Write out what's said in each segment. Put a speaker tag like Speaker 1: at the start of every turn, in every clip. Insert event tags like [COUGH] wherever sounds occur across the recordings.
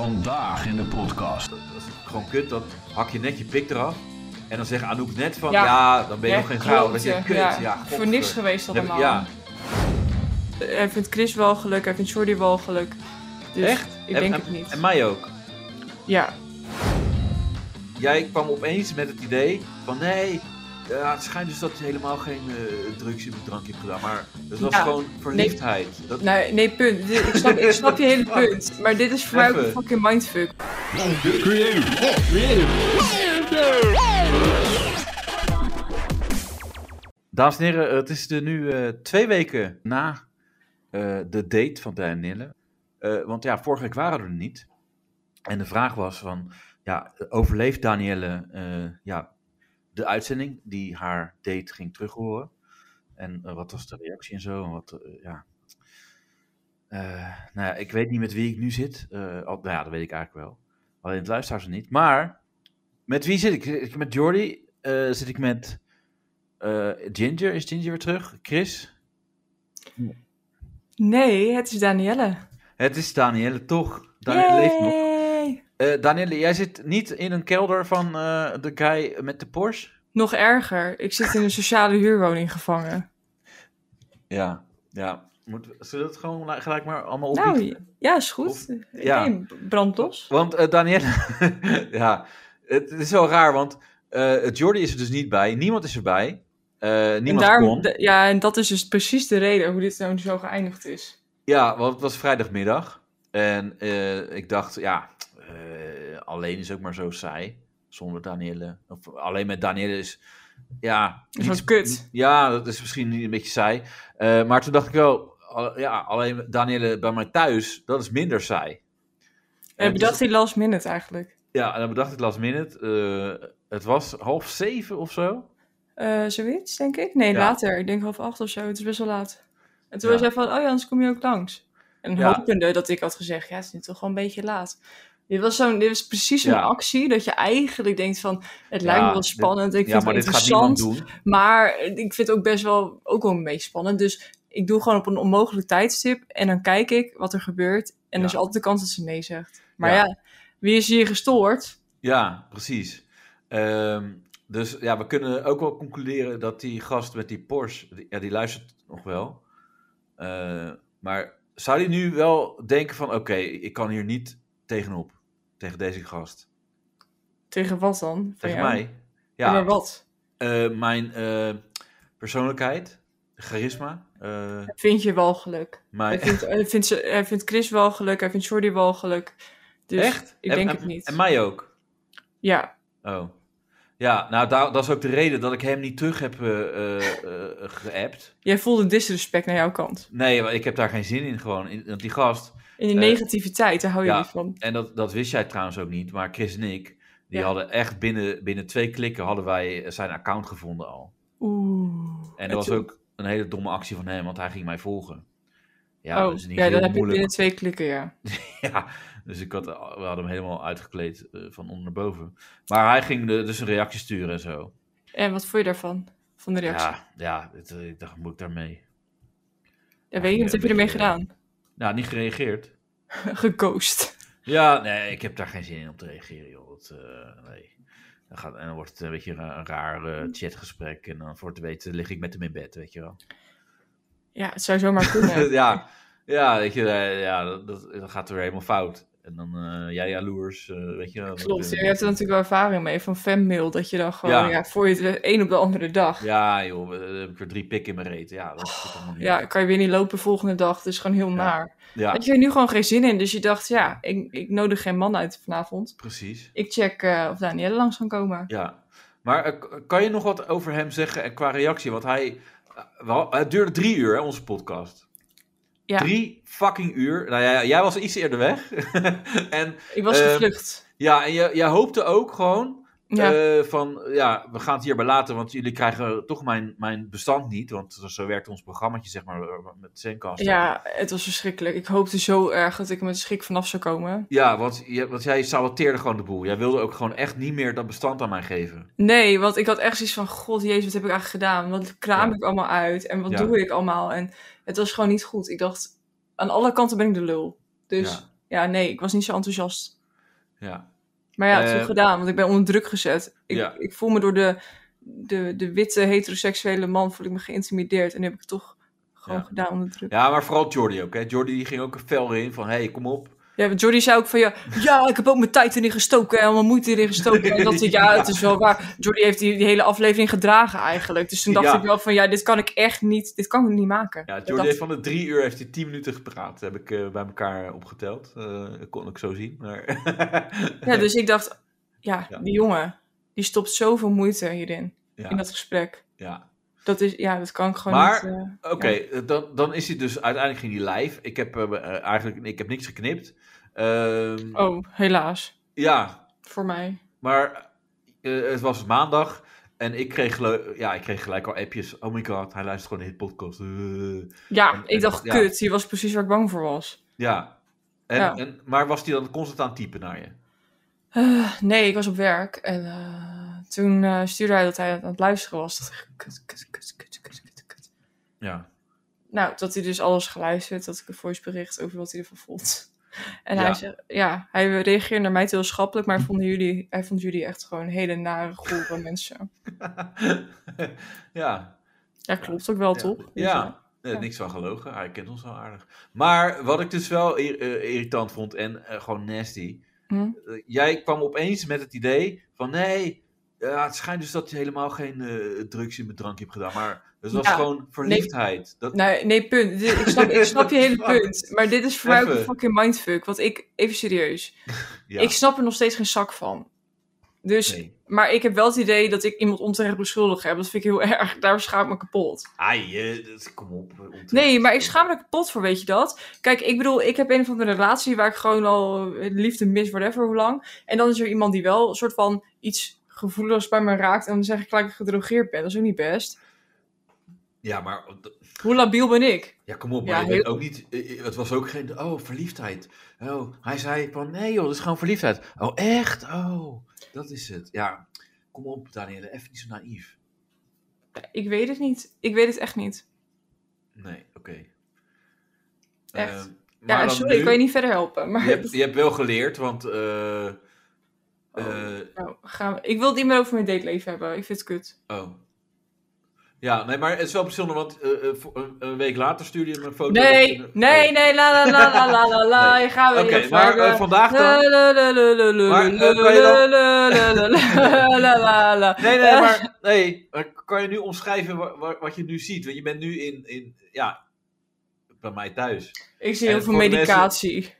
Speaker 1: Vandaag in de podcast.
Speaker 2: Dat is gewoon kut, dan hak je net je pik eraf. En dan zegt Anouk net van, ja,
Speaker 3: Ja.
Speaker 2: dan ben je
Speaker 3: Ja,
Speaker 2: nog geen vrouw. Dat
Speaker 3: klote,
Speaker 2: je kut, ja,
Speaker 3: ja.
Speaker 2: godver.
Speaker 3: Voor niks geweest
Speaker 2: Dan heb ik-
Speaker 3: allemaal. Eh,
Speaker 2: Ja,
Speaker 3: Hij vindt Chris wel geluk, hij vindt Jordi wel geluk. Dus
Speaker 2: Echt?
Speaker 3: Ik
Speaker 2: En-
Speaker 3: denk
Speaker 2: en,
Speaker 3: het niet.
Speaker 2: En mij ook.
Speaker 3: Ja.
Speaker 2: Jij kwam opeens met het idee van, nee, ja, het schijnt dus dat je helemaal geen eh, drugs in mijn drank hebt gedaan. Maar dat was
Speaker 3: Ja.
Speaker 2: gewoon verliefdheid. Dat,
Speaker 3: Nee, nee, punt. Dit- Ik snap, ik snap je hele punt. Maar dit is voor mij ook
Speaker 2: Even.
Speaker 3: een fucking mindfuck.
Speaker 2: Dames en heren, het is er nu eh, twee weken na eh, de date van Dijn en Nille. Eh, want ja, vorige week waren we er niet. En de vraag was van, ja, overleeft Danielle eh, ja, de uitzending die haar date ging terughoren? En eh, wat was de reactie en zo? En wat, eh, ja. Eh, nou ja, ik weet niet met wie ik nu zit. Eh, al, nou ja, dat weet ik eigenlijk wel. Alleen het luisteraars niet. Maar met wie zit ik? Zit ik met Jordi? Eh, zit ik met... Eh, Ginger, is Ginger weer terug? Chris?
Speaker 3: Nee, het is Danielle.
Speaker 2: Het is Danielle, toch? Danielle leeft nog.
Speaker 3: Yay!
Speaker 2: Eh, Danielle, jij zit niet in een kelder van eh, de guy met de Porsche?
Speaker 3: Nog erger. Ik zit in een sociale huurwoning gevangen.
Speaker 2: Ja, ja. Moeten we- zullen we dat gewoon la- gelijk maar allemaal opbiechten?
Speaker 3: Nou, ja, is goed.
Speaker 2: Of- ja.
Speaker 3: ja. Nee, brandlos.
Speaker 2: Want eh, Danielle, [LAUGHS] ja, het is wel raar, want eh Jordi is er dus niet bij. Niemand is erbij. Eh
Speaker 3: En
Speaker 2: niemand
Speaker 3: daarom,
Speaker 2: kon.
Speaker 3: d- ja, en dat is dus precies de reden hoe dit nou zo geëindigd is.
Speaker 2: Ja, want het was vrijdagmiddag. En eh, ik dacht, ja, eh, alleen is ook maar zo saai. Zonder Danielle. Of alleen met Danielle is, ja...
Speaker 3: Is
Speaker 2: niet-
Speaker 3: ook kut.
Speaker 2: Ja, dat is misschien een beetje saai. Eh, maar toen dacht ik wel, al- ja, alleen Danielle bij mij thuis, dat is minder saai.
Speaker 3: En
Speaker 2: dus
Speaker 3: bedacht Eh, hij last minute eigenlijk.
Speaker 2: Ja, en dan bedacht ik last minute. eh, het was half zeven of zo.
Speaker 3: Eh, zoiets, denk ik? Nee,
Speaker 2: Ja.
Speaker 3: later. Ik denk half acht of zo. Het is best wel laat. En toen
Speaker 2: Ja.
Speaker 3: was hij van, oh ja, anders kom je ook langs. En
Speaker 2: Ja.
Speaker 3: hopende dat ik had gezegd, ja, het is nu toch wel een beetje laat. Dit was, zo'n, dit was precies zo'n
Speaker 2: Ja.
Speaker 3: actie dat je eigenlijk denkt van, het lijkt
Speaker 2: Ja,
Speaker 3: me wel
Speaker 2: dit-
Speaker 3: spannend, ik
Speaker 2: ja,
Speaker 3: vind
Speaker 2: maar
Speaker 3: het
Speaker 2: dit gaat niemand
Speaker 3: interessant,
Speaker 2: doen.
Speaker 3: maar ik vind het ook best wel, ook wel een beetje spannend. Dus ik doe gewoon op een onmogelijk tijdstip en dan kijk ik wat er gebeurt.
Speaker 2: Ja.
Speaker 3: En er is altijd de kans dat ze nee zegt. Maar
Speaker 2: Ja.
Speaker 3: ja, wie is hier gestoord?
Speaker 2: Ja, precies. Ehm, dus ja, we kunnen ook wel concluderen dat die gast met die Porsche, die, ja, die luistert nog wel. Eh, maar zou die nu wel denken van, oké, ik kan hier niet tegenop, tegen deze gast,
Speaker 3: Tegen wat dan? Van
Speaker 2: tegen
Speaker 3: jou?
Speaker 2: mij?
Speaker 3: Ja.
Speaker 2: Ja,
Speaker 3: Maar wat?
Speaker 2: eh, mijn eh, persoonlijkheid, charisma, eh,
Speaker 3: Vind je wel geluk? Hij
Speaker 2: mijn...
Speaker 3: vindt, hij, vindt ze- hij vindt Chris wel geluk, hij vindt Jordi wel geluk. Dus
Speaker 2: Echt?
Speaker 3: ik
Speaker 2: En-
Speaker 3: denk
Speaker 2: en-
Speaker 3: het niet.
Speaker 2: En mij ook.
Speaker 3: ja,
Speaker 2: Oh. Ja, nou, daar, dat is ook de reden dat ik hem niet terug heb eh eh, eh, geappt.
Speaker 3: jij voelde disrespect naar jouw kant.
Speaker 2: Nee, maar ik heb daar geen zin in gewoon. In- Want die gast,
Speaker 3: In die
Speaker 2: Eh,
Speaker 3: negativiteit, daar hou je
Speaker 2: ja.
Speaker 3: niet van.
Speaker 2: en dat, dat wist jij trouwens ook niet, maar Chris en ik, die
Speaker 3: Ja.
Speaker 2: hadden echt binnen, binnen twee klikken hadden wij zijn account gevonden al.
Speaker 3: Oeh.
Speaker 2: En dat was
Speaker 3: toen-
Speaker 2: ook een hele domme actie van hem, want hij ging mij volgen. Ja,
Speaker 3: oh,
Speaker 2: dat is niet
Speaker 3: ja,
Speaker 2: heel
Speaker 3: dan heb je
Speaker 2: moeilijk.
Speaker 3: binnen twee klikken, ja.
Speaker 2: Ja, dus ik had, we hadden hem helemaal uitgekleed eh, van onder naar boven. Maar hij ging de, dus een reactie sturen en zo.
Speaker 3: En wat vond je daarvan? Van de reactie? Ja,
Speaker 2: Ja, ja het, eh, ik dacht, moet ik daarmee?
Speaker 3: weet je,
Speaker 2: ja,
Speaker 3: wat heb je ermee
Speaker 2: ja.
Speaker 3: gedaan? [LAUGHS]
Speaker 2: Nou, niet gereageerd.
Speaker 3: Geghost.
Speaker 2: Ja, nee, ik heb daar geen zin in om te reageren, joh. Dat, eh, nee. Dan gaat, en dan wordt het een beetje een, een raar eh, chatgesprek. En dan voor te weten lig ik met hem in bed, weet je wel.
Speaker 3: Ja, het zou
Speaker 2: [LAUGHS]
Speaker 3: zomaar [LAUGHS] kunnen.
Speaker 2: ja, ja, weet je, eh, ja dat, dat, dat gaat er weer helemaal fout. En dan eh, jij jaloers, eh, weet je wel.
Speaker 3: Klopt,
Speaker 2: Eh,
Speaker 3: je hebt er natuurlijk wel ervaring mee van fanmail, dat je dan gewoon,
Speaker 2: Ja.
Speaker 3: ja, voor je het weet, één op de andere dag. Ja.
Speaker 2: Ja, joh, eh, dan heb ik weer drie pikken in mijn reet. Ja, dat is allemaal niet.
Speaker 3: kan je weer niet lopen volgende dag. Het is gewoon heel naar.
Speaker 2: ja
Speaker 3: Had je er nu gewoon geen zin in, dus je dacht, ja, ik, ik nodig geen man uit vanavond.
Speaker 2: precies.
Speaker 3: Ik check eh, of Danielle langs kan komen.
Speaker 2: Ja, maar eh, k- kan je nog wat over hem zeggen eh, qua reactie? Want hij, eh, wel, het duurde drie uur, hè, onze podcast.
Speaker 3: Ja.
Speaker 2: Drie fucking uur. Nou ja, jij was iets eerder weg. [LAUGHS] en
Speaker 3: Ik was
Speaker 2: Ehm,
Speaker 3: gevlucht.
Speaker 2: ja, en jij, jij hoopte ook gewoon
Speaker 3: Ja,
Speaker 2: eh, van, ja, we gaan het hierbij laten, want jullie krijgen toch mijn, mijn bestand niet. Want zo werkt ons programmaatje, zeg maar, eh, met Zencast.
Speaker 3: ja, het was verschrikkelijk. Ik hoopte zo erg dat ik er met schrik vanaf zou komen.
Speaker 2: Ja, want, je- want jij saboteerde gewoon de boel. Jij wilde ook gewoon echt niet meer dat bestand aan mij geven.
Speaker 3: Nee, want ik had echt zoiets van, god jezus, wat heb ik eigenlijk gedaan? Wat kraam
Speaker 2: Ja.
Speaker 3: ik allemaal uit? En wat
Speaker 2: Ja.
Speaker 3: doe ik allemaal? En het was gewoon niet goed. Ik dacht, aan alle kanten ben ik de lul. Dus ja, ja, nee, ik was niet zo enthousiast.
Speaker 2: Ja.
Speaker 3: Maar ja, het is
Speaker 2: Eh,
Speaker 3: toch gedaan, want ik ben onder druk gezet. Ik,
Speaker 2: Ja.
Speaker 3: ik voel me door de, de, de witte heteroseksuele man voel ik me geïntimideerd. En die heb ik toch gewoon
Speaker 2: Ja.
Speaker 3: gedaan onder druk.
Speaker 2: ja, maar vooral Jordi ook. Hè. Jordi die ging ook een fel in van, hé, hey, kom op.
Speaker 3: Ja, want Jordi zei ook van ja, ja, ik heb ook mijn tijd erin gestoken en mijn moeite erin gestoken. En dat ik,
Speaker 2: [LAUGHS]
Speaker 3: ja, het is wel waar. Jordi heeft die, die hele aflevering gedragen eigenlijk. Dus toen dacht
Speaker 2: Ja.
Speaker 3: ik wel van ja, dit kan ik echt niet, dit kan ik niet maken.
Speaker 2: Ja,
Speaker 3: Ik
Speaker 2: Jordi
Speaker 3: dacht,
Speaker 2: heeft van de drie uur heeft hij tien minuten gepraat. heb ik eh, bij elkaar opgeteld. Eh dat kon ik zo zien. Maar
Speaker 3: ja, dus ik dacht, ja,
Speaker 2: Ja.
Speaker 3: die jongen, die stopt zoveel moeite hierin,
Speaker 2: ja,
Speaker 3: in dat gesprek.
Speaker 2: [LAUGHS] ja.
Speaker 3: Dat is, ja, dat kan ik gewoon
Speaker 2: Maar-
Speaker 3: niet. eh,
Speaker 2: Oké, dan, dan is hij dus uiteindelijk ging hij live. Ik heb eh, eh, eigenlijk ik heb niks geknipt. Ehm,
Speaker 3: oh, helaas.
Speaker 2: Ja,
Speaker 3: Voor mij.
Speaker 2: Maar eh, het was maandag en ik kreeg, gelu- ja, ik kreeg gelijk al appjes. Oh my god, hij luistert gewoon de hitpodcast. Eh, podcast.
Speaker 3: Ja,
Speaker 2: En- en-
Speaker 3: ik dacht,
Speaker 2: ja.
Speaker 3: kut, hier was precies waar ik bang voor was.
Speaker 2: ja. En,
Speaker 3: Ja.
Speaker 2: En, maar was hij dan constant aan het typen naar je?
Speaker 3: Eh, nee, ik was op werk en eh, toen eh, stuurde hij dat hij aan het luisteren was. Dat ik, kut, kut, kut, kut, kut, kut, kut.
Speaker 2: Ja.
Speaker 3: Nou, dat hij dus alles geluisterd, dat ik een voicebericht over wat hij ervan vond. En
Speaker 2: Ja.
Speaker 3: hij zegt, ja, hij reageerde naar mij heel schappelijk, maar vonden jullie, hij vond jullie echt gewoon hele nare, gore [LAUGHS] mensen.
Speaker 2: [LAUGHS] ja.
Speaker 3: Ja, klopt ook wel,
Speaker 2: Ja.
Speaker 3: toch? Dus,
Speaker 2: Ja. Eh,
Speaker 3: Ja.
Speaker 2: niks van gelogen. Hij kent ons wel aardig. Maar wat ik dus wel ir- eh, irritant vond en eh, gewoon nasty.
Speaker 3: Hm?
Speaker 2: eh, jij kwam opeens met het idee van nee, ja, het schijnt dus dat je helemaal geen eh, drugs in mijn drankje hebt gedaan. Maar het was
Speaker 3: Ja.
Speaker 2: gewoon verliefdheid. Dat,
Speaker 3: Nee, Nou, nee, punt. Dit- Ik snap, ik snap je hele punt. Maar dit is voor mij ook
Speaker 2: Even.
Speaker 3: een fucking mindfuck. Want ik, even serieus,
Speaker 2: ja.
Speaker 3: ik snap er nog steeds geen zak van. Dus,
Speaker 2: Nee.
Speaker 3: maar ik heb wel het idee dat ik iemand onterecht beschuldigd heb. Dat vind ik heel [LAUGHS] erg. Daar schaam ik me kapot.
Speaker 2: Ai, eh, dat- kom op. eh, onterecht.
Speaker 3: Nee, maar ik schaam me er kapot voor, weet je dat? Kijk, ik bedoel, ik heb een of andere relatie waar ik gewoon al eh, liefde mis, whatever, hoe lang. En dan is er iemand die wel een soort van iets gevoeligs bij me raakt. En dan zeg ik gelijk dat ik gedrogeerd ben. Dat is ook niet best.
Speaker 2: Ja, maar eh, d-
Speaker 3: Hoe labiel ben ik?
Speaker 2: ja, kom op.
Speaker 3: Ja,
Speaker 2: Maar je bent
Speaker 3: heel-
Speaker 2: ook niet, eh, eh, het was ook geen. Oh, verliefdheid. Oh, hij zei van nee, joh, dat is gewoon verliefdheid. Oh, echt? Oh, dat is het. Ja, kom op, Danielle, even niet zo naïef.
Speaker 3: Ik weet het niet. Ik weet het echt niet.
Speaker 2: Nee, oké.
Speaker 3: Echt.
Speaker 2: Eh, maar
Speaker 3: Ja,
Speaker 2: dan
Speaker 3: sorry,
Speaker 2: nu-
Speaker 3: ik kan je niet verder helpen.
Speaker 2: Je
Speaker 3: Maar [LAUGHS]
Speaker 2: hebt, je hebt wel geleerd, want. eh, eh,
Speaker 3: nou, gaan we- ik wil het niet meer over mijn dateleven hebben. Ik vind het kut.
Speaker 2: oh. Ja, nee, maar het is wel bijzonder, want eh, eh, voor- een- een week later stuurde je me een foto.
Speaker 3: Nee,
Speaker 2: Oh.
Speaker 3: nee, nee, la la la la la la la.
Speaker 2: Nee.
Speaker 3: Hier gaan we
Speaker 2: Oké,
Speaker 3: niet over
Speaker 2: maar eh,
Speaker 3: hebben.
Speaker 2: vandaag dan.
Speaker 3: La, la, la, la, la,
Speaker 2: Maar,
Speaker 3: la,
Speaker 2: eh, kan je dan-
Speaker 3: la, la, la, la, la, la, la.
Speaker 2: Nee, nee,
Speaker 3: [LAUGHS]
Speaker 2: maar, nee, maar kan je nu omschrijven wa- wa- wat, je nu ziet? Want je bent nu in, in ja, bij mij thuis.
Speaker 3: Ik zie
Speaker 2: En
Speaker 3: heel veel
Speaker 2: voor de mensen-
Speaker 3: medicatie.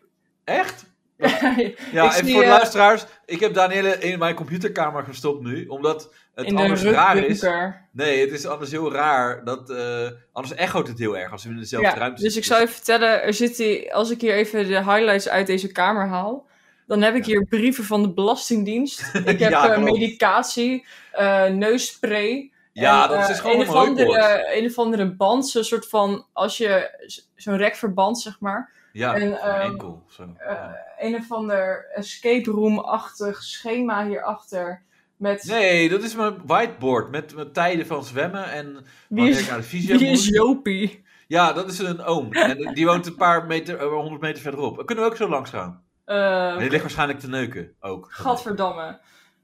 Speaker 2: Echt?
Speaker 3: Ik
Speaker 2: Ja, en
Speaker 3: zie,
Speaker 2: voor de
Speaker 3: eh,
Speaker 2: luisteraars, ik heb Danielle in mijn computerkamer gestopt nu, omdat het
Speaker 3: [LAUGHS] In de
Speaker 2: anders raar is.
Speaker 3: rugdunker.
Speaker 2: Nee, het is anders heel raar, dat, eh, anders echoot het heel erg als we in dezelfde
Speaker 3: Ja,
Speaker 2: ruimte
Speaker 3: dus ik
Speaker 2: zitten.
Speaker 3: zou je vertellen, er zit die, als ik hier even de highlights uit deze kamer haal, dan heb ik hier brieven van de
Speaker 2: [LAUGHS]
Speaker 3: Belastingdienst. Ik heb
Speaker 2: Ja,
Speaker 3: eh,
Speaker 2: klopt.
Speaker 3: medicatie, eh neusspray,
Speaker 2: Ja,
Speaker 3: En,
Speaker 2: dat
Speaker 3: eh,
Speaker 2: is dus gewoon
Speaker 3: een
Speaker 2: een
Speaker 3: of
Speaker 2: mooi woord.
Speaker 3: andere, een of andere band, zo'n soort van, als je z- zo'n rekverband zeg maar,
Speaker 2: Ja,
Speaker 3: en,
Speaker 2: voor mijn
Speaker 3: ehm,
Speaker 2: enkel. Zo. ja.
Speaker 3: een of ander escape room-achtig schema hierachter met
Speaker 2: Nee, dat is mijn whiteboard met, met tijden van zwemmen en
Speaker 3: wie,
Speaker 2: wanneer ik
Speaker 3: is,
Speaker 2: naar de fysio
Speaker 3: wie
Speaker 2: moet.
Speaker 3: is Jopie?
Speaker 2: Ja, dat is een oom. En die woont een paar meter, eh, 100 meter verderop. Kunnen we ook zo langs gaan?
Speaker 3: Eh,
Speaker 2: Maar die ligt waarschijnlijk te neuken ook. Oh,
Speaker 3: gadverdamme.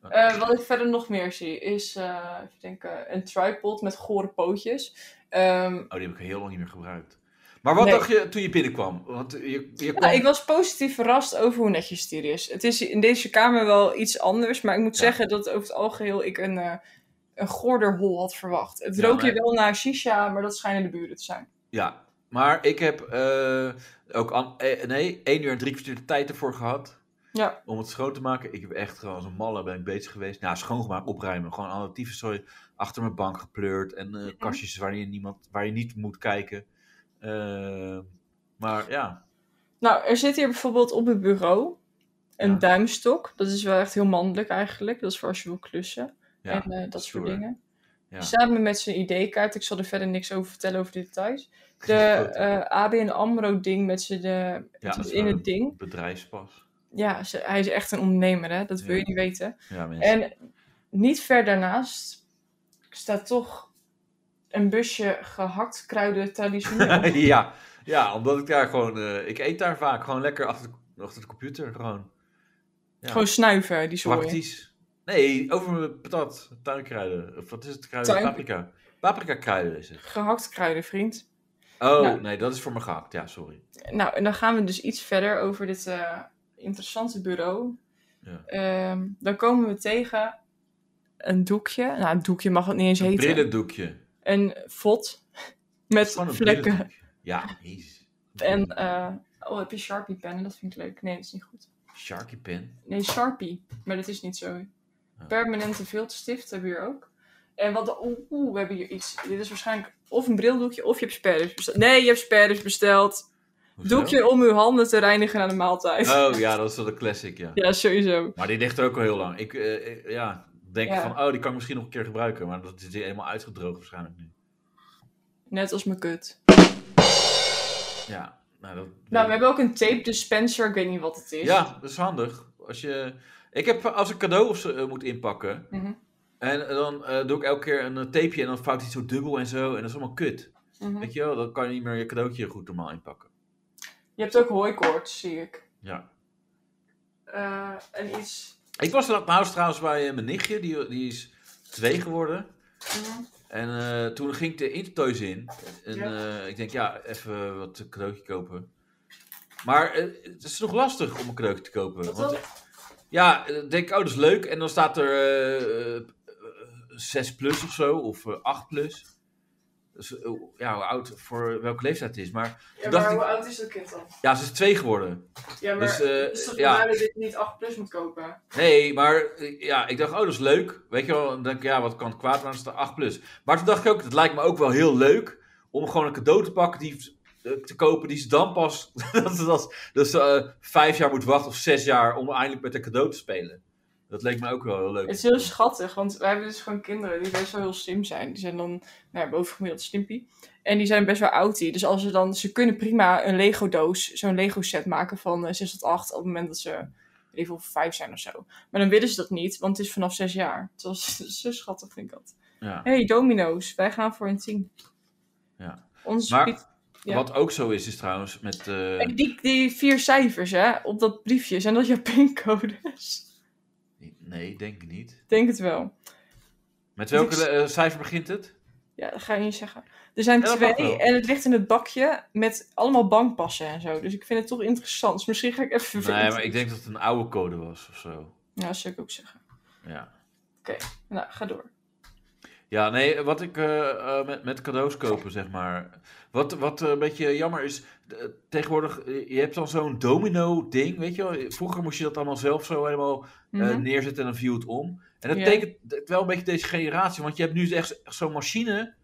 Speaker 3: Eh, wat ik verder nog meer zie is, eh, even denken, een tripod met gore pootjes. Ehm,
Speaker 2: Oh, die heb ik heel lang niet meer gebruikt. Maar wat
Speaker 3: Nee.
Speaker 2: dacht je toen je binnenkwam? Want je, je
Speaker 3: ja,
Speaker 2: kwam...
Speaker 3: ik was positief verrast over hoe netjes die is. Het is in deze kamer wel iets anders, maar ik moet
Speaker 2: Ja.
Speaker 3: zeggen dat over het algeheel ik een, eh een gorderhol had verwacht. Het
Speaker 2: Ja,
Speaker 3: rook je
Speaker 2: maar-
Speaker 3: wel naar shisha, maar dat schijnen de buren te zijn.
Speaker 2: Ja, maar ik heb eh, ook an- eh, nee, 1 uur en drie kwartier de tijd ervoor gehad.
Speaker 3: Ja.
Speaker 2: Om het schoon te maken. Ik heb echt gewoon als een malle ben ik bezig geweest. Nou, schoongemaakt, opruimen. Gewoon alle tyfus sorry, achter mijn bank gepleurd. En
Speaker 3: Mhm.
Speaker 2: eh, kastjes waar je, niemand, waar je niet moet kijken. Eh, maar ja.
Speaker 3: Nou, er zit hier bijvoorbeeld op het bureau een
Speaker 2: Ja.
Speaker 3: duimstok. Dat is wel echt heel mannelijk eigenlijk. Dat is voor als je wil klussen
Speaker 2: ja.
Speaker 3: en eh, dat soort
Speaker 2: stoer.
Speaker 3: dingen.
Speaker 2: Ja.
Speaker 3: Samen met zijn ID-kaart. Ik zal er verder niks over vertellen over de details. De
Speaker 2: Grote
Speaker 3: eh ABN AMRO-ding met zijn de,
Speaker 2: Ja, dat is
Speaker 3: in
Speaker 2: wel
Speaker 3: het ding.
Speaker 2: bedrijfspas.
Speaker 3: Ja, ze- hij is echt een ondernemer, hè? dat wil je niet weten.
Speaker 2: Ja, mensen.
Speaker 3: En niet ver daarnaast staat toch een busje gehakt
Speaker 2: [LAUGHS]
Speaker 3: kruiden traditioneel.
Speaker 2: ja, ja, omdat ik daar gewoon. eh, ik eet daar vaak gewoon lekker achter de, Achter de computer gewoon. Ja.
Speaker 3: Gewoon snuiven, die zooi.
Speaker 2: Praktisch. Nee, over mijn patat. Tuinkruiden. Of wat is het? Kruiden?
Speaker 3: Tuin-
Speaker 2: Paprika. Paprika kruiden is het.
Speaker 3: Gehakt kruiden, vriend.
Speaker 2: Oh,
Speaker 3: Nou.
Speaker 2: nee, dat is voor mijn gehakt. Ja, sorry.
Speaker 3: Nou, en dan gaan we dus iets verder over dit eh, interessante bureau.
Speaker 2: Ja.
Speaker 3: Ehm, dan komen we tegen een doekje. Nou, een doekje mag het niet eens
Speaker 2: Een
Speaker 3: heten.
Speaker 2: brillendoekje.
Speaker 3: Een vod met
Speaker 2: Gewoon een
Speaker 3: vlekken.
Speaker 2: brillendoekje. Ja, jezus.
Speaker 3: En, eh, oh, heb je Sharpie pennen? Dat vind ik leuk. Nee, dat is niet goed.
Speaker 2: Sharky pen.
Speaker 3: Nee, Sharpie. Maar dat is niet zo.
Speaker 2: Ja.
Speaker 3: Permanente viltstift hebben we hier ook. En wat de... Oeh, oeh, we hebben hier iets. Dit is waarschijnlijk of een brildoekje of je hebt sperrers besteld. Nee, je hebt sperrers besteld.
Speaker 2: Hoezo?
Speaker 3: Doekje om uw handen te reinigen na de maaltijd.
Speaker 2: Oh ja, dat is wel een classic, ja.
Speaker 3: [LAUGHS] Ja, sowieso.
Speaker 2: Maar die ligt er ook al heel lang. Ik eh, eh, ja, denk
Speaker 3: Ja.
Speaker 2: van, oh, die kan ik misschien nog een keer gebruiken. Maar dat is die helemaal uitgedroogd waarschijnlijk nu.
Speaker 3: Net als mijn kut.
Speaker 2: Ja, nou dat...
Speaker 3: Nou, we hebben ook een tape dispenser. Ik weet niet wat het is.
Speaker 2: Ja, dat is handig. Als je... Ik heb als ik cadeau of zo eh, moet inpakken.
Speaker 3: Mhm.
Speaker 2: En eh, dan eh, doe ik elke keer een eh, tapeje en dan fout hij zo dubbel en zo. En dat is allemaal kut.
Speaker 3: Mhm.
Speaker 2: Weet je wel, dan kan je niet meer je cadeautje goed normaal inpakken.
Speaker 3: Je hebt ook hooikoorts, zie ik.
Speaker 2: Ja.
Speaker 3: Eh, en iets...
Speaker 2: Ik was er nou trouwens bij eh, mijn nichtje, die, die is twee geworden.
Speaker 3: Mhm.
Speaker 2: En eh, toen ging ik de Intertoys in. En
Speaker 3: Ja.
Speaker 2: eh, ik denk, ja, even wat een cadeautje kopen. Maar eh, het is nog lastig om een cadeautje te kopen.
Speaker 3: Wat
Speaker 2: want, eh, ja, eh, denk ik, oh, dat is leuk. En dan staat er eh, eh, 6 plus of zo, of eh, 8 plus. Dus, eh, ja, hoe oud, voor welke leeftijd het is. Maar
Speaker 3: Ja,
Speaker 2: dacht
Speaker 3: maar
Speaker 2: ik-
Speaker 3: hoe oud is dat kind dan?
Speaker 2: ja, ze is twee geworden.
Speaker 3: Ja, maar
Speaker 2: Dus, eh,
Speaker 3: het is toch
Speaker 2: ja.
Speaker 3: raar dat je niet 8 plus moet kopen?
Speaker 2: Nee, maar eh, ja, ik dacht, oh, dat is leuk. Weet je wel, dan denk ik, ja, wat kan het kwaad, maar dan is het 8 plus. Maar toen dacht ik ook, het lijkt me ook wel heel leuk om gewoon een cadeau te pakken, die, eh, te kopen, die ze dan pas, [LAUGHS] dat ze dat, dat ze eh, vijf jaar moet wachten of zes jaar om eindelijk met een cadeau te spelen. Dat leek me ook wel heel leuk.
Speaker 3: Het is heel schattig, want wij hebben dus gewoon kinderen die best wel heel slim zijn. Die zijn dan nou ja, bovengemiddeld slimpie. En die zijn best wel outie. Dus als ze dan, ze kunnen prima een Lego doos, zo'n Lego set maken van eh, 6 tot 8 op het moment dat ze even of 5 zijn of zo. Maar dan willen ze dat niet, want het is vanaf 6 jaar. Het was [LAUGHS] dat is zo schattig, vind ik dat.
Speaker 2: Ja,
Speaker 3: hey, domino's, wij gaan voor een 10.
Speaker 2: ja.
Speaker 3: Onze
Speaker 2: Maar eh,
Speaker 3: Piet- ja.
Speaker 2: wat ook zo is, is trouwens met... eh,
Speaker 3: En die, die vier cijfers hè, op dat briefje, zijn dat jouw [LAUGHS] pincodes?
Speaker 2: nee, denk ik niet.
Speaker 3: Ik denk het wel.
Speaker 2: Met welke
Speaker 3: Dus-
Speaker 2: eh, cijfer begint het?
Speaker 3: Ja, dat ga je niet zeggen. Er zijn
Speaker 2: Ja, dat mag
Speaker 3: twee
Speaker 2: wel.
Speaker 3: en het ligt in het bakje met allemaal bankpassen en zo. Dus ik vind het toch interessant. Dus misschien ga ik even
Speaker 2: Nee, maar ik denk dat het een oude code was of zo.
Speaker 3: Nou, dat zou ik ook zeggen.
Speaker 2: Ja.
Speaker 3: Nou, ga door.
Speaker 2: Ja, nee, wat ik eh, eh, met, met cadeaus kopen, zeg maar. Wat, wat eh, een beetje jammer is, eh, tegenwoordig, eh, je hebt dan zo'n domino-ding, weet je wel. Vroeger moest je dat allemaal zelf zo helemaal eh,
Speaker 3: Mhm.
Speaker 2: neerzetten en dan viel het om. En dat
Speaker 3: Ja.
Speaker 2: betekent het wel een beetje deze generatie, want je hebt nu dus echt zo'n machine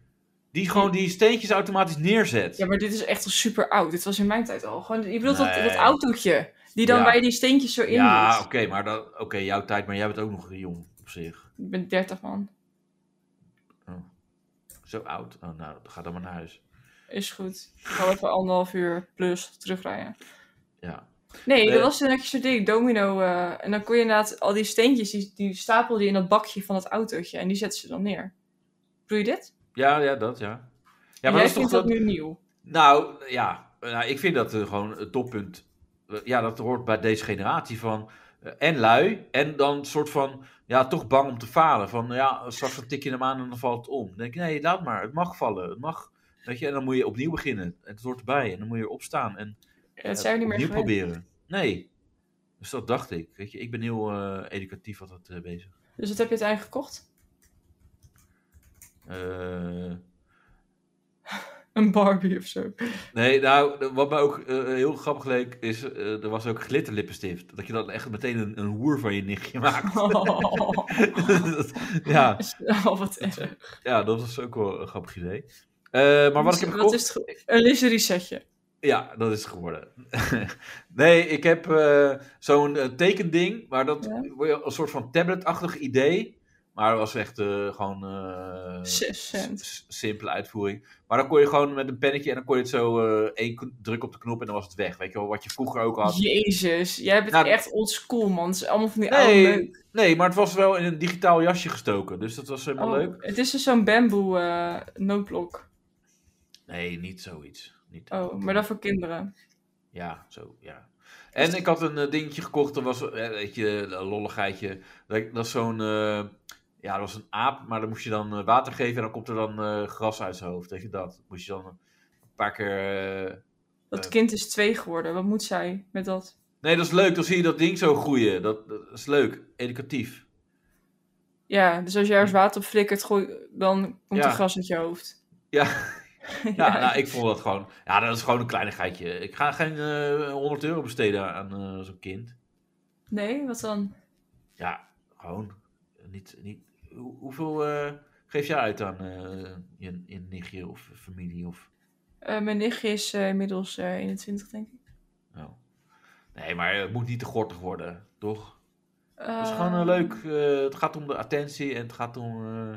Speaker 2: die gewoon die steentjes automatisch neerzet.
Speaker 3: Ja, maar dit is echt al super oud. Dit was in mijn tijd al. Gewoon, je bedoelt dat,
Speaker 2: Nee.
Speaker 3: dat autootje. Die dan
Speaker 2: Ja.
Speaker 3: waar je die steentjes zo in dus-
Speaker 2: Ja,
Speaker 3: doet.
Speaker 2: oké, maar dat, oké jouw tijd, maar jij bent ook nog jong op zich.
Speaker 3: Ik ben 30 man.
Speaker 2: Zo oud. Oh, nou, ga dan maar naar huis.
Speaker 3: Is goed. Ik ga even anderhalf uur plus terugrijden.
Speaker 2: Ja.
Speaker 3: Nee,
Speaker 2: Nee.
Speaker 3: dat was een zo'n ding, domino. eh, en dan kon je inderdaad al die steentjes, die, die stapelde je in dat bakje van het autootje. En die zetten ze dan neer. Doe je dit?
Speaker 2: Ja, ja, dat, ja. Ja,
Speaker 3: Jij
Speaker 2: maar dat is toch
Speaker 3: vindt
Speaker 2: dat-
Speaker 3: dat nu nieuw?
Speaker 2: Nou, ja. Nou, ik vind dat eh, gewoon het toppunt. eh, Ja, dat hoort bij deze generatie van... eh, en lui, en dan een soort van... Ja, toch bang om te falen. Van, ja, straks dan tik je hem aan en dan valt het om. Dan denk ik, nee, laat maar. Het mag vallen. Het mag... Weet je, en dan moet je opnieuw beginnen. Het hoort erbij. En dan moet je opstaan. En eh,
Speaker 3: Dat zijn we niet meer
Speaker 2: opnieuw
Speaker 3: gewend.
Speaker 2: proberen. Nee. Dus dat dacht ik. Weet je, ik ben heel eh, educatief wat dat eh, bezig.
Speaker 3: Dus dat heb je uiteindelijk gekocht?
Speaker 2: Eh,
Speaker 3: Een Barbie of zo. [LAUGHS]
Speaker 2: nee, nou, de- wat mij ook eh, heel grappig leek, is... eh, er was ook glitterlippenstift. Dat je dan echt meteen een, een hoer van je nichtje maakt.
Speaker 3: Oh,
Speaker 2: Dat- [LAUGHS] ja,
Speaker 3: wat erg.
Speaker 2: ja, dat was ook wel een grappig idee. Eh, maar wat ik heb gekocht,
Speaker 3: Dus is het ge- Een lingerie setje.
Speaker 2: ja, dat is het geworden. [LAUGHS] nee, ik heb eh, zo'n eh, tekending, maar dat
Speaker 3: Ja.
Speaker 2: word je een soort van tabletachtig idee. Maar dat was echt eh, gewoon eh,
Speaker 3: Zes cent.
Speaker 2: s- simpele uitvoering. Maar dan kon je gewoon met een pennetje en dan kon je het zo eh, één k- druk op de knop en dan was het weg. Weet je wel, wat je vroeger ook had.
Speaker 3: Jezus, jij bent
Speaker 2: Nou,
Speaker 3: echt old school, man. Het is allemaal van die oude
Speaker 2: Nee,
Speaker 3: meuk.
Speaker 2: nee, maar het was wel in een digitaal jasje gestoken, dus dat was helemaal
Speaker 3: Oh,
Speaker 2: leuk.
Speaker 3: Het is dus zo'n bamboe eh, noodblok.
Speaker 2: Nee, niet zoiets. Niet
Speaker 3: Oh, maar dat voor kinderen.
Speaker 2: Ja, zo, ja. En ik had een eh, dingetje gekocht, dat was, eh, weet je, een lolligheidje. Dat, dat is zo'n, eh, ja, dat was een aap, maar dan moest je dan eh, water geven en dan komt er dan eh, gras uit zijn hoofd. Weet je dat? Moest je dan een paar keer... eh,
Speaker 3: Dat
Speaker 2: Eh.
Speaker 3: kind is twee geworden. Wat moet zij met dat?
Speaker 2: Nee, dat is leuk, dan zie je dat ding zo groeien. Dat, dat is leuk, educatief.
Speaker 3: Ja, dus als je ergens water op flikkert, gooi- dan komt
Speaker 2: Ja.
Speaker 3: er gras uit je hoofd. [LAUGHS]
Speaker 2: Ja. [LAUGHS]
Speaker 3: ja,
Speaker 2: Ja, nou, ik vond dat gewoon... Ja, dat is gewoon een kleinigheidje. Ik ga geen eh 100 euro besteden aan eh, zo'n kind.
Speaker 3: Nee, wat dan?
Speaker 2: Ja, gewoon. Niet, niet, hoe- hoeveel eh, geef jij uit aan eh, je, je nichtje of familie? Of,
Speaker 3: Eh, mijn nichtje is eh, inmiddels eh, 21, denk ik.
Speaker 2: nou. Nee, maar het moet niet te gortig worden, toch?
Speaker 3: Eh,
Speaker 2: Het is gewoon eh,
Speaker 3: Ehm.
Speaker 2: leuk. eh, het gaat om de attentie en het gaat om... eh,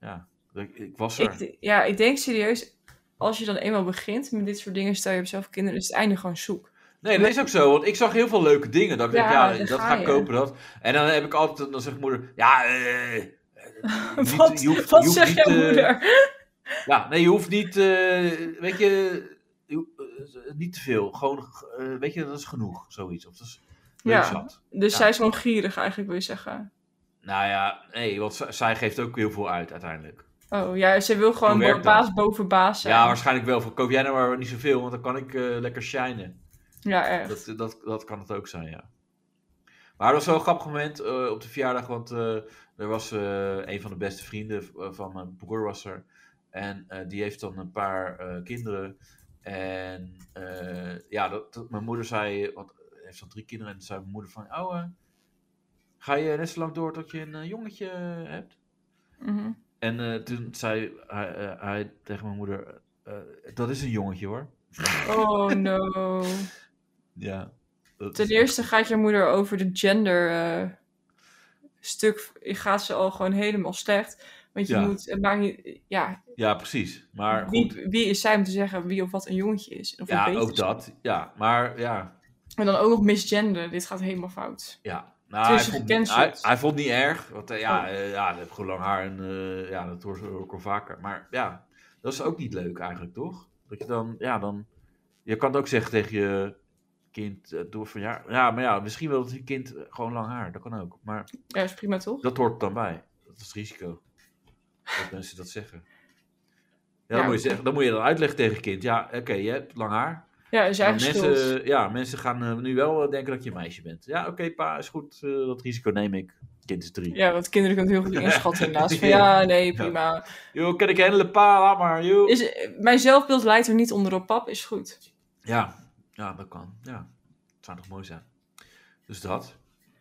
Speaker 2: ja, ik, ik was er.
Speaker 3: Ik, ja, ik denk serieus, als je dan eenmaal begint met dit soort dingen, stel je op zelf kinderen, is het einde gewoon
Speaker 2: [LAUGHS]
Speaker 3: zoek.
Speaker 2: Nee, dat is ook zo, want ik zag heel veel leuke dingen. Dat ik
Speaker 3: Ja,
Speaker 2: dacht, ja,
Speaker 3: daar
Speaker 2: dat
Speaker 3: ga
Speaker 2: ga ik
Speaker 3: je.
Speaker 2: kopen, dat. En dan heb ik altijd, dan zegt moeder, ja, eh,
Speaker 3: [LAUGHS]
Speaker 2: eh, niet-
Speaker 3: wat
Speaker 2: je hoeft-
Speaker 3: wat
Speaker 2: je hoeft
Speaker 3: zegt
Speaker 2: niet,
Speaker 3: jouw
Speaker 2: eh,
Speaker 3: moeder?
Speaker 2: Ja, nee, je hoeft niet, eh, weet je, je ho- eh, niet te veel. Gewoon, eh, weet je, dat is genoeg, zoiets. Of dat is leuk
Speaker 3: Ja.
Speaker 2: zat.
Speaker 3: Dus
Speaker 2: ja.
Speaker 3: zij is gewoon gierig eigenlijk, wil je zeggen.
Speaker 2: Nou ja, nee, want z- zij geeft ook heel veel uit uiteindelijk.
Speaker 3: Oh ja, ze wil gewoon
Speaker 2: Hoe werkt
Speaker 3: baas
Speaker 2: dat?
Speaker 3: boven baas zijn.
Speaker 2: Ja, waarschijnlijk wel. Van, koop jij nou maar niet zoveel, want dan kan ik eh, lekker shinen.
Speaker 3: Ja, echt.
Speaker 2: Dat, dat, dat kan het ook zijn, ja. Maar dat was wel een grappig moment eh, op de verjaardag, want eh, er was eh, een van de beste vrienden v- eh, van mijn broer was er. En eh, die heeft dan een paar eh, kinderen. En eh, ja, dat, dat- mijn moeder zei, want hij heeft dan drie kinderen, en toen zei mijn moeder van, oh, eh, ga je net zo lang door tot je een eh, jongetje hebt?
Speaker 3: Mhm.
Speaker 2: En eh, toen zei hij, eh, hij tegen mijn moeder, eh, dat is een jongetje hoor.
Speaker 3: Oh no.
Speaker 2: Ja. dat
Speaker 3: Ten
Speaker 2: is-
Speaker 3: eerste gaat je moeder over de gender eh, stuk, gaat ze al gewoon helemaal slecht. Want je
Speaker 2: Ja.
Speaker 3: moet, het maakt niet, ja,
Speaker 2: Ja, precies. Maar goed.
Speaker 3: wie, wie is zij om te zeggen wie of wat een jongetje is? Of een
Speaker 2: Ja,
Speaker 3: beetje
Speaker 2: ook dat. Ja, maar ja.
Speaker 3: En dan ook nog misgenderen. Dit gaat helemaal fout.
Speaker 2: ja. Nou,
Speaker 3: Toen
Speaker 2: hij,
Speaker 3: is hij
Speaker 2: vond, hij,
Speaker 3: gecanceld.
Speaker 2: hij vond niet erg. Want eh, ja,
Speaker 3: Oh.
Speaker 2: eh, ja, hij heeft gewoon lang haar en eh, ja, dat hoort ook al vaker. Maar ja, dat is ook niet leuk eigenlijk, toch? Dat je dan, ja, dan. Je kan het ook zeggen tegen je kind eh, door van ja, ja, maar ja, misschien wil het je kind eh, gewoon lang haar. Dat kan ook. Maar
Speaker 3: Ja, is prima toch?
Speaker 2: dat hoort er dan bij. Dat is het risico. Dat mensen dat zeggen. Ja, dan,
Speaker 3: Ja,
Speaker 2: moet je
Speaker 3: oké.
Speaker 2: zeggen, dan moet je dan uitleggen tegen je kind. Ja, oké, je hebt lang haar.
Speaker 3: Ja, is
Speaker 2: Maar
Speaker 3: eigen
Speaker 2: mensen,
Speaker 3: schuld.
Speaker 2: Ja, mensen gaan eh, nu wel eh, denken dat je een meisje bent. Ja, oké, pa, is goed. eh, dat risico neem ik. Kind is drie.
Speaker 3: Ja, want kinderen kunnen het heel [LAUGHS] goed inschatten inderdaad. Van ja, nee, prima.
Speaker 2: Yo, kan ik handelen, pa, laat maar, yo.
Speaker 3: Is, mijn zelfbeeld leidt er niet onder op pap, is goed.
Speaker 2: Ja, ja, dat kan. Ja, het zou toch mooi zijn. Dus dat.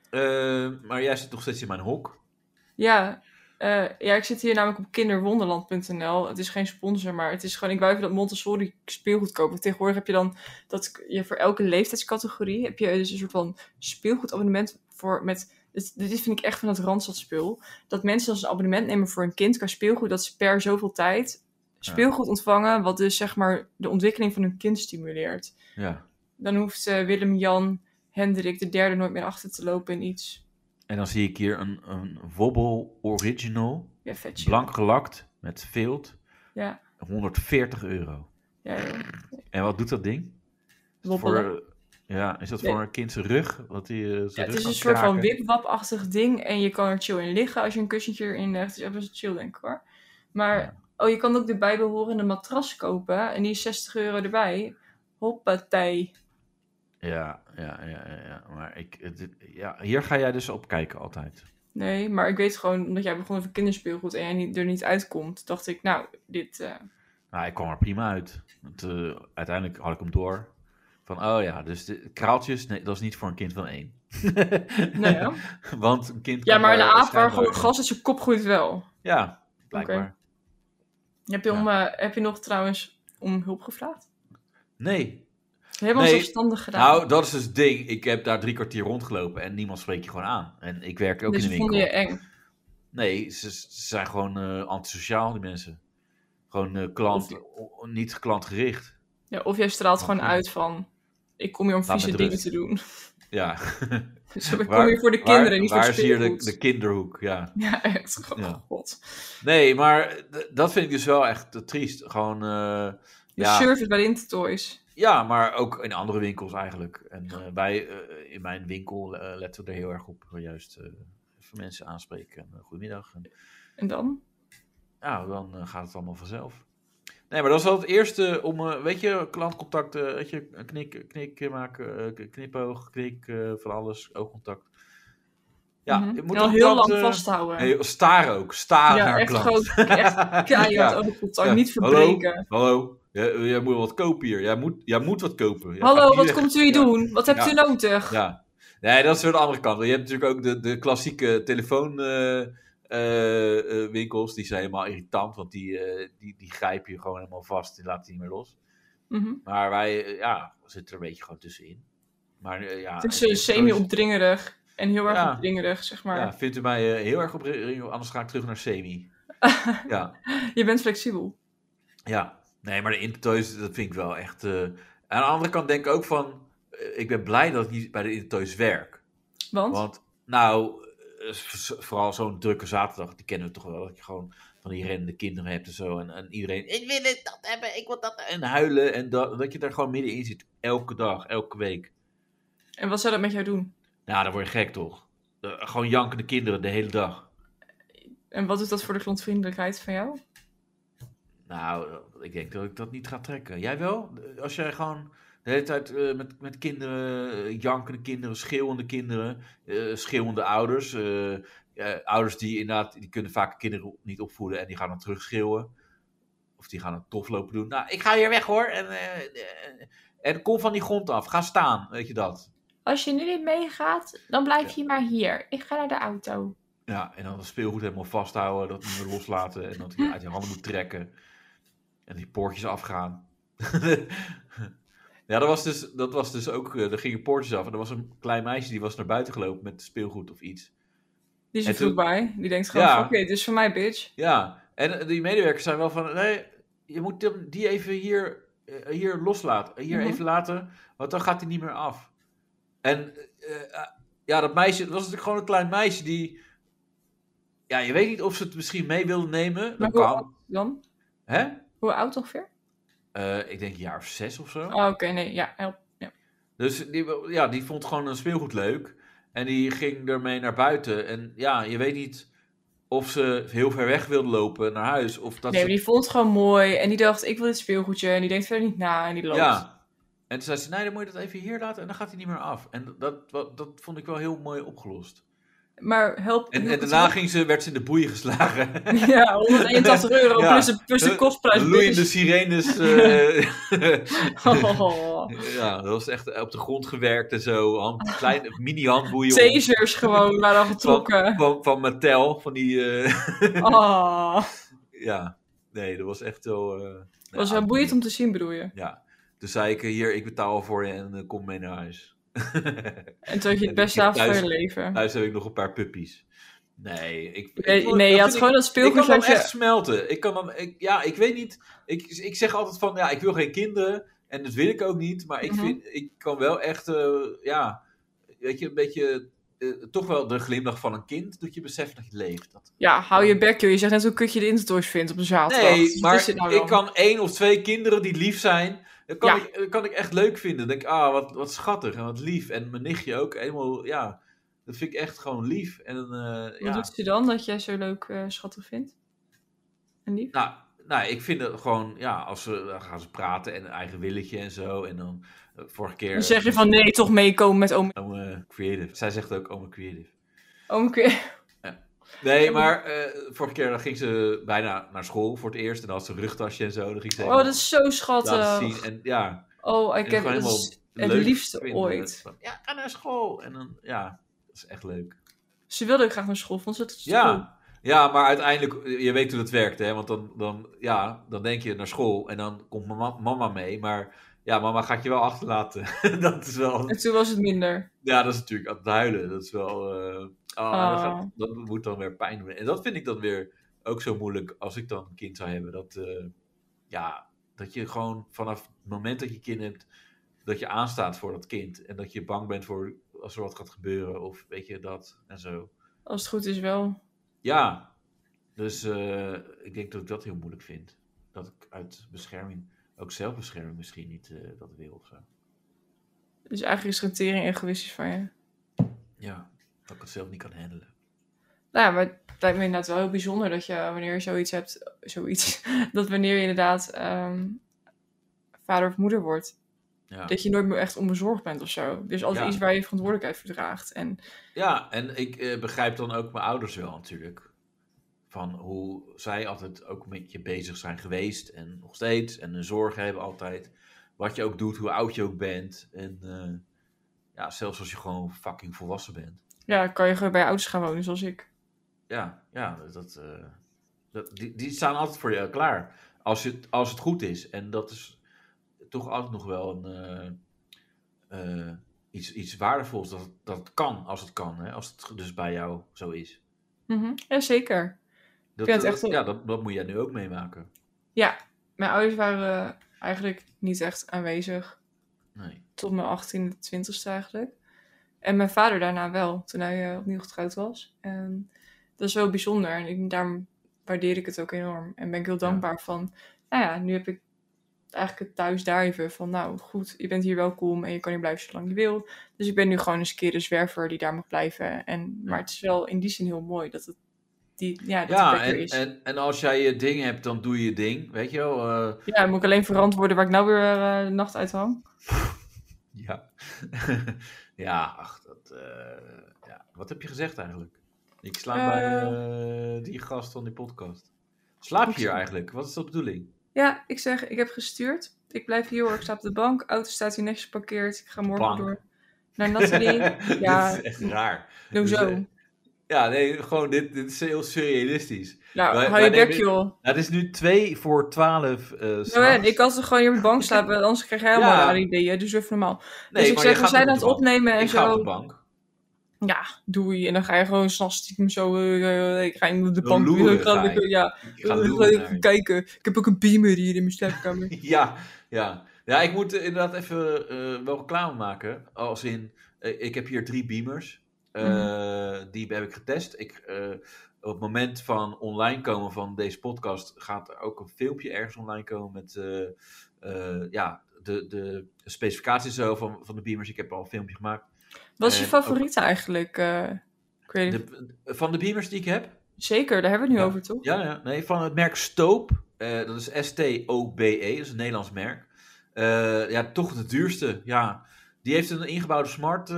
Speaker 2: Eh, maar jij zit nog steeds in mijn hok.
Speaker 3: Ja, eh, ja, ik zit hier namelijk op kinderwonderland.nl. Het is geen sponsor, maar het is gewoon... Ik wou even dat Montessori speelgoed kopen. Tegenwoordig heb je dan dat k- je voor elke leeftijdscategorie... heb je dus een soort van speelgoedabonnement voor met... Dit, dit vind ik echt van het Randstadspul. Dat mensen als een abonnement nemen voor een kind qua speelgoed... dat ze per zoveel tijd speelgoed ontvangen... wat dus zeg maar de ontwikkeling van hun kind stimuleert.
Speaker 2: Ja.
Speaker 3: Dan hoeft eh, Willem, Jan, Hendrik de derde nooit meer achter te lopen in iets.
Speaker 2: En dan zie ik hier een, een Wobbel Original.
Speaker 3: Ja, vetje.
Speaker 2: Blank gelakt met vilt.
Speaker 3: Ja.
Speaker 2: 140 euro.
Speaker 3: Ja, joh.
Speaker 2: En wat doet dat ding? Is dat
Speaker 3: Wobbelen.
Speaker 2: Voor, eh, ja, is dat
Speaker 3: Nee.
Speaker 2: voor een kind zijn rug? Dat hij, eh, zijn
Speaker 3: Ja, het
Speaker 2: rug
Speaker 3: is
Speaker 2: kan
Speaker 3: een soort van
Speaker 2: kraken?
Speaker 3: wipwap-achtig ding. En je kan er chill in liggen als je een kussentje erin legt. Dus dat is chill, denk ik hoor. Maar, oh, je kan ook de bijbehorende matras kopen. En die is 60 euro erbij. Hoppatij.
Speaker 2: Ja, ja, ja, ja, ja. Maar ik, het- het- ja, hier ga jij dus op kijken altijd.
Speaker 3: Nee, maar ik weet gewoon, omdat jij begon over kinderspeelgoed en jij niet, er niet uitkomt, dacht ik, nou,
Speaker 2: [LAUGHS]
Speaker 3: dit. eh,
Speaker 2: Nou, ik kwam er prima uit. Want, eh, uiteindelijk had ik hem door. Van, oh ja, dus de, kraaltjes, nee, dat is niet voor een kind van
Speaker 3: [LAUGHS]
Speaker 2: één.
Speaker 3: nou ja.
Speaker 2: [LAUGHS] Want een kind
Speaker 3: ja,
Speaker 2: kan
Speaker 3: maar een aap waar
Speaker 2: schijnbaar-
Speaker 3: gewoon gas uit zijn kop groeit wel.
Speaker 2: Ja, blijkbaar.
Speaker 3: Oké. Heb je, om, eh, heb je nog trouwens om hulp gevraagd?
Speaker 2: Nee.
Speaker 3: Helemaal
Speaker 2: Nee.
Speaker 3: zelfstandig gedaan.
Speaker 2: Nou, dat is dus het ding. Ik heb daar drie kwartier rondgelopen en niemand spreekt je gewoon aan. En ik werk ook
Speaker 3: dus
Speaker 2: in
Speaker 3: ze
Speaker 2: de
Speaker 3: vonden
Speaker 2: winkel.
Speaker 3: je eng.
Speaker 2: Nee, ze, ze zijn gewoon eh, antisociaal, die mensen. Gewoon eh, klant, o- niet klantgericht.
Speaker 3: Ja, of jij straalt gewoon
Speaker 2: Oké.
Speaker 3: uit van, ik kom hier om
Speaker 2: Laat me
Speaker 3: vieze
Speaker 2: met
Speaker 3: dingen te
Speaker 2: rust.
Speaker 3: doen.
Speaker 2: Ja. [LAUGHS]
Speaker 3: [LAUGHS] Dus ik kom
Speaker 2: Waar-
Speaker 3: hier voor de
Speaker 2: waar-
Speaker 3: kinderen, niet
Speaker 2: waar
Speaker 3: voor
Speaker 2: is hier de,
Speaker 3: speelgoed.
Speaker 2: de kinderhoek, ja.
Speaker 3: Ja, [LAUGHS] echt. Oh,
Speaker 2: Ja.
Speaker 3: god.
Speaker 2: Nee, maar d- dat vind ik dus wel echt eh, triest. Gewoon, eh,
Speaker 3: De
Speaker 2: ja,
Speaker 3: service bij de Intertoys.
Speaker 2: Ja, maar ook in andere winkels eigenlijk. En eh, wij, eh, in mijn winkel, eh, letten we er heel erg op. Juist eh, even mensen aanspreken. En, eh, goedemiddag. En,
Speaker 3: En dan?
Speaker 2: ja, dan eh, gaat het allemaal vanzelf. Nee, maar dat is wel het eerste om, eh, weet je, klantcontact, eh, weet je, een knik, knik maken, eh, k- knipoog, knik, eh, van alles, oogcontact. Ja,
Speaker 3: Mhm.
Speaker 2: je moet
Speaker 3: En al
Speaker 2: een
Speaker 3: heel
Speaker 2: klant,
Speaker 3: lang
Speaker 2: eh,
Speaker 3: vasthouden.
Speaker 2: nee, staren ook, staren
Speaker 3: ja,
Speaker 2: naar
Speaker 3: echt
Speaker 2: klant.
Speaker 3: gewoon
Speaker 2: [LAUGHS]
Speaker 3: echt keihard oogcontact,
Speaker 2: Ja,
Speaker 3: niet
Speaker 2: hallo?
Speaker 3: verbreken.
Speaker 2: Hallo, jij, jij moet wat kopen hier. Jij moet, jij moet wat kopen. Jij gaat
Speaker 3: Hallo,
Speaker 2: niet
Speaker 3: wat
Speaker 2: weg.
Speaker 3: komt u hier
Speaker 2: Ja.
Speaker 3: doen? Wat hebt
Speaker 2: Ja.
Speaker 3: u nodig?
Speaker 2: Ja, nee, dat is weer de andere kant. Je hebt natuurlijk ook de, de klassieke telefoonwinkels. eh, winkels die zijn helemaal irritant, want die, eh, die, die grijpen je gewoon helemaal vast. Die laten je niet meer los.
Speaker 3: Mhm.
Speaker 2: Maar wij eh, ja, zitten er een beetje gewoon tussenin. Maar eh, ja,
Speaker 3: Het is eh,
Speaker 2: ik-
Speaker 3: semi-opdringerig en heel erg
Speaker 2: Ja.
Speaker 3: opdringerig, zeg maar.
Speaker 2: Ja, vindt u mij eh, heel erg op anders ga ik terug naar
Speaker 3: [LAUGHS]
Speaker 2: semi. ja.
Speaker 3: Je bent flexibel.
Speaker 2: Ja, nee, maar de Intertoys, dat vind ik wel echt. eh, Aan de andere kant denk ik ook van. eh, ik ben blij dat ik niet bij de Intertoys werk.
Speaker 3: Want?
Speaker 2: Want, nou, eh, v- vooral zo'n drukke zaterdag, die kennen we toch wel. Dat je gewoon van die rennende kinderen hebt en zo. En, en iedereen. Ik wil dit, dat hebben, ik wil dat. En huilen. En dat, dat je daar gewoon middenin zit. Elke dag, elke week.
Speaker 3: En wat zou dat met jou doen?
Speaker 2: Nou, dan word je gek toch? Eh, gewoon jankende kinderen de hele dag.
Speaker 3: En wat doet dat voor de klantvriendelijkheid van jou?
Speaker 2: Nou, ik denk dat ik dat niet ga trekken. Jij wel? Als jij gewoon de hele tijd eh, met, met kinderen, eh, jankende kinderen, schreeuwende kinderen, eh, schreeuwende ouders. eh, eh, ouders die inderdaad, die kunnen vaak kinderen niet opvoeden en die gaan dan terugschreeuwen. Of die gaan een toflopen doen. Nou, ik ga hier weg hoor. En, eh, eh, en kom van die grond af. Ga staan, weet je dat.
Speaker 3: Als je nu niet meegaat, dan blijf je maar hier. Ik ga naar de auto.
Speaker 2: Ja, en dan het speelgoed helemaal vasthouden, dat niet meer loslaten. En dat je uit je handen moet trekken. En die poortjes afgaan. [LAUGHS] ja, dat was, dus, dat was dus ook, eh, er gingen poortjes af. En er was een klein meisje die was naar buiten gelopen met speelgoed of iets.
Speaker 3: Die is
Speaker 2: En
Speaker 3: er
Speaker 2: toen-
Speaker 3: vroeg bij. Die denkt gewoon,
Speaker 2: Ja.
Speaker 3: oké, dit is voor mij, bitch.
Speaker 2: Ja, en eh, die medewerkers zijn wel van, nee, je moet hem- die even hier, eh, hier loslaten. Hier
Speaker 3: Mhm.
Speaker 2: even laten, want dan gaat hij niet meer af. En eh, eh, ja, dat meisje, dat was natuurlijk gewoon een klein meisje die... Ja, je weet niet of ze het misschien mee wilde nemen.
Speaker 3: Maar
Speaker 2: Dat
Speaker 3: hoe
Speaker 2: kan.
Speaker 3: oud dan?
Speaker 2: Hè?
Speaker 3: Hoe oud ongeveer?
Speaker 2: Eh, ik denk een jaar of zes of zo.
Speaker 3: Oh, oké, nee, ja, help. Ja.
Speaker 2: Dus die, wil- ja, die vond gewoon een speelgoed leuk. En die ging ermee naar buiten. En ja, je weet niet of ze heel ver weg wilde lopen naar huis. Of dat
Speaker 3: Nee,
Speaker 2: ze...
Speaker 3: maar die vond het gewoon mooi. En die dacht, ik wil dit speelgoedje. En die denkt verder niet na. En die loopt.
Speaker 2: Ja. En toen zei ze, nee, dan moet je dat even hier laten en dan gaat hij niet meer af. En dat, dat, dat vond ik wel heel mooi opgelost.
Speaker 3: Maar help.
Speaker 2: En,
Speaker 3: hielp
Speaker 2: en
Speaker 3: het
Speaker 2: daarna ging ze, werd ze in de boeien
Speaker 3: [LAUGHS]
Speaker 2: geslagen. [LAUGHS]
Speaker 3: wel? Ja, 181 euro
Speaker 2: Ja.
Speaker 3: plus, de, plus de kostprijs. [LAUGHS]
Speaker 2: Loeiende
Speaker 3: bitch.
Speaker 2: sirenes. eh,
Speaker 3: [LAUGHS]
Speaker 2: [LAUGHS]
Speaker 3: Oh.
Speaker 2: ja, dat was echt op de grond gewerkt en zo. Hand,
Speaker 3: [LAUGHS]
Speaker 2: kleine mini-handboeien. om-
Speaker 3: tasers gewoon waren al getrokken.
Speaker 2: Van, van Mattel, van die... eh, [LAUGHS]
Speaker 3: Oh,
Speaker 2: ja, nee, dat was echt wel... eh,
Speaker 3: dat was
Speaker 2: nou,
Speaker 3: wel boeiend om te zien, bedoel je?
Speaker 2: Ja, toen zei ik, eh, hier, ik betaal al voor je en eh, kom mee naar huis. [LAUGHS]
Speaker 3: En toen had je het
Speaker 2: En
Speaker 3: beste
Speaker 2: ik
Speaker 3: avond van
Speaker 2: thuis-
Speaker 3: je leven.
Speaker 2: Thuis heb ik nog een paar puppies. Nee, ik, ik
Speaker 3: Eh, Nee,
Speaker 2: vond-
Speaker 3: nee je
Speaker 2: dat
Speaker 3: had
Speaker 2: vind ik-
Speaker 3: gewoon
Speaker 2: Ik kan
Speaker 3: dat speelgoed
Speaker 2: dan
Speaker 3: dat
Speaker 2: echt
Speaker 3: je...
Speaker 2: smelten. Ik kan dan, ik, ja, ik weet niet. Ik, ik zeg altijd van, ja, ik wil geen kinderen. En dat wil ik ook niet. Maar ik,
Speaker 3: Mhm.
Speaker 2: vind, ik kan wel echt, eh, ja, weet je, een beetje, eh, toch wel de glimlach van een kind. Dat je beseft dat je leeft. Dat,
Speaker 3: Ja, hou je bek, joh. Je zegt net hoe kut je de intertoys vindt op een zaterdag.
Speaker 2: nee,
Speaker 3: Wat is
Speaker 2: maar
Speaker 3: dit nou
Speaker 2: ik
Speaker 3: dan?
Speaker 2: kan één of twee kinderen die lief zijn. Dat kan,
Speaker 3: Ja.
Speaker 2: ik, dat kan ik echt leuk vinden. Dan denk ik, ah, wat, wat schattig en wat lief. En mijn nichtje ook, helemaal, ja, dat vind ik echt gewoon lief. En eh,
Speaker 3: Wat
Speaker 2: ja.
Speaker 3: doet ze dan dat jij zo leuk eh, schattig vindt? En lief?
Speaker 2: Nou, nou, ik vind het gewoon, ja, als ze, dan gaan ze praten en een eigen willetje en zo. En dan eh, vorige keer.
Speaker 3: Dan zeg je van nee, toch meekomen met oom...
Speaker 2: Ome eh, creative. Zij zegt ook ome creative.
Speaker 3: Oom Ke-
Speaker 2: Nee, maar eh, vorige keer dan ging ze bijna naar school voor het eerst. En dan had ze een rugtasje en zo. Dan ging ze
Speaker 3: Oh,
Speaker 2: helemaal
Speaker 3: dat is zo
Speaker 2: laten
Speaker 3: schattig.
Speaker 2: zien. En ja,
Speaker 3: Oh,
Speaker 2: en
Speaker 3: ik heb...
Speaker 2: gewoon
Speaker 3: Dat
Speaker 2: helemaal
Speaker 3: is het
Speaker 2: leuk
Speaker 3: liefste
Speaker 2: vinden.
Speaker 3: ooit.
Speaker 2: Van, ja, ga naar school. En dan, ja, dat is echt leuk.
Speaker 3: Ze wilde ook graag naar school, vond ze het goed.
Speaker 2: Ja. Ja, maar uiteindelijk, eh, je weet hoe dat werkt, hè? Want dan, dan, ja, dan denk je naar school en dan komt mama, mama mee. Maar ja, mama gaat je wel achterlaten. [LAUGHS] dat is wel.
Speaker 3: En toen was het minder.
Speaker 2: Ja, dat is natuurlijk aan het huilen. Dat is wel. eh, ah,
Speaker 3: Ah.
Speaker 2: Dat, gaat- dat moet dan weer pijn doen. En dat vind ik dan weer ook zo moeilijk als ik dan een kind zou hebben. Dat, eh, ja, dat je gewoon vanaf het moment dat je kind hebt, dat je aanstaat voor dat kind. En dat je bang bent voor als er wat gaat gebeuren of weet je dat en zo.
Speaker 3: Als het goed is wel.
Speaker 2: Ja, dus eh, ik denk dat ik dat heel moeilijk vind. Dat ik uit bescherming. Ook zelfbescherming misschien niet eh, dat wil of zo.
Speaker 3: Dus eigenlijk is rentering egoïstisch van je.
Speaker 2: Ja, dat ik het zelf niet kan handelen.
Speaker 3: Nou ja, maar het lijkt me inderdaad wel heel bijzonder dat je wanneer je zoiets hebt, zoiets, [LAUGHS] dat wanneer je inderdaad ehm, vader of moeder wordt,
Speaker 2: Ja.
Speaker 3: dat je nooit meer echt onbezorgd bent of zo. Dus altijd
Speaker 2: Ja.
Speaker 3: iets waar je verantwoordelijkheid voor draagt. En
Speaker 2: Ja, en ik eh, begrijp dan ook mijn ouders wel natuurlijk. Van hoe zij altijd ook met je bezig zijn geweest en nog steeds. En hun zorgen hebben altijd. Wat je ook doet, hoe oud je ook bent. En eh, ja, zelfs als je gewoon fucking volwassen bent.
Speaker 3: ja, kan je gewoon bij je ouders gaan wonen, zoals ik.
Speaker 2: Ja, ja dat, eh, dat, die, die staan altijd voor je eh, klaar. Als het, als het goed is. En dat is toch altijd nog wel een, eh, eh, iets, iets waardevols. Dat, het- dat het kan, als het kan. Hè? Als het dus bij jou zo is.
Speaker 3: Mhm. Ja, zeker.
Speaker 2: Dat, eh,
Speaker 3: vind het echt wel-
Speaker 2: Ja, dat, dat moet jij nu ook meemaken.
Speaker 3: Mijn ouders waren eh, eigenlijk niet echt aanwezig
Speaker 2: Nee.
Speaker 3: tot mijn 18e, 20ste eigenlijk. En mijn vader daarna wel, toen hij eh, opnieuw getrouwd was. En dat is wel bijzonder en ik, daarom waardeer ik het ook enorm. En ben ik heel dankbaar van, nou ja, nu heb ik eigenlijk het thuis daar even van, nou goed, je bent hier welkom en je kan hier blijven zolang je wil. Dus ik ben nu gewoon eens een keer de zwerver die daar mag blijven. En, maar het is wel in die zin heel mooi dat het die, ja, dat
Speaker 2: Ja,
Speaker 3: plek er
Speaker 2: en,
Speaker 3: is.
Speaker 2: en, en als jij je ding hebt, dan doe je ding. Weet je wel? eh,
Speaker 3: Ja, dan moet ik alleen verantwoorden waar ik nou weer eh, de nacht uit hang.
Speaker 2: ja. [LAUGHS] ja, ach, dat. eh, ja. Wat heb je gezegd eigenlijk? Ik slaap bij eh, die gast van die podcast. Slaap je hier eigenlijk? Wat is de bedoeling?
Speaker 3: Ja, ik zeg, ik heb gestuurd. Ik blijf hier hoor, ik sta op de bank. Auto staat hier netjes geparkeerd. Ik ga morgen
Speaker 2: Bank.
Speaker 3: door
Speaker 2: [LAUGHS]
Speaker 3: naar Nathalie. ja.
Speaker 2: Dit is echt raar.
Speaker 3: Doe
Speaker 2: Dus, eh,
Speaker 3: zo.
Speaker 2: ja, nee, gewoon, dit, dit is heel surrealistisch.
Speaker 3: Nou,
Speaker 2: wij-
Speaker 3: hou je
Speaker 2: wij
Speaker 3: bek
Speaker 2: nemen-
Speaker 3: joh.
Speaker 2: Nou, het is nu 2 voor 12. eh
Speaker 3: Nou,
Speaker 2: s'nachts.
Speaker 3: en ik kan toch gewoon hier op de bank slapen,
Speaker 2: [LAUGHS]
Speaker 3: anders krijg jij helemaal
Speaker 2: Ja.
Speaker 3: rare ideeën. Dus even normaal.
Speaker 2: Nee,
Speaker 3: dus ik
Speaker 2: maar je
Speaker 3: zeg, we
Speaker 2: gaat
Speaker 3: zijn
Speaker 2: nog
Speaker 3: aan
Speaker 2: op
Speaker 3: het
Speaker 2: de bank.
Speaker 3: opnemen en
Speaker 2: Ik ga op de
Speaker 3: zo.
Speaker 2: bank.
Speaker 3: Ja, doei. En dan ga je gewoon s'nachts stiekem zo, eh, eh, ik ga in de
Speaker 2: Zo
Speaker 3: bank.
Speaker 2: loeren
Speaker 3: ik ga
Speaker 2: ga je.
Speaker 3: lekker, ja,
Speaker 2: Ik ga
Speaker 3: eh, [LAUGHS]
Speaker 2: loeren naar
Speaker 3: even
Speaker 2: je.
Speaker 3: kijken. Ik heb ook een beamer hier in mijn slaapkamer.
Speaker 2: [LAUGHS] Ja, ja. Ja, ik moet eh, inderdaad even eh, wel reclame maken. Als in, eh, ik heb hier drie beamers. Eh, Die heb ik getest. Ik, eh, op het moment van online komen van deze podcast... gaat er ook een filmpje ergens online komen met... eh, eh, ja, de, de specificaties zo van, van de beamers. Ik heb al een filmpje gemaakt.
Speaker 3: Wat is je
Speaker 2: Eh,
Speaker 3: favoriet eigenlijk? eh, Creative?
Speaker 2: De, van de beamers die ik heb...
Speaker 3: Zeker, daar hebben we het nu
Speaker 2: Ja.
Speaker 3: over, toch?
Speaker 2: Ja, ja, nee, van het merk Stoop. Eh, dat is S-T-O-B-E, E, dat is een Nederlands merk. Eh, ja, toch de duurste, ja. Die heeft een ingebouwde smart, eh,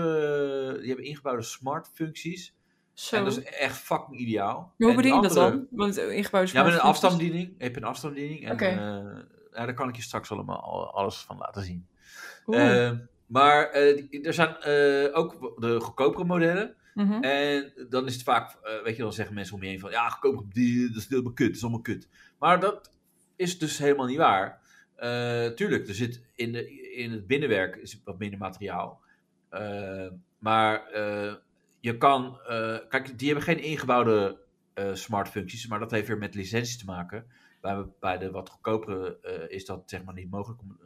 Speaker 2: die hebben ingebouwde smart functies.
Speaker 3: Zo.
Speaker 2: En dat is echt fucking ideaal.
Speaker 3: Maar hoe
Speaker 2: En die
Speaker 3: bedien je dat
Speaker 2: andere-
Speaker 3: dan? Want eh, ingebouwde
Speaker 2: Ja, met een
Speaker 3: smartphones-
Speaker 2: afstandsbediening. Je hebt een afstandsbediening. En
Speaker 3: Oké.
Speaker 2: eh, ja, daar kan ik je straks allemaal alles van laten zien.
Speaker 3: Oeh.
Speaker 2: Eh, maar eh, die- er zijn eh, ook de goedkopere modellen.
Speaker 3: Mhm.
Speaker 2: En dan is het vaak, eh, weet je, dan zeggen mensen om je heen van, ja, goedkoop, die- dat is helemaal kut, dat is allemaal kut. Maar dat is dus helemaal niet waar. Eh, tuurlijk, er zit in, de, in het binnenwerk is wat minder materiaal. Eh, maar eh, je kan, eh, kijk, die hebben geen ingebouwde eh, smart functies, maar dat heeft weer met licenties te maken. Bij, bij de wat goedkopere eh, is dat zeg maar niet mogelijk om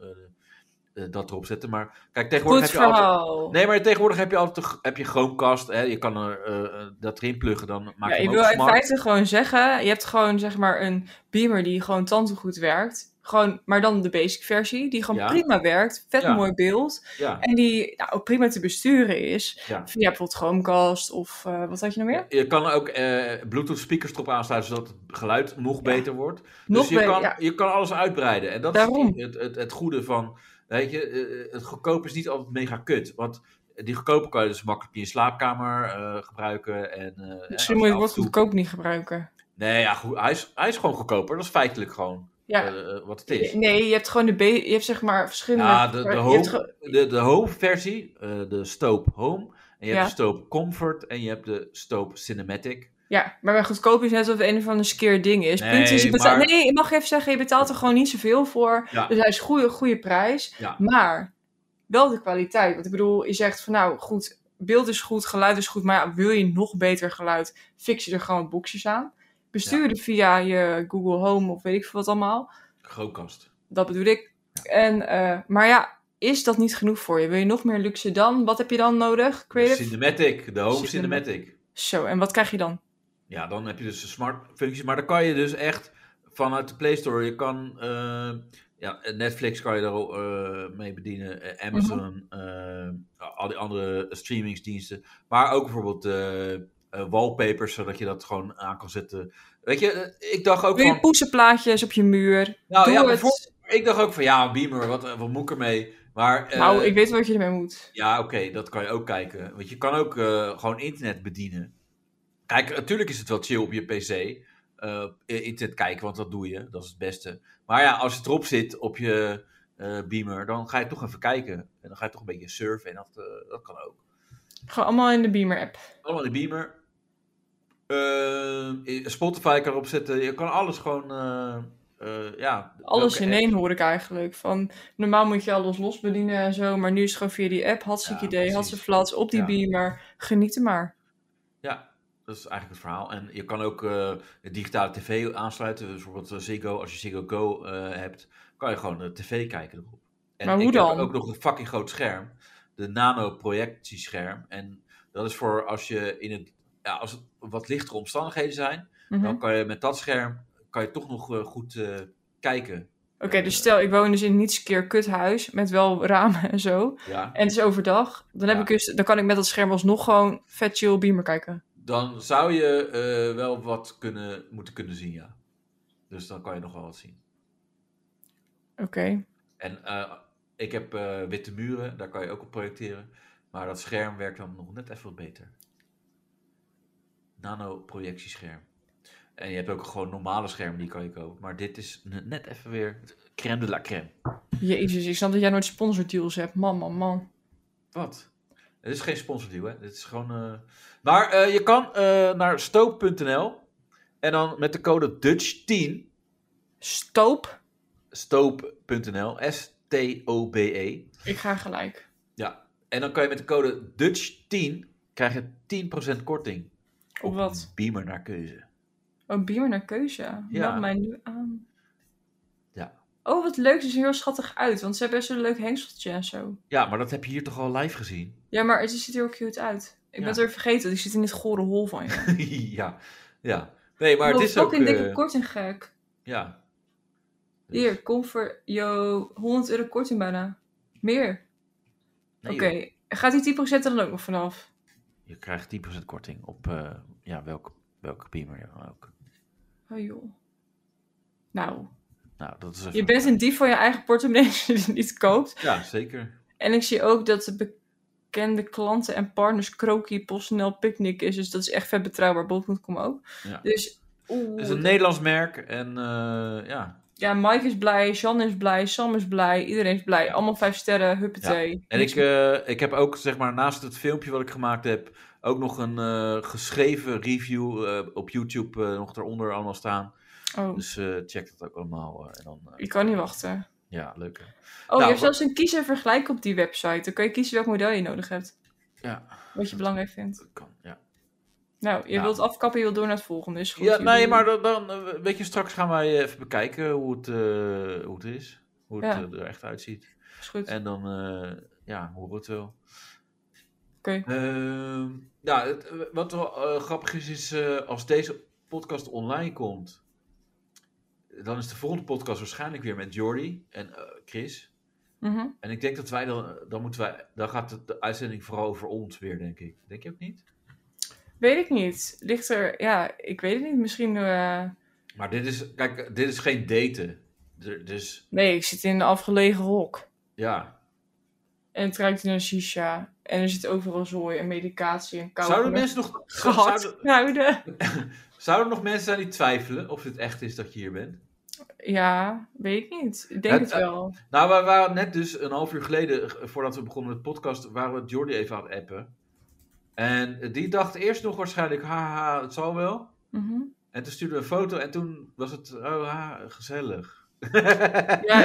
Speaker 2: eh, eh, dat erop te zetten. Maar kijk, tegenwoordig
Speaker 3: Goed
Speaker 2: heb je altijd...
Speaker 3: verhaal.
Speaker 2: Nee, maar tegenwoordig heb je altijd een, g- heb je Chromecast. Hè? Je kan er eh, eh, dat erin pluggen, dan maak
Speaker 3: Ja,
Speaker 2: je
Speaker 3: ik
Speaker 2: hem
Speaker 3: wil
Speaker 2: ook
Speaker 3: in
Speaker 2: smart.
Speaker 3: feite gewoon zeggen, je hebt gewoon zeg maar een beamer die gewoon tandengoed werkt. Gewoon, maar dan de basic versie, die gewoon
Speaker 2: Ja.
Speaker 3: prima werkt. Vet
Speaker 2: Ja.
Speaker 3: mooi beeld.
Speaker 2: Ja.
Speaker 3: En die nou, ook prima te besturen is.
Speaker 2: Ja.
Speaker 3: Via bijvoorbeeld Chromecast of eh, wat had je nog meer?
Speaker 2: Je kan er ook eh, Bluetooth speakers erop aansluiten, zodat het geluid nog beter wordt.
Speaker 3: Nog
Speaker 2: dus je,
Speaker 3: beter,
Speaker 2: kan,
Speaker 3: ja.
Speaker 2: je kan alles uitbreiden. En dat
Speaker 3: Daarom.
Speaker 2: is het, het, het goede van, weet je, eh, het goedkoop is niet altijd mega kut. Want die goedkope kan je dus makkelijk in je slaapkamer eh, gebruiken. En, eh, hè, als
Speaker 3: Misschien moet je het
Speaker 2: af en
Speaker 3: woord
Speaker 2: toe-
Speaker 3: goedkoop niet gebruiken.
Speaker 2: Nee, ja, goed, hij, is, hij is gewoon goedkoper. Dat is feitelijk gewoon
Speaker 3: Ja.
Speaker 2: eh, eh, wat het is.
Speaker 3: Nee, je hebt gewoon de ba- je hebt zeg maar verschillende...
Speaker 2: Ja, de,
Speaker 3: je
Speaker 2: de,
Speaker 3: hebt
Speaker 2: home,
Speaker 3: ge-
Speaker 2: de, de home versie, eh, de Stoop Home. En je hebt
Speaker 3: Ja.
Speaker 2: de Stoop Comfort en je hebt de Stoop Cinematic.
Speaker 3: Ja, maar bij goedkoop is net of het een of ander skeer ding is.
Speaker 2: Nee,
Speaker 3: Punt is, je betaalt...
Speaker 2: maar-
Speaker 3: Nee, ik mag even zeggen, je betaalt er gewoon niet zoveel voor.
Speaker 2: Ja.
Speaker 3: Dus hij is een goede, goede prijs.
Speaker 2: Ja,
Speaker 3: Maar wel de kwaliteit. Want ik bedoel, je zegt van nou, goed, beeld is goed, geluid is goed. Maar ja, wil je nog beter geluid, fix je er gewoon boxjes aan. Bestuur het via je Google Home of weet ik veel wat allemaal.
Speaker 2: Chromecast.
Speaker 3: Dat bedoel ik. En, eh, maar ja, is dat niet genoeg voor je? Wil je nog meer luxe dan? Wat heb je dan nodig?
Speaker 2: De
Speaker 3: Creative?
Speaker 2: Cinematic, de Home
Speaker 3: Cinema-
Speaker 2: Cinematic.
Speaker 3: Zo, en wat krijg je dan?
Speaker 2: Ja, dan heb je dus de smart functies. Maar dan kan je dus echt vanuit de Play Store, je kan eh, Ja, Netflix kan je daar ook, eh, mee bedienen,
Speaker 3: Mhm.
Speaker 2: eh, Amazon, eh, al die andere streamingsdiensten. Maar ook bijvoorbeeld eh, eh, wallpapers, zodat je dat gewoon aan kan zetten. Weet je, eh, ik dacht ook
Speaker 3: Doe je
Speaker 2: van...
Speaker 3: poesenplaatjes op je muur.
Speaker 2: Nou,
Speaker 3: Doe
Speaker 2: ja,
Speaker 3: het.
Speaker 2: bijvoorbeeld- ik dacht ook van, ja, Beamer, wat, eh, wat moet ik ermee? Maar, eh,
Speaker 3: nou, ik weet wat je ermee moet.
Speaker 2: Ja, oké, dat kan je ook kijken. Want je kan ook eh, gewoon internet bedienen. Kijk, natuurlijk is het wel chill op je PC. eh, internet kijken, want dat doe je. Dat is het beste. Maar ja, als het erop zit op je eh, beamer, dan ga je toch even kijken. En dan ga je toch een beetje surfen. En dat, eh, dat kan ook.
Speaker 3: Gewoon allemaal in de Beamer-app.
Speaker 2: Allemaal de beamer. Eh, Spotify kan erop zetten. Je kan alles gewoon. eh, eh, ja,
Speaker 3: Alles
Speaker 2: welke
Speaker 3: in
Speaker 2: app.
Speaker 3: één hoor ik eigenlijk. Van, normaal moet je alles los bedienen en zo, maar nu is het gewoon via die app. Hartstikke
Speaker 2: Ja,
Speaker 3: idee, had ze
Speaker 2: precies.
Speaker 3: flats op die
Speaker 2: Ja.
Speaker 3: Beamer. Geniet er maar.
Speaker 2: Ja, dat is eigenlijk het verhaal. En je kan ook eh, digitale tv aansluiten. Dus bijvoorbeeld eh, Ziggo, als je Ziggo Go eh, hebt, kan je gewoon eh, tv kijken erop. En
Speaker 3: Maar hoe
Speaker 2: ik
Speaker 3: dan?
Speaker 2: heb ook nog een fucking groot scherm. De nano-projectiescherm. En dat is voor als je in het, ja, als het wat lichtere omstandigheden zijn,
Speaker 3: Mhm.
Speaker 2: dan kan je met dat scherm kan je toch nog eh, goed eh, kijken.
Speaker 3: Oké, dus stel, ik woon dus in een niets keer kuthuis met wel ramen en zo.
Speaker 2: Ja.
Speaker 3: En het is overdag. Dan, heb
Speaker 2: Ja.
Speaker 3: ik dus, dan kan ik met dat scherm alsnog gewoon vet chill Beamer kijken.
Speaker 2: Dan zou je eh, wel wat kunnen, moeten kunnen zien, ja. Dus dan kan je nog wel wat zien.
Speaker 3: Oké.
Speaker 2: En eh, ik heb eh, witte muren, daar kan je ook op projecteren. Maar dat scherm werkt dan nog net even wat beter. Nano-projectiescherm. En je hebt ook gewoon normale schermen die kan je kopen. Maar dit is ne- net even weer crème de la crème.
Speaker 3: Jezus, ik snap dat jij nooit sponsordeals hebt. Man, man, man.
Speaker 2: Wat? Het is geen sponsordeal, hè? Dit is gewoon. eh, Maar eh, je kan eh, naar stoop.nl en dan met de code Dutch10
Speaker 3: Stoop.
Speaker 2: stoop.nl S-T-O-B-E
Speaker 3: Ik ga gelijk.
Speaker 2: Ja, en dan kan je met de code Dutch10 krijg je 10% korting.
Speaker 3: Op wat?
Speaker 2: een Beamer naar keuze.
Speaker 3: Oh, Beamer naar keuze.
Speaker 2: Ja.
Speaker 3: Ja. mij nu aan.
Speaker 2: Ja.
Speaker 3: Oh, wat leuk. Ze zien er heel schattig uit, want ze hebben best wel een leuk hengseltje en zo.
Speaker 2: Ja, maar dat heb je hier toch al live gezien? [LAUGHS]
Speaker 3: Ja, maar het ziet er heel cute uit. Ik
Speaker 2: Ja.
Speaker 3: ben het weer vergeten. Die zit in dit gore hol van je.
Speaker 2: ja, ja. Nee, [LAUGHS] maar het is ook...
Speaker 3: een dikke
Speaker 2: eh,
Speaker 3: korting gek.
Speaker 2: ja. Dus-
Speaker 3: Hier, comfort. Yo, 100 euro korting bijna. Meer.
Speaker 2: nee,
Speaker 3: Oké. Gaat die 10% er dan ook nog vanaf?
Speaker 2: joh. Je krijgt 10% korting op eh, ja, welk, welke Beamer je dan ook.
Speaker 3: Oh joh. Nou,
Speaker 2: Nou, dat is even-
Speaker 3: je bent een dief van je eigen portemonnee als je dit niet koopt.
Speaker 2: Ja, zeker.
Speaker 3: En ik zie ook dat de bekende klanten en partners Kroki, PostNL, Picnic is. Dus dat is echt vet betrouwbaar. Bol.com ook.
Speaker 2: Ja.
Speaker 3: Dus oeh.
Speaker 2: Het is een Nederlands merk en eh, ja.
Speaker 3: ja, Mike is blij, Jan is blij, Sam is blij, iedereen is blij. Allemaal vijf sterren, huppatee.
Speaker 2: En ik, eh, ik heb ook, zeg maar, naast het filmpje wat ik gemaakt heb, ook nog een eh, geschreven review eh, op YouTube eh, nog eronder allemaal staan.
Speaker 3: Oh,
Speaker 2: Dus eh, check dat ook allemaal. eh, en dan, eh,
Speaker 3: ik kan niet wachten.
Speaker 2: ja, leuk. hè.
Speaker 3: Oh,
Speaker 2: Nou, wat-
Speaker 3: je hebt zelfs een kies en vergelijk op die website. Dan kan je kiezen welk model je nodig hebt.
Speaker 2: Ja,
Speaker 3: Wat je belangrijk vindt.
Speaker 2: dat kan. Ja,
Speaker 3: Nou, je
Speaker 2: Ja.
Speaker 3: wilt afkappen, je wilt door naar het volgende. Is goed.
Speaker 2: ja
Speaker 3: Jullie-
Speaker 2: nee, maar dan, dan, eh, weet je, straks gaan wij even bekijken hoe het, eh, hoe het is. Hoe het
Speaker 3: Ja.
Speaker 2: eh, er echt uitziet.
Speaker 3: Is goed.
Speaker 2: En dan, eh, ja, horen we het wel.
Speaker 3: Oké.
Speaker 2: Ehm, ja, het- wat wel eh, grappig is, is eh, als deze podcast online komt, dan is de volgende podcast waarschijnlijk weer met Jordi en eh, Chris.
Speaker 3: Mhm.
Speaker 2: En ik denk dat wij dan, dan moeten wij, dan gaat het, de uitzending vooral over ons weer, denk ik. Denk je ook niet?
Speaker 3: Weet ik niet. Ligt er, ja, ik weet het niet. Misschien. eh,
Speaker 2: Maar dit is, kijk, dit is geen daten. Er- Dus
Speaker 3: Nee, ik zit in een afgelegen hok.
Speaker 2: ja.
Speaker 3: En het ruikt naar shisha. En er zit overal zooi en medicatie en koude.
Speaker 2: Zouden mensen
Speaker 3: [LAUGHS]
Speaker 2: nog,
Speaker 3: gehad?
Speaker 2: zouden,
Speaker 3: Nou, de...
Speaker 2: zouden er nog mensen zijn die twijfelen of het echt is dat je hier bent?
Speaker 3: Ja, weet ik niet. Ik denk
Speaker 2: Het-
Speaker 3: het, wel.
Speaker 2: Nou, we waren net dus een half uur geleden, g- voordat we begonnen met de podcast, waren we Jordi even aan het appen. En eh, die dacht eerst nog waarschijnlijk, haha, het zal wel.
Speaker 3: Mhm.
Speaker 2: En toen stuurde we een foto en toen was het, oh, ha, gezellig.
Speaker 3: Ja,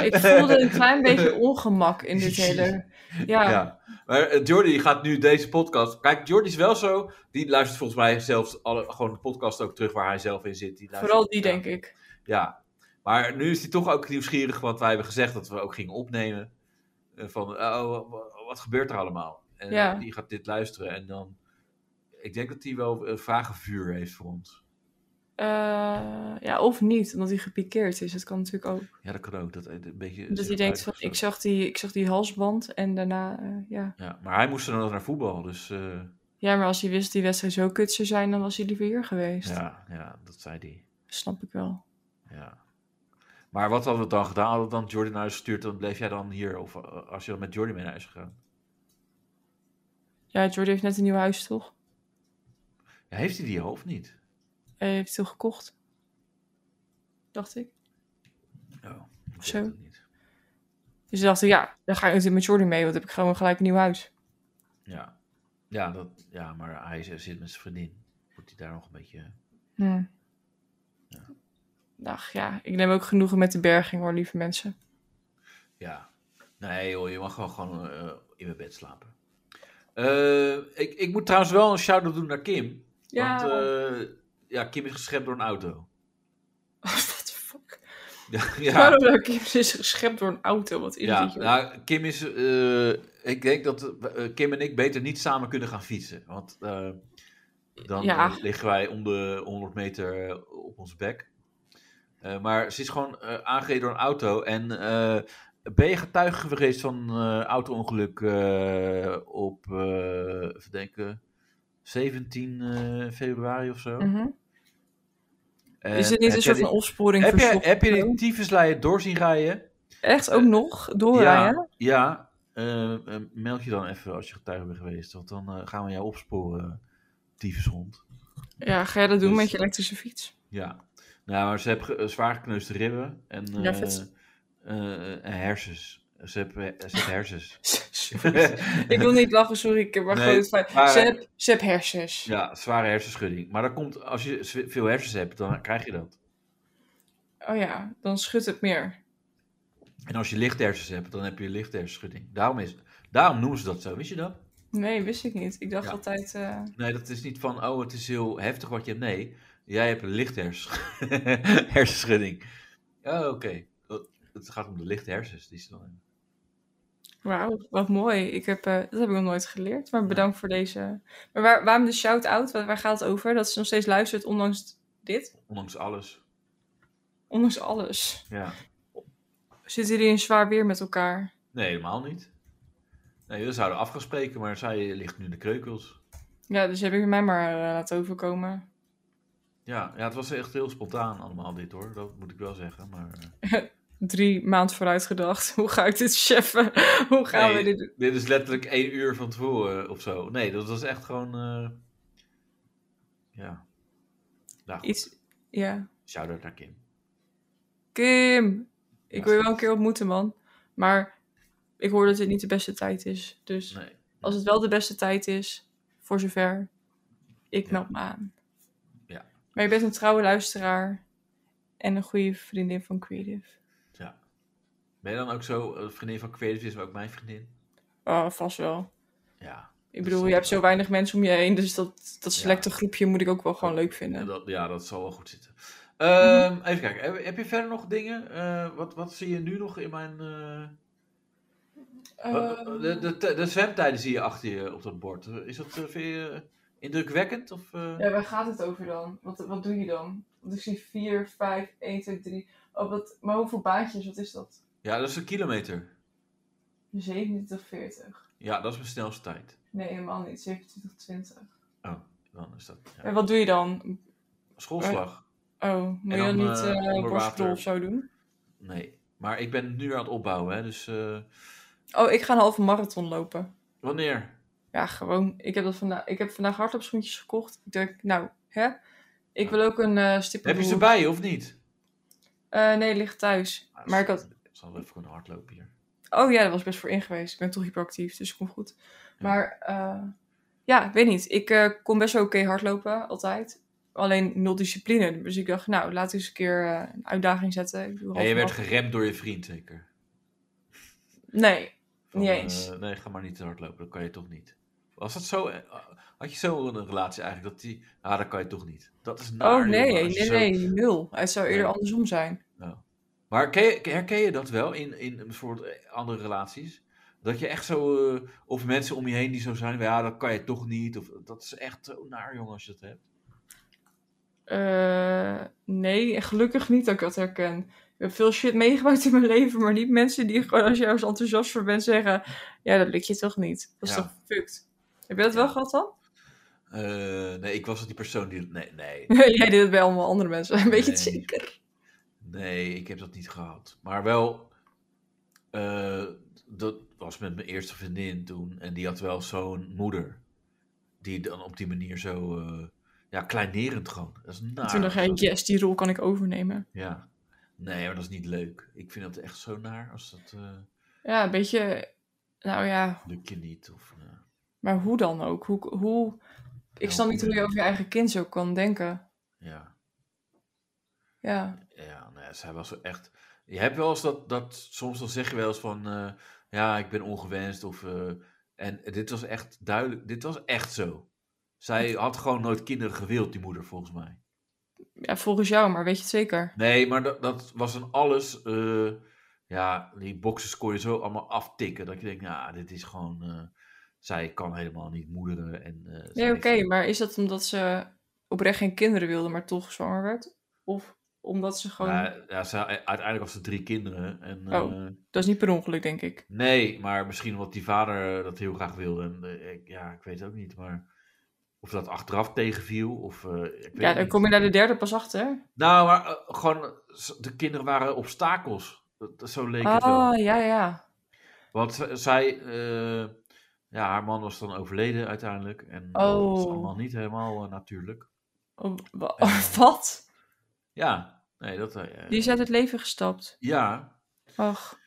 Speaker 2: [LAUGHS]
Speaker 3: ik voelde een klein beetje ongemak in dit
Speaker 2: Ja.
Speaker 3: hele. Ja,
Speaker 2: Ja, maar eh, Jordi gaat nu deze podcast. Kijk, Jordi is wel zo. Die luistert volgens mij zelfs alle, gewoon de podcast ook terug waar hij zelf in zit. Die luistert-
Speaker 3: vooral die,
Speaker 2: ja.
Speaker 3: denk ik.
Speaker 2: Ja, maar nu is hij toch ook nieuwsgierig, want wij hebben gezegd dat we ook gingen opnemen. Eh, Van, oh, wa- wat gebeurt er allemaal? En eh,
Speaker 3: Ja.
Speaker 2: die gaat dit luisteren en dan... Ik denk dat hij wel een vragenvuur heeft eh, voor ons.
Speaker 3: Eh, Eh, ja, of niet, omdat hij gepikeerd is. Dat kan natuurlijk ook.
Speaker 2: Ja, dat kan ook. Dat, eh, een beetje
Speaker 3: Dat
Speaker 2: zich
Speaker 3: hij denkt van,
Speaker 2: uitgesloten.
Speaker 3: ik zag, die, ik zag die halsband en daarna, eh, ja.
Speaker 2: Ja, maar hij moest er nog naar voetbal, dus eh,
Speaker 3: Ja, maar als hij wist dat die wedstrijd zo kut zou zijn, dan was hij liever hier geweest.
Speaker 2: ja, ja, dat zei hij.
Speaker 3: Snap ik wel.
Speaker 2: Ja. Maar wat hadden we dan gedaan? Hadden we dan Jordy naar huis gestuurd? Dan bleef jij dan hier? Of eh, als je dan met Jordy mee naar huis gegaan?
Speaker 3: Ja, Jordi heeft net een nieuw huis, toch?
Speaker 2: Ja, heeft hij die hoofd niet?
Speaker 3: Hij Eh, heeft het gekocht. Dacht ik.
Speaker 2: Oh, ik weet
Speaker 3: Zo.
Speaker 2: het niet.
Speaker 3: Dus ik dacht ik, ja, dan ga ik natuurlijk met Jordi mee, want dan heb ik gewoon gelijk een nieuw huis.
Speaker 2: Ja. Ja, dat, ja, maar hij z- zit met zijn vriendin. Moet hij daar nog een beetje...
Speaker 3: Hm. Ach ja, ik neem ook genoegen met de berging hoor, lieve mensen.
Speaker 2: Ja. Nee joh, je mag gewoon, gewoon eh, in mijn bed slapen. Eh, ik, ik moet trouwens wel een shout-out doen naar Kim. Want eh, ja, Kim is geschept door een auto.
Speaker 3: [LAUGHS]
Speaker 2: [LAUGHS]
Speaker 3: What the fuck?
Speaker 2: Ja,
Speaker 3: Waarom
Speaker 2: ja,
Speaker 3: zou Kim is dus geschept door een auto? Wat is
Speaker 2: ja
Speaker 3: dit? joh?
Speaker 2: nou, Kim is... eh, ik denk dat eh, Kim en ik beter niet samen kunnen gaan fietsen. Want eh, dan
Speaker 3: Ja.
Speaker 2: eh, liggen wij om de 100 meter eh, op ons bek. Eh, maar ze is gewoon eh, aangereden door een auto. En eh, ben je getuige geweest van eh auto-ongeluk eh, op, eh even denken, 17 eh, februari of zo?
Speaker 3: Mhm.
Speaker 2: En
Speaker 3: Is dit
Speaker 2: eh, heb
Speaker 3: niet
Speaker 2: jij
Speaker 3: een soort
Speaker 2: die-
Speaker 3: van opsporing
Speaker 2: Heb je,
Speaker 3: verzocht?
Speaker 2: heb je die tyfuslijer door zien rijden?
Speaker 3: Echt ook nog doorrijden?
Speaker 2: Ja, ja eh, eh, meld je dan even als je getuige bent geweest. Want dan eh, gaan we jou opsporen, tyfushond.
Speaker 3: Ja. ga jij dat doen
Speaker 2: Dus-
Speaker 3: met je elektrische [LAUGHS] fiets?
Speaker 2: Ja. Nou, maar ze heeft ge- eh, zwaar gekneusde ribben en,
Speaker 3: Ja,
Speaker 2: eh,
Speaker 3: vet.
Speaker 2: eh, en hersens. Ze heeft, eh, ze heeft hersens.
Speaker 3: [LAUGHS] ik wil niet lachen, sorry. Ik heb maar
Speaker 2: Nee,
Speaker 3: gewoon het feit.
Speaker 2: maar-
Speaker 3: Seb, Seb
Speaker 2: [LAUGHS]
Speaker 3: hersens.
Speaker 2: ja, zware hersenschudding. Maar dat komt, als je z- veel hersens hebt, dan krijg je dat.
Speaker 3: Oh ja, dan schudt het meer.
Speaker 2: En als je lichte hersens hebt, dan heb je lichte hersenschudding. Daarom, is, daarom noemen ze dat zo. Wist je dat?
Speaker 3: Nee, wist ik niet. Ik dacht
Speaker 2: Ja.
Speaker 3: altijd... eh,
Speaker 2: Nee, dat is niet van, oh, het is heel heftig wat je hebt. Nee, jij hebt een lichte hers- [LAUGHS] hersenschudding. Oh, oké. Dat- Het gaat om de lichte hersens die ze dan hebben.
Speaker 3: Wauw, wat mooi. Ik heb, eh, dat heb ik nog nooit geleerd. Maar bedankt voor deze. Maar waar, waarom de shout-out? Waar, waar gaat het over? Dat ze nog steeds luistert, ondanks dit?
Speaker 2: Ondanks alles.
Speaker 3: Ondanks alles.
Speaker 2: Ja.
Speaker 3: Zitten jullie in zwaar weer met elkaar?
Speaker 2: Nee, helemaal niet. Nee, we zouden afgespreken, maar zij ligt nu in de kreukels.
Speaker 3: Ja, dus heb ik mij maar eh, laten overkomen.
Speaker 2: Ja, ja, het was echt heel spontaan allemaal dit hoor. Dat moet ik wel zeggen. Maar eh,
Speaker 3: Drie maanden vooruit gedacht. [LAUGHS] Hoe ga ik dit cheffen? [LAUGHS] Hoe gaan
Speaker 2: Nee.
Speaker 3: we dit doen?
Speaker 2: dit is letterlijk één uur van tevoren eh, of zo. Nee, dat was echt gewoon... eh, Ja. Nou, goed.
Speaker 3: Iets... Ja.
Speaker 2: Shout-out naar Kim.
Speaker 3: Kim! Ik
Speaker 2: Ja.
Speaker 3: wil je wel een keer ontmoeten, man. Maar ik hoor dat dit niet de beste tijd is. Dus
Speaker 2: Nee.
Speaker 3: als het wel de beste tijd is, voor zover, ik
Speaker 2: Ja.
Speaker 3: meld me aan.
Speaker 2: Ja.
Speaker 3: Maar je bent een trouwe luisteraar en een goede vriendin van Creative.
Speaker 2: Ja. Ben je dan ook zo eh, vriendin van Creative is ook mijn vriendin?
Speaker 3: Oh, vast wel.
Speaker 2: Ja.
Speaker 3: Ik
Speaker 2: zal
Speaker 3: bedoel, je hebt
Speaker 2: wel.
Speaker 3: zo weinig mensen om je heen, dus dat, dat selecte groepje moet ik ook wel gewoon leuk
Speaker 2: En eh,
Speaker 3: vinden.
Speaker 2: dat, ja, dat zal wel goed zitten.
Speaker 3: Mhm.
Speaker 2: Ehm, Even kijken, heb, heb je verder nog dingen? Eh, wat, wat zie je nu nog in mijn... eh,
Speaker 3: Ehm,
Speaker 2: de, de, de zwemtijden zie je achter je op dat bord. Is dat eh, vind je, eh, indrukwekkend? Of, eh?
Speaker 3: Ja, waar gaat het over dan? Wat, wat doe je dan? Want ik zie 4, 5, 1, 2, 3. Oh, wat, maar hoeveel baantjes, wat is dat?
Speaker 2: ja, dat is een kilometer.
Speaker 3: 27, 40.
Speaker 2: Ja, dat is mijn snelste tijd.
Speaker 3: Nee, helemaal niet. 27, 20.
Speaker 2: Oh, dan is dat... Ja.
Speaker 3: En wat doe je dan?
Speaker 2: Schoolslag.
Speaker 3: Oh, moet
Speaker 2: En
Speaker 3: je dan
Speaker 2: dan,
Speaker 3: niet
Speaker 2: eh,
Speaker 3: eh
Speaker 2: onder
Speaker 3: borstel
Speaker 2: water.
Speaker 3: of zo doen?
Speaker 2: Nee. Maar ik ben nu aan het opbouwen, hè. Dus eh,
Speaker 3: Oh, ik ga een halve marathon lopen.
Speaker 2: wanneer?
Speaker 3: Ja, gewoon. Ik heb, dat vandaag, ik heb vandaag hardloopschoentjes gekocht. Ik denk, nou, hè? Ik wil ook een eh stip.
Speaker 2: Heb je ze bij je of niet?
Speaker 3: Eh, nee, ligt thuis.
Speaker 2: Ah,
Speaker 3: Maar ik had...
Speaker 2: Ik zal even kunnen hardlopen hier.
Speaker 3: Oh ja, daar was ik best voor in geweest. Ik ben toch hyperactief, dus ik kom goed. Maar eh, ja, ik weet niet. Ik eh, kon best wel oké hardlopen, altijd. Alleen nul discipline. Dus ik dacht, nou, laat eens een keer eh, een uitdaging zetten. Ik doe
Speaker 2: En je
Speaker 3: halve
Speaker 2: werd
Speaker 3: marathon.
Speaker 2: geremd door je vriend, zeker.
Speaker 3: Nee,
Speaker 2: Van,
Speaker 3: Niet eens.
Speaker 2: eh, nee, ga maar niet te hard lopen, dat kan je toch niet. Was dat zo? eh, Had je zo een relatie eigenlijk dat die. Ah, dat kan je toch niet. Nou, Dat is naar,
Speaker 3: oh nee,
Speaker 2: jongen,
Speaker 3: nee,
Speaker 2: als je
Speaker 3: nee,
Speaker 2: zo-
Speaker 3: nul. Het zou eerder
Speaker 2: Nee.
Speaker 3: andersom zijn.
Speaker 2: Nou. Maar ken je- herken je dat wel in, in bijvoorbeeld eh, andere relaties? Dat je echt zo. eh, of mensen om je heen die zo zijn, ja, dat kan je toch niet. Of dat is echt zo naar, jongen, als je dat hebt.
Speaker 3: Eh, nee, gelukkig niet dat ik dat herken. Ik heb veel shit meegemaakt in mijn leven, maar niet mensen die gewoon als je ergens enthousiast voor bent zeggen: Ja, dat lukt je toch niet? Dat is
Speaker 2: Ja.
Speaker 3: toch fucked? Heb je dat wel gehad dan? [LAUGHS]
Speaker 2: Eh, nee, ik was niet die persoon die... Nee, nee.
Speaker 3: Jij deed het bij allemaal andere mensen. Een beetje
Speaker 2: Nee.
Speaker 3: zeker.
Speaker 2: Nee, ik heb dat niet gehad. Maar wel, eh, dat was met mijn eerste vriendin toen. En die had wel zo'n moeder. Die dan op die manier zo, eh, ja, kleinerend gewoon. Dat is naar.
Speaker 3: Toen dacht ik: Yes, die rol kan ik overnemen.
Speaker 2: Ja. Nee, maar dat is niet leuk. Ik vind dat echt zo naar als dat eh
Speaker 3: Ja, een beetje. Nou ja,
Speaker 2: lukt je niet. Of, eh,
Speaker 3: Maar hoe dan ook? Hoe, hoe... Ik snap niet hoe je over je eigen kind zo kan denken.
Speaker 2: ja.
Speaker 3: Ja.
Speaker 2: Ja, nee, zij was echt. Je hebt wel eens dat, dat soms dan zeg je wel eens van, eh, ja, ik ben ongewenst of. eh, en dit was echt duidelijk, dit was echt zo. Zij had gewoon nooit kinderen gewild, die moeder, volgens mij.
Speaker 3: ja, volgens jou, maar weet je het zeker?
Speaker 2: Nee, maar dat, dat was een alles. eh, ja, die boxes kon je zo allemaal aftikken. Dat je denkt, nou, dit is gewoon. eh, zij kan helemaal niet moederen. En, eh, zij
Speaker 3: Nee, oké,
Speaker 2: heeft-
Speaker 3: maar is dat omdat ze oprecht geen kinderen wilde, maar toch zwanger werd? Of omdat ze gewoon...
Speaker 2: Ja, ja, zij- uiteindelijk was ze drie kinderen. En,
Speaker 3: Oh.
Speaker 2: eh,
Speaker 3: Dat is niet per ongeluk, denk ik.
Speaker 2: Nee, maar misschien omdat die vader eh, dat heel graag wilde. En, eh, ik, ja, ik weet het ook niet, maar of dat achteraf tegenviel. Of, eh, ik weet
Speaker 3: Ja,
Speaker 2: het
Speaker 3: dan
Speaker 2: niet.
Speaker 3: kom je naar de derde pas achter. hè?
Speaker 2: Nou, maar eh, gewoon, eh, z- de kinderen waren obstakels. Dat, dat- zo leek het
Speaker 3: Ah,
Speaker 2: wel.
Speaker 3: ja, ja.
Speaker 2: Want z- zij, eh, ja, haar man was dan overleden uiteindelijk. En eh, dat is
Speaker 3: Oh.
Speaker 2: allemaal niet helemaal eh, natuurlijk.
Speaker 3: Oh, wa-
Speaker 2: Eh.
Speaker 3: [LAUGHS] wat?
Speaker 2: Ja, nee, dat... eh,
Speaker 3: Die is uit het leven gestapt.
Speaker 2: Ja,
Speaker 3: Ach,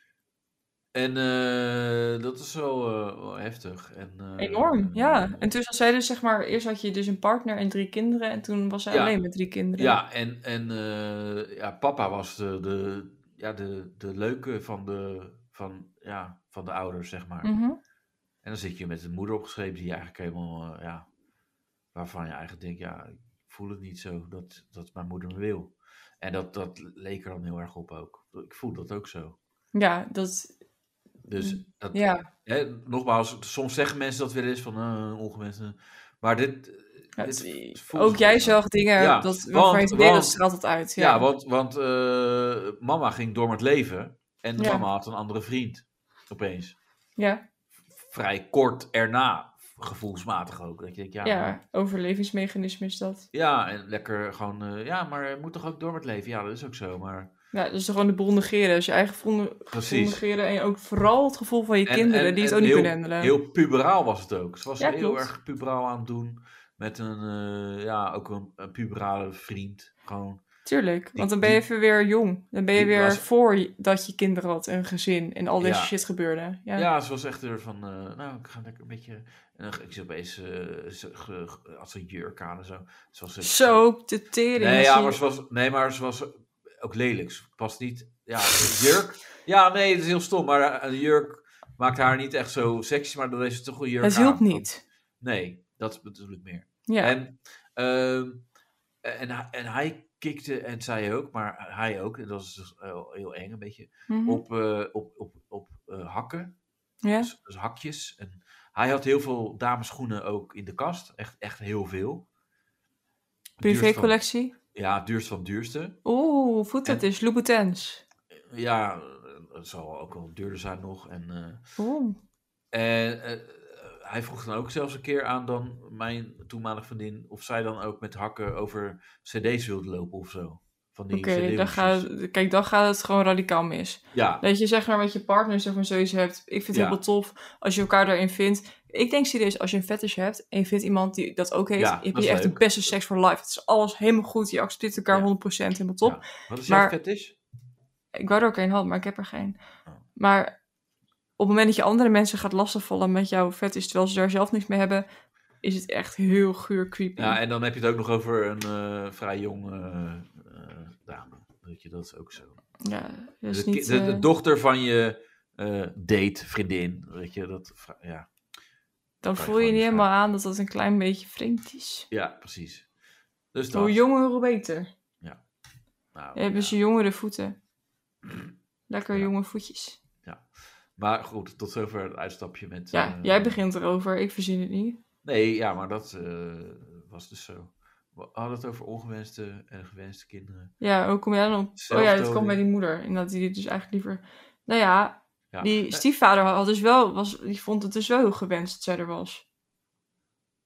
Speaker 2: en eh, dat is zo eh, wel heftig. En, eh,
Speaker 3: enorm, ja.
Speaker 2: eh,
Speaker 3: En toen zat zij dus, zeg maar, eerst had je dus een partner en drie kinderen... en toen was zij
Speaker 2: Ja.
Speaker 3: alleen met drie kinderen.
Speaker 2: Ja, en, en eh, ja, papa was de, de, ja, de, de leuke van de, van, ja, van de ouders, zeg maar.
Speaker 3: Mhm.
Speaker 2: En dan zit je met een moeder opgeschreven die je eigenlijk helemaal, eh, ja, waarvan je eigenlijk denkt, ja, ik voel het niet zo dat, dat mijn moeder me wil. En dat, dat leek er dan heel erg op ook. Ik voel dat ook zo.
Speaker 3: Ja, dat...
Speaker 2: Dus dat,
Speaker 3: Mhm. Ja.
Speaker 2: hè, nogmaals, soms zeggen mensen dat wel eens van eh ongewenst. eh, Maar dit,
Speaker 3: Ja,
Speaker 2: dit
Speaker 3: het-
Speaker 2: voelt
Speaker 3: ook
Speaker 2: niet
Speaker 3: jij
Speaker 2: zo.
Speaker 3: zag dingen
Speaker 2: Ja,
Speaker 3: dat, waarvan
Speaker 2: want-
Speaker 3: je het weet, dat
Speaker 2: want-
Speaker 3: straalt het uit. Ja,
Speaker 2: Ja, want, want eh, mama ging door met leven. En
Speaker 3: Ja.
Speaker 2: mama had een andere vriend. Opeens.
Speaker 3: ja,
Speaker 2: Vrij kort erna. Gevoelsmatig ook. Dat je denkt, ja,
Speaker 3: ja,
Speaker 2: ja.
Speaker 3: overlevingsmechanisme is dat.
Speaker 2: en lekker gewoon... eh, ja, maar je moet toch ook door met leven? Ja, dat is ook zo, maar...
Speaker 3: Ja, dus gewoon de boel negeren. Dus je eigen gevoel gevoel
Speaker 2: Precies.
Speaker 3: negeren. En ook vooral het gevoel van je
Speaker 2: En-
Speaker 3: kinderen,
Speaker 2: en-
Speaker 3: die het
Speaker 2: en
Speaker 3: ook niet
Speaker 2: heel-
Speaker 3: kunnen handelen.
Speaker 2: Heel puberaal was het ook. Ze was
Speaker 3: Ja,
Speaker 2: heel
Speaker 3: klopt.
Speaker 2: erg puberaal aan het doen. Met een, eh, ja, ook een, een puberale vriend. Gewoon,
Speaker 3: Tuurlijk, want dan ben je
Speaker 2: die-
Speaker 3: even weer jong. Dan ben je
Speaker 2: die
Speaker 3: weer
Speaker 2: was-
Speaker 3: voor je- dat je kinderen had, en gezin en al deze
Speaker 2: Ja.
Speaker 3: shit gebeurde. Ja.
Speaker 2: ja. ze was echt er van, eh, nou, ik ga lekker een beetje... En dan, ik zit opeens, eh, ze ge- ge- had ze een jurk aan en zo. Ze was, eh,
Speaker 3: Zo, op de tering.
Speaker 2: Nee,
Speaker 3: als
Speaker 2: ja,
Speaker 3: je-
Speaker 2: maar ze was, nee, maar ze was ook lelijk. Ze past niet. Ja, een jurk. Ja, nee, dat is heel stom. Maar eh, een jurk maakt haar niet echt zo sexy. Maar dan is het toch een jurk.
Speaker 3: het
Speaker 2: aan.
Speaker 3: hielp niet.
Speaker 2: Nee, dat bedoel ik meer.
Speaker 3: Ja,
Speaker 2: En, ehm, en, hij- en hij kikte en zij ook, maar hij ook. En dat is dus heel, heel eng een beetje.
Speaker 3: mhm.
Speaker 2: Op, eh, op, op, op eh, hakken.
Speaker 3: ja.
Speaker 2: Dus, dus hakjes. En hij had heel veel damesschoenen ook in de kast. Echt, echt heel veel. Duurst van-
Speaker 3: privécollectie.
Speaker 2: Ja, duurst van duurste.
Speaker 3: Oeh, voet dat is, Louboutins.
Speaker 2: ja, eh, het zal ook wel duurder zijn nog. En, eh,
Speaker 3: Oeh,
Speaker 2: en eh, hij vroeg dan ook zelfs een keer aan dan mijn toenmalige vriendin of zij dan ook met hakken over cd's wilde lopen of zo. Van die
Speaker 3: oké,
Speaker 2: cd
Speaker 3: dan gaat, kijk, dan gaat het gewoon radicaal mis.
Speaker 2: Ja,
Speaker 3: Dat je zeg maar met je partner zeg maar zoiets hebt. Ik vind het
Speaker 2: Ja.
Speaker 3: helemaal tof als je elkaar daarin vindt. Ik denk serieus, als je een fetish hebt en je vindt iemand die dat ook heeft,
Speaker 2: Ja,
Speaker 3: heb
Speaker 2: dat
Speaker 3: je
Speaker 2: is
Speaker 3: echt de
Speaker 2: leuk.
Speaker 3: beste seks for life. Het is alles helemaal goed. Je accepteert elkaar
Speaker 2: Ja.
Speaker 3: 100% helemaal top.
Speaker 2: wat is
Speaker 3: maar-
Speaker 2: jouw fetish?
Speaker 3: Ik wou er ook een had, maar ik heb er geen.
Speaker 2: Oh.
Speaker 3: Maar op het moment dat je andere mensen gaat lastigvallen met jouw fetish, terwijl ze daar zelf niks mee hebben, is het echt heel guur creepy.
Speaker 2: Ja, en dan heb je het ook nog over een eh, vrij jonge eh, eh, dame. Weet je, dat is ook zo.
Speaker 3: Ja, dat
Speaker 2: de,
Speaker 3: is
Speaker 2: ki-
Speaker 3: niet...
Speaker 2: de, de
Speaker 3: eh,
Speaker 2: dochter van je eh, date, vriendin. Weet je, dat, vra- ja. kan
Speaker 3: dan
Speaker 2: je
Speaker 3: voel je
Speaker 2: gewoon
Speaker 3: niet
Speaker 2: niet
Speaker 3: helemaal aan dat dat een klein beetje vreemd is.
Speaker 2: ja, precies. Dus dat.
Speaker 3: Hoe jonger, hoe beter.
Speaker 2: Nou,
Speaker 3: Dan hebben
Speaker 2: ja.
Speaker 3: ze jongere voeten. Lekker
Speaker 2: Ja.
Speaker 3: jonge voetjes.
Speaker 2: Maar goed, tot zover het uitstapje met...
Speaker 3: Ja,
Speaker 2: eh,
Speaker 3: jij begint erover, ik verzin het niet.
Speaker 2: Nee, ja, maar dat eh, was dus zo. We hadden het over ongewenste en gewenste kinderen.
Speaker 3: Ja, hoe kom jij dan op? Oh ja, dat komt bij die moeder. En dat die dus eigenlijk liever... Nou ja,
Speaker 2: Ja.
Speaker 3: die
Speaker 2: Eh,
Speaker 3: stiefvader had dus wel, was, die vond het dus wel heel gewenst dat zij er was.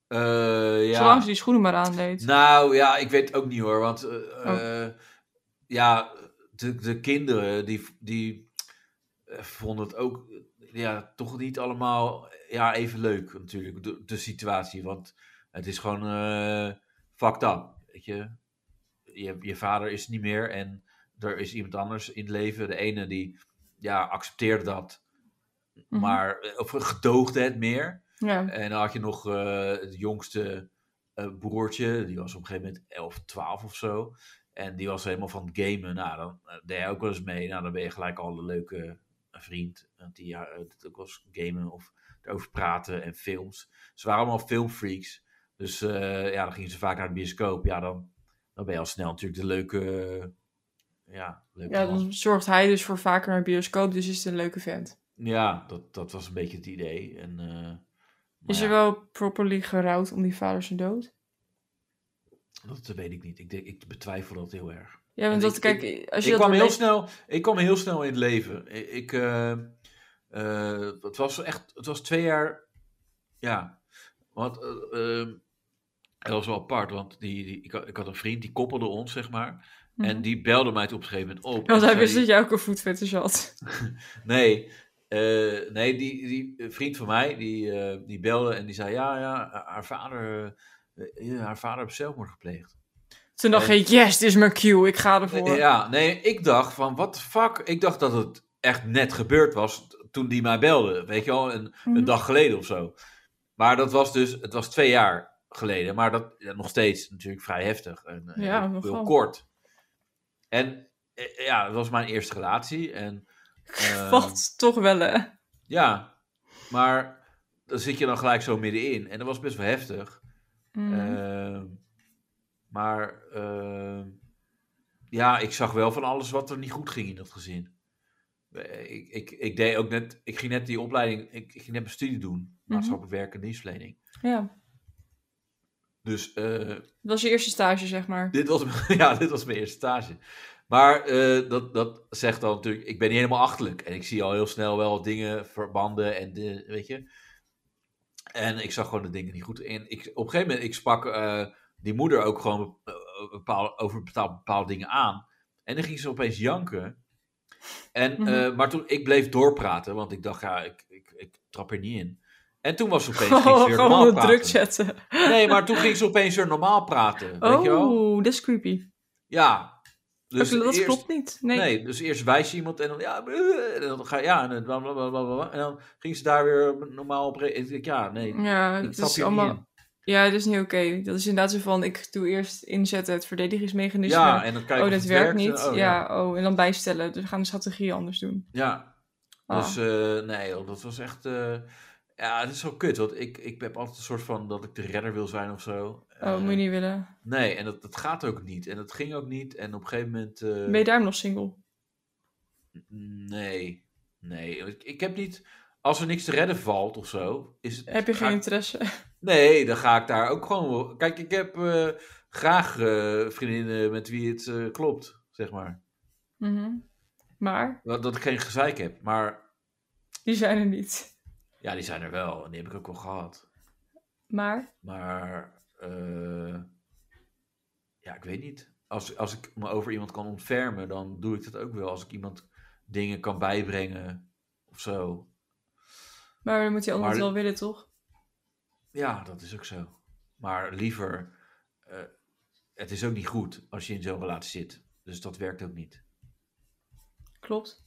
Speaker 2: eh, ja.
Speaker 3: Zolang ze die schoenen maar aandeed.
Speaker 2: Nou ja, ik weet het ook niet hoor. Want eh, eh, ja, de, de kinderen die, die eh, vonden het ook eh, ja, toch niet allemaal ja, even leuk natuurlijk, de, de situatie. Want het is gewoon eh fucked up, weet je. je. Je vader is niet meer en er is iemand anders in het leven. De ene die ja, accepteert dat,
Speaker 3: Mhm.
Speaker 2: maar eh, of gedoogde het meer.
Speaker 3: Ja.
Speaker 2: En dan had je nog eh, het jongste eh, broertje, die was op een gegeven moment 11, 12 of zo. En die was helemaal van het gamen. Nou, dan eh, deed hij ook wel eens mee. Nou, dan ben je gelijk al een leuke vriend. Want die ja, eh, dat ook wel eens gamen of erover praten en films. Ze waren allemaal filmfreaks. Dus eh, ja, dan gingen ze vaak naar de bioscoop. Ja, dan, dan ben je al snel natuurlijk de leuke. eh, ja, leuke
Speaker 3: ja,
Speaker 2: man.
Speaker 3: dan zorgt hij dus voor vaker naar de bioscoop, dus is het een leuke vent.
Speaker 2: ja dat, dat was een beetje het idee. En, eh, maar
Speaker 3: Is
Speaker 2: ja.
Speaker 3: er wel properly gerouwd om die vader zijn dood?
Speaker 2: Dat weet ik niet. Ik, denk, ik betwijfel dat heel erg.
Speaker 3: Ja, want
Speaker 2: En
Speaker 3: dat,
Speaker 2: ik-
Speaker 3: kijk, als je
Speaker 2: ik,
Speaker 3: dat
Speaker 2: kwam heel
Speaker 3: doorleest-
Speaker 2: snel, ik kwam heel snel in het leven. I- Ik, eh, eh, het was echt, het was twee jaar, ja. Want eh, eh, dat was wel apart, want die, die, ik, had, ik had een vriend, die koppelde ons, zeg maar. En
Speaker 3: Mhm.
Speaker 2: die belde mij toen op een gegeven moment
Speaker 3: [LAUGHS]
Speaker 2: op.
Speaker 3: Want
Speaker 2: En
Speaker 3: hij
Speaker 2: zei
Speaker 3: wist dat jij ook een voetfetish had.
Speaker 2: Nee, eh, nee die, die vriend van mij, die, eh, die belde en die zei, ja, ja, haar vader, eh, ja, haar vader heeft zelfmoord gepleegd.
Speaker 3: Toen dacht
Speaker 2: En-
Speaker 3: ik, yes, dit is mijn cue, ik ga
Speaker 2: Nee,
Speaker 3: ervoor.
Speaker 2: Ja, nee, ik dacht van, what the fuck? Ik dacht dat het echt net gebeurd was t- toen die mij belde. Weet je wel, een,
Speaker 3: Mhm.
Speaker 2: een dag geleden of zo. Maar dat was dus, het was twee jaar geleden. Maar dat ja, nog steeds natuurlijk vrij heftig. En, eh,
Speaker 3: Ja,
Speaker 2: heel,
Speaker 3: nogal.
Speaker 2: kort. En eh, ja, het was mijn eerste relatie.
Speaker 3: [LAUGHS]
Speaker 2: En eh,
Speaker 3: Wacht, toch wel hè.
Speaker 2: ja, maar dan zit je dan gelijk zo middenin. En dat was best wel heftig.
Speaker 3: Mm.
Speaker 2: Ehm, maar ehm, ja, ik zag wel van alles wat er niet goed ging in dat gezin. Eh, Ik, ik, ik deed ook net, ik ging net die opleiding, ik, ik ging net mijn studie doen, maatschappelijk werk en dienstverlening.
Speaker 3: ja,
Speaker 2: Dus eh,
Speaker 3: dat was je eerste stage, zeg maar.
Speaker 2: dit, was, ja, dit was mijn [LAUGHS] eerste stage. Maar eh, dat, dat zegt dan natuurlijk, ik ben niet helemaal achterlijk. En ik zie al heel snel wel dingen, verbanden en de, weet je. En ik zag gewoon de dingen niet goed. En ik, op een gegeven moment, ik sprak eh, die moeder ook gewoon eh, bepaal- over bepaalde, bepaalde dingen aan. En dan ging ze opeens janken. En,
Speaker 3: Mhm.
Speaker 2: eh, maar toen, ik bleef doorpraten, want ik dacht, ja, ik, ik, ik trap er niet in. En toen was ze
Speaker 3: [LAUGHS]
Speaker 2: opeens, ging ze
Speaker 3: Gewoon
Speaker 2: weer
Speaker 3: gewoon
Speaker 2: normaal
Speaker 3: onder druk
Speaker 2: praten.
Speaker 3: zetten.
Speaker 2: Nee, maar toen ging ze opeens weer normaal praten, weet je wel.
Speaker 3: Oh, dat is creepy.
Speaker 2: Ja. dus
Speaker 3: Oké, dat
Speaker 2: eerst,
Speaker 3: klopt niet. Nee.
Speaker 2: Nee. dus eerst wijs je iemand en dan ja, eh, en dan ga je ja, en dan, bla, bla, bla, bla, bla. en dan ging ze daar weer normaal op. re- Ik denk, ja, nee,
Speaker 3: Ja,
Speaker 2: dat
Speaker 3: dat
Speaker 2: snap
Speaker 3: Mm, is
Speaker 2: je allemaal... niet.
Speaker 3: allemaal...
Speaker 2: in.
Speaker 3: Ja, dat is niet oké. Dat is inderdaad zo van, ik doe eerst inzetten het verdedigingsmechanisme.
Speaker 2: Ja, en dan kijk je
Speaker 3: oh,
Speaker 2: of
Speaker 3: dat
Speaker 2: het
Speaker 3: werkt
Speaker 2: eh,
Speaker 3: niet.
Speaker 2: oh,
Speaker 3: ja.
Speaker 2: ja.
Speaker 3: oh, en dan bijstellen. Dus we gaan de strategie anders doen.
Speaker 2: Ja.
Speaker 3: Ah.
Speaker 2: Dus eh, nee, joh, dat was echt. eh, ja, het is zo kut, want ik, ik heb altijd een soort van dat ik de redder wil zijn of zo.
Speaker 3: oh,
Speaker 2: Eh,
Speaker 3: moet je niet willen.
Speaker 2: Nee, en dat, dat gaat ook niet. En dat ging ook niet. En op een gegeven moment. eh,
Speaker 3: Ben je daarom nog single?
Speaker 2: Nee, nee. Ik, ik heb niet. Als er niks te redden valt of zo. Is het,
Speaker 3: Heb je
Speaker 2: ga
Speaker 3: geen
Speaker 2: ik-
Speaker 3: interesse? [LAUGHS]
Speaker 2: Nee, dan ga ik daar ook gewoon. wel- Kijk, ik heb eh, graag eh, vriendinnen met wie het eh, klopt, zeg maar.
Speaker 3: Mhm. Maar,
Speaker 2: Dat, dat ik geen gezeik heb. Maar
Speaker 3: die zijn er niet.
Speaker 2: ja, die zijn er wel. En die heb ik ook wel gehad.
Speaker 3: Maar,
Speaker 2: Maar eh, ja, ik weet niet. Als, als ik me over iemand kan ontfermen, dan doe ik dat ook wel. Als ik iemand dingen kan bijbrengen of zo.
Speaker 3: maar dan moet die ander
Speaker 2: Maar-
Speaker 3: het wel willen, toch?
Speaker 2: Ja, dat is ook zo. Maar liever, eh, het is ook niet goed als je in zo'n relatie zit. Dus dat werkt ook niet.
Speaker 3: Klopt.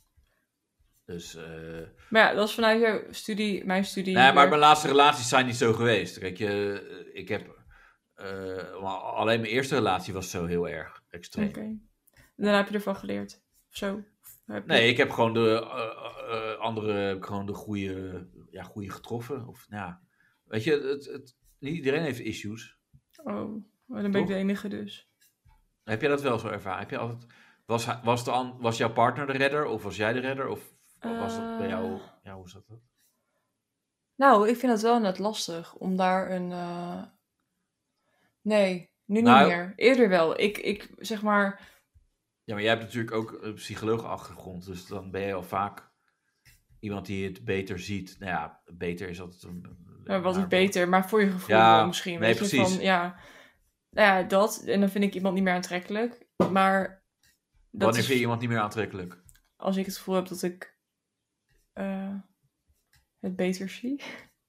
Speaker 2: Dus, eh,
Speaker 3: Maar ja, dat is vanuit jouw studie, mijn studie. eh,
Speaker 2: nee, maar
Speaker 3: hier.
Speaker 2: mijn laatste relaties zijn niet zo geweest. Kijk, je, eh, ik heb, eh, maar alleen mijn eerste relatie was zo heel erg extreem.
Speaker 3: Oké. En Dan heb je ervan geleerd. Of zo. Of heb je-
Speaker 2: Nee, ik heb gewoon de eh, eh, andere, heb ik gewoon de goede, ja, goede getroffen. Of, nou, ja. weet je, het, het, niet iedereen heeft issues.
Speaker 3: Oh, maar dan ben
Speaker 2: Toch?
Speaker 3: ik de enige dus.
Speaker 2: Heb jij dat wel zo ervaren? Heb je altijd, was, hij- was, de, an- was jouw partner de redder of was jij de redder? Of was dat bij jou?
Speaker 3: Eh.
Speaker 2: Ja, hoe is dat? dan?
Speaker 3: Nou, ik vind het wel net lastig om daar een. eh, Nee, Nu niet
Speaker 2: Nou-
Speaker 3: meer. Eerder wel. Ik, ik zeg maar.
Speaker 2: Ja, maar jij hebt natuurlijk ook een psycholoog-achtergrond, dus dan ben je al vaak iemand die het beter ziet. Nou ja, beter is altijd een.
Speaker 3: nou, wat is
Speaker 2: naar-
Speaker 3: beter? Maar voor je gevoel
Speaker 2: Ja,
Speaker 3: wel misschien.
Speaker 2: nee,
Speaker 3: weet je,
Speaker 2: precies.
Speaker 3: Van, ja. Nou ja, dat. En dan vind ik iemand niet meer aantrekkelijk. Maar. Dat
Speaker 2: Wanneer
Speaker 3: is
Speaker 2: vind je iemand niet meer aantrekkelijk?
Speaker 3: als ik het gevoel heb dat ik eh, het beter zie.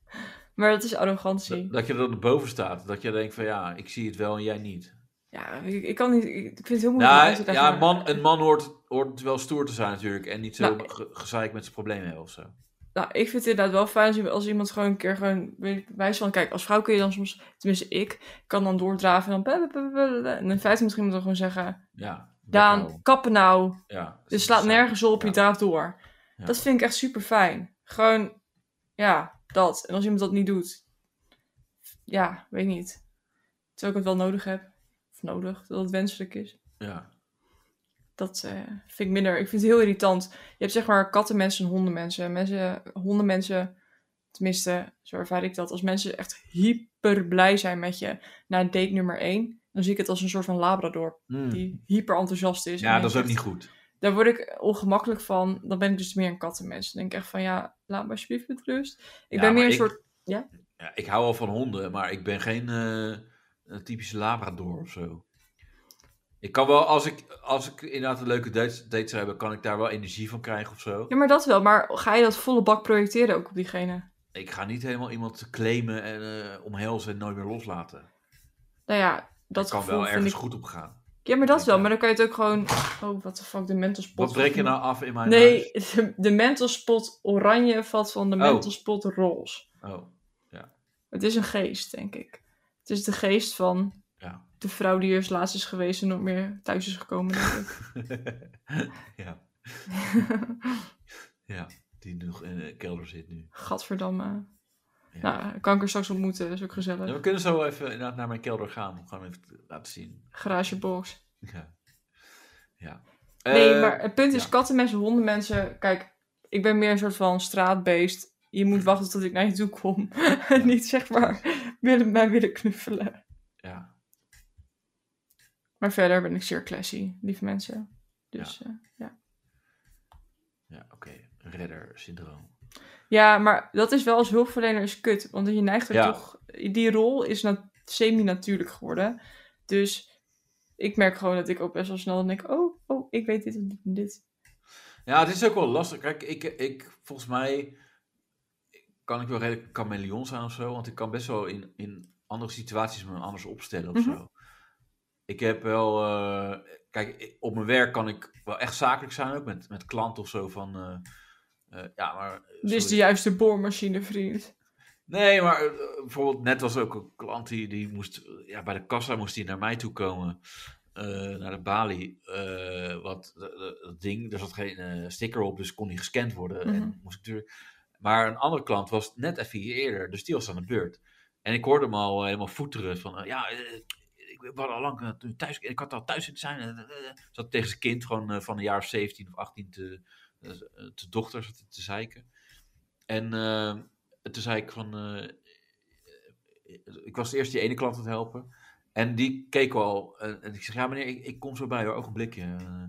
Speaker 3: [LAUGHS] maar dat is arrogantie.
Speaker 2: Dat, dat je er boven staat. Dat je denkt van ja, ik zie het wel en jij niet.
Speaker 3: Ja, ik, ik kan niet. Ik, ik vind het heel moeilijk. om uit te
Speaker 2: Nou,
Speaker 3: leggen.
Speaker 2: ja, een man, een man hoort, hoort wel stoer te zijn natuurlijk. En niet zo
Speaker 3: Nou,
Speaker 2: ge- gezeik met zijn problemen hebben of zo.
Speaker 3: Nou, ik vind het inderdaad wel fijn als, als iemand gewoon een keer gewoon weet ik, wijs van. Kijk, als vrouw kun je dan soms, tenminste ik, kan dan doordraven en dan. blablabla. En in feite moet iemand dan gewoon zeggen:
Speaker 2: Ja. dat wel.
Speaker 3: Daan, kappen nou.
Speaker 2: Ja.
Speaker 3: Dus slaat nergens op, je
Speaker 2: Ja.
Speaker 3: draaft door.
Speaker 2: Ja.
Speaker 3: Dat vind ik echt super fijn. Gewoon, ja, dat. En als iemand dat niet doet, ja, weet niet. Terwijl ik het wel nodig heb, of nodig, dat het wenselijk is.
Speaker 2: Ja.
Speaker 3: Dat eh, vind ik minder. Ik vind het heel irritant. Je hebt zeg maar kattenmensen en hondenmensen. Mensen, hondenmensen, tenminste, zo ervaar ik dat. Als mensen echt hyper blij zijn met je na date nummer 1, dan zie ik het als een soort van labrador
Speaker 2: Hmm.
Speaker 3: die hyper enthousiast is.
Speaker 2: ja,
Speaker 3: en
Speaker 2: dat is ook
Speaker 3: echt-
Speaker 2: niet goed.
Speaker 3: daar word ik ongemakkelijk van. Dan ben ik dus meer een kattenmens. Dan denk ik echt van, ja, laat me alsjeblieft met rust. Ik
Speaker 2: Ja,
Speaker 3: ben meer
Speaker 2: maar
Speaker 3: een
Speaker 2: ik-
Speaker 3: soort... Ja?
Speaker 2: Ja, ik hou al van honden, maar ik ben geen eh, een typische labrador of zo. Ik kan wel, als ik, als ik inderdaad een leuke date, date zou hebben, kan ik daar wel energie van krijgen of zo.
Speaker 3: Ja, maar dat wel. Maar ga je dat volle bak projecteren ook op diegene?
Speaker 2: Ik ga niet helemaal iemand claimen en eh, omhelzen en nooit meer loslaten.
Speaker 3: Nou ja, dat
Speaker 2: Dat kan
Speaker 3: gevoel
Speaker 2: wel
Speaker 3: vind
Speaker 2: ergens
Speaker 3: ik...
Speaker 2: goed op gaan.
Speaker 3: Ja, maar dat
Speaker 2: Ja.
Speaker 3: wel. Maar dan kan je het ook gewoon... Oh, wat de fuck, de mental spot.
Speaker 2: Wat breek je nou af in mijn
Speaker 3: Nee, [LAUGHS] de, de mental spot oranje valt van de
Speaker 2: Oh.
Speaker 3: mental spot roze.
Speaker 2: huis? Oh,
Speaker 3: Het is een geest, denk ik. Het is de geest van
Speaker 2: ja. [LAUGHS]
Speaker 3: de vrouw die eerst laatst is geweest en nooit meer thuis is gekomen.
Speaker 2: [LAUGHS]
Speaker 3: denk ik.
Speaker 2: ja. Ja, die nog in de kelder zit nu.
Speaker 3: Gadverdamme.
Speaker 2: Ja.
Speaker 3: Nou, kan ik er straks ontmoeten. is ook gezellig.
Speaker 2: Ja, we kunnen zo even inderdaad naar mijn kelder gaan om gewoon even te laten zien.
Speaker 3: garagebox.
Speaker 2: Ja. ja.
Speaker 3: nee,
Speaker 2: Eh,
Speaker 3: maar het punt is,
Speaker 2: ja.
Speaker 3: kattenmensen, hondenmensen... Kijk, ik ben meer een soort van straatbeest. Je moet wachten tot ik naar je toe kom. [LAUGHS] En niet, zeg maar, willen, mij willen knuffelen.
Speaker 2: Ja,
Speaker 3: Maar verder ben ik zeer classy, lieve mensen. Dus, eh, ja.
Speaker 2: ja oké. Redder-syndroom.
Speaker 3: Ja, maar dat is wel als hulpverlener is kut. Want je neigt er
Speaker 2: Ja.
Speaker 3: toch... Die rol is na- semi-natuurlijk geworden. Dus ik merk gewoon dat ik ook best wel snel dan denk... Oh, oh, ik weet dit en dit en dit.
Speaker 2: Ja, het is ook wel lastig. Kijk, ik, ik volgens mij kan ik wel redelijk chameleon zijn of zo. Want ik kan best wel in, in andere situaties me anders opstellen of
Speaker 3: Mhm.
Speaker 2: zo. Ik heb wel... eh, kijk, ik- op mijn werk kan ik wel echt zakelijk zijn. Ook met, met klanten of zo van... eh, eh, ja, maar...
Speaker 3: Dit is de
Speaker 2: sorry.
Speaker 3: juiste boormachine, vriend.
Speaker 2: Nee, maar eh, bijvoorbeeld net was ook een klant die, die moest, eh, ja, bij de kassa moest die naar mij toe komen, eh, naar de balie. Eh, wat eh, eh, dat ding, er zat geen eh, sticker op, dus kon niet gescand worden.
Speaker 3: Mhm.
Speaker 2: En moest ik natuurlijk... Maar een andere klant was net even hier eerder, dus die was aan de beurt. En ik hoorde hem al eh, helemaal voeteren van, eh, ja, eh, ik was al lang eh, thuis, ik had al thuis moeten zijn. eh, eh, eh. zat tegen zijn kind gewoon eh, van een jaar of 17 of 18 te, eh, te dochter zat hij te zeiken. En eh, toen zei ik van, eh, ik was eerst die ene klant aan het helpen. En die keek al. En, en ik zeg, ja meneer, ik, ik kom zo bij, hoor, ogenblikje. Eh,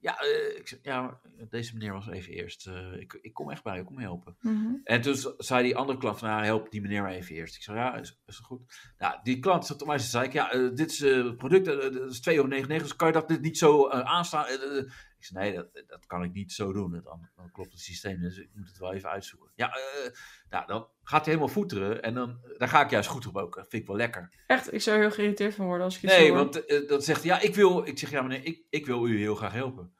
Speaker 2: ja, eh, ik zeg, ja, maar deze meneer was even eerst. Eh, ik, ik kom echt bij, ik kom je helpen.
Speaker 3: Mhm.
Speaker 2: En toen z- zei die andere klant van, nou, help die meneer maar even eerst. Ik zei, ja, is, is dat goed? Nou, die klant zat op mij, ze zei ik, ja, eh, dit is eh, het product, eh, eh, dat is 2,99 euro, dus kan je dat dit niet zo eh, aanstaan? Eh, eh, eh. ik zei, nee, dat, dat kan ik niet zo doen, dan, dan klopt het systeem, dus ik moet het wel even uitzoeken. Ja, eh, eh. nou, dan gaat hij helemaal voeteren en dan, daar ga ik juist goed op ook, dat vind ik wel lekker.
Speaker 3: Echt, ik zou heel geïrriteerd van worden als ik het
Speaker 2: Nee,
Speaker 3: zo hoor.
Speaker 2: want eh, dat zegt, hij, ja, ik wil, ik zeg, ja meneer, ik, ik wil u heel graag helpen.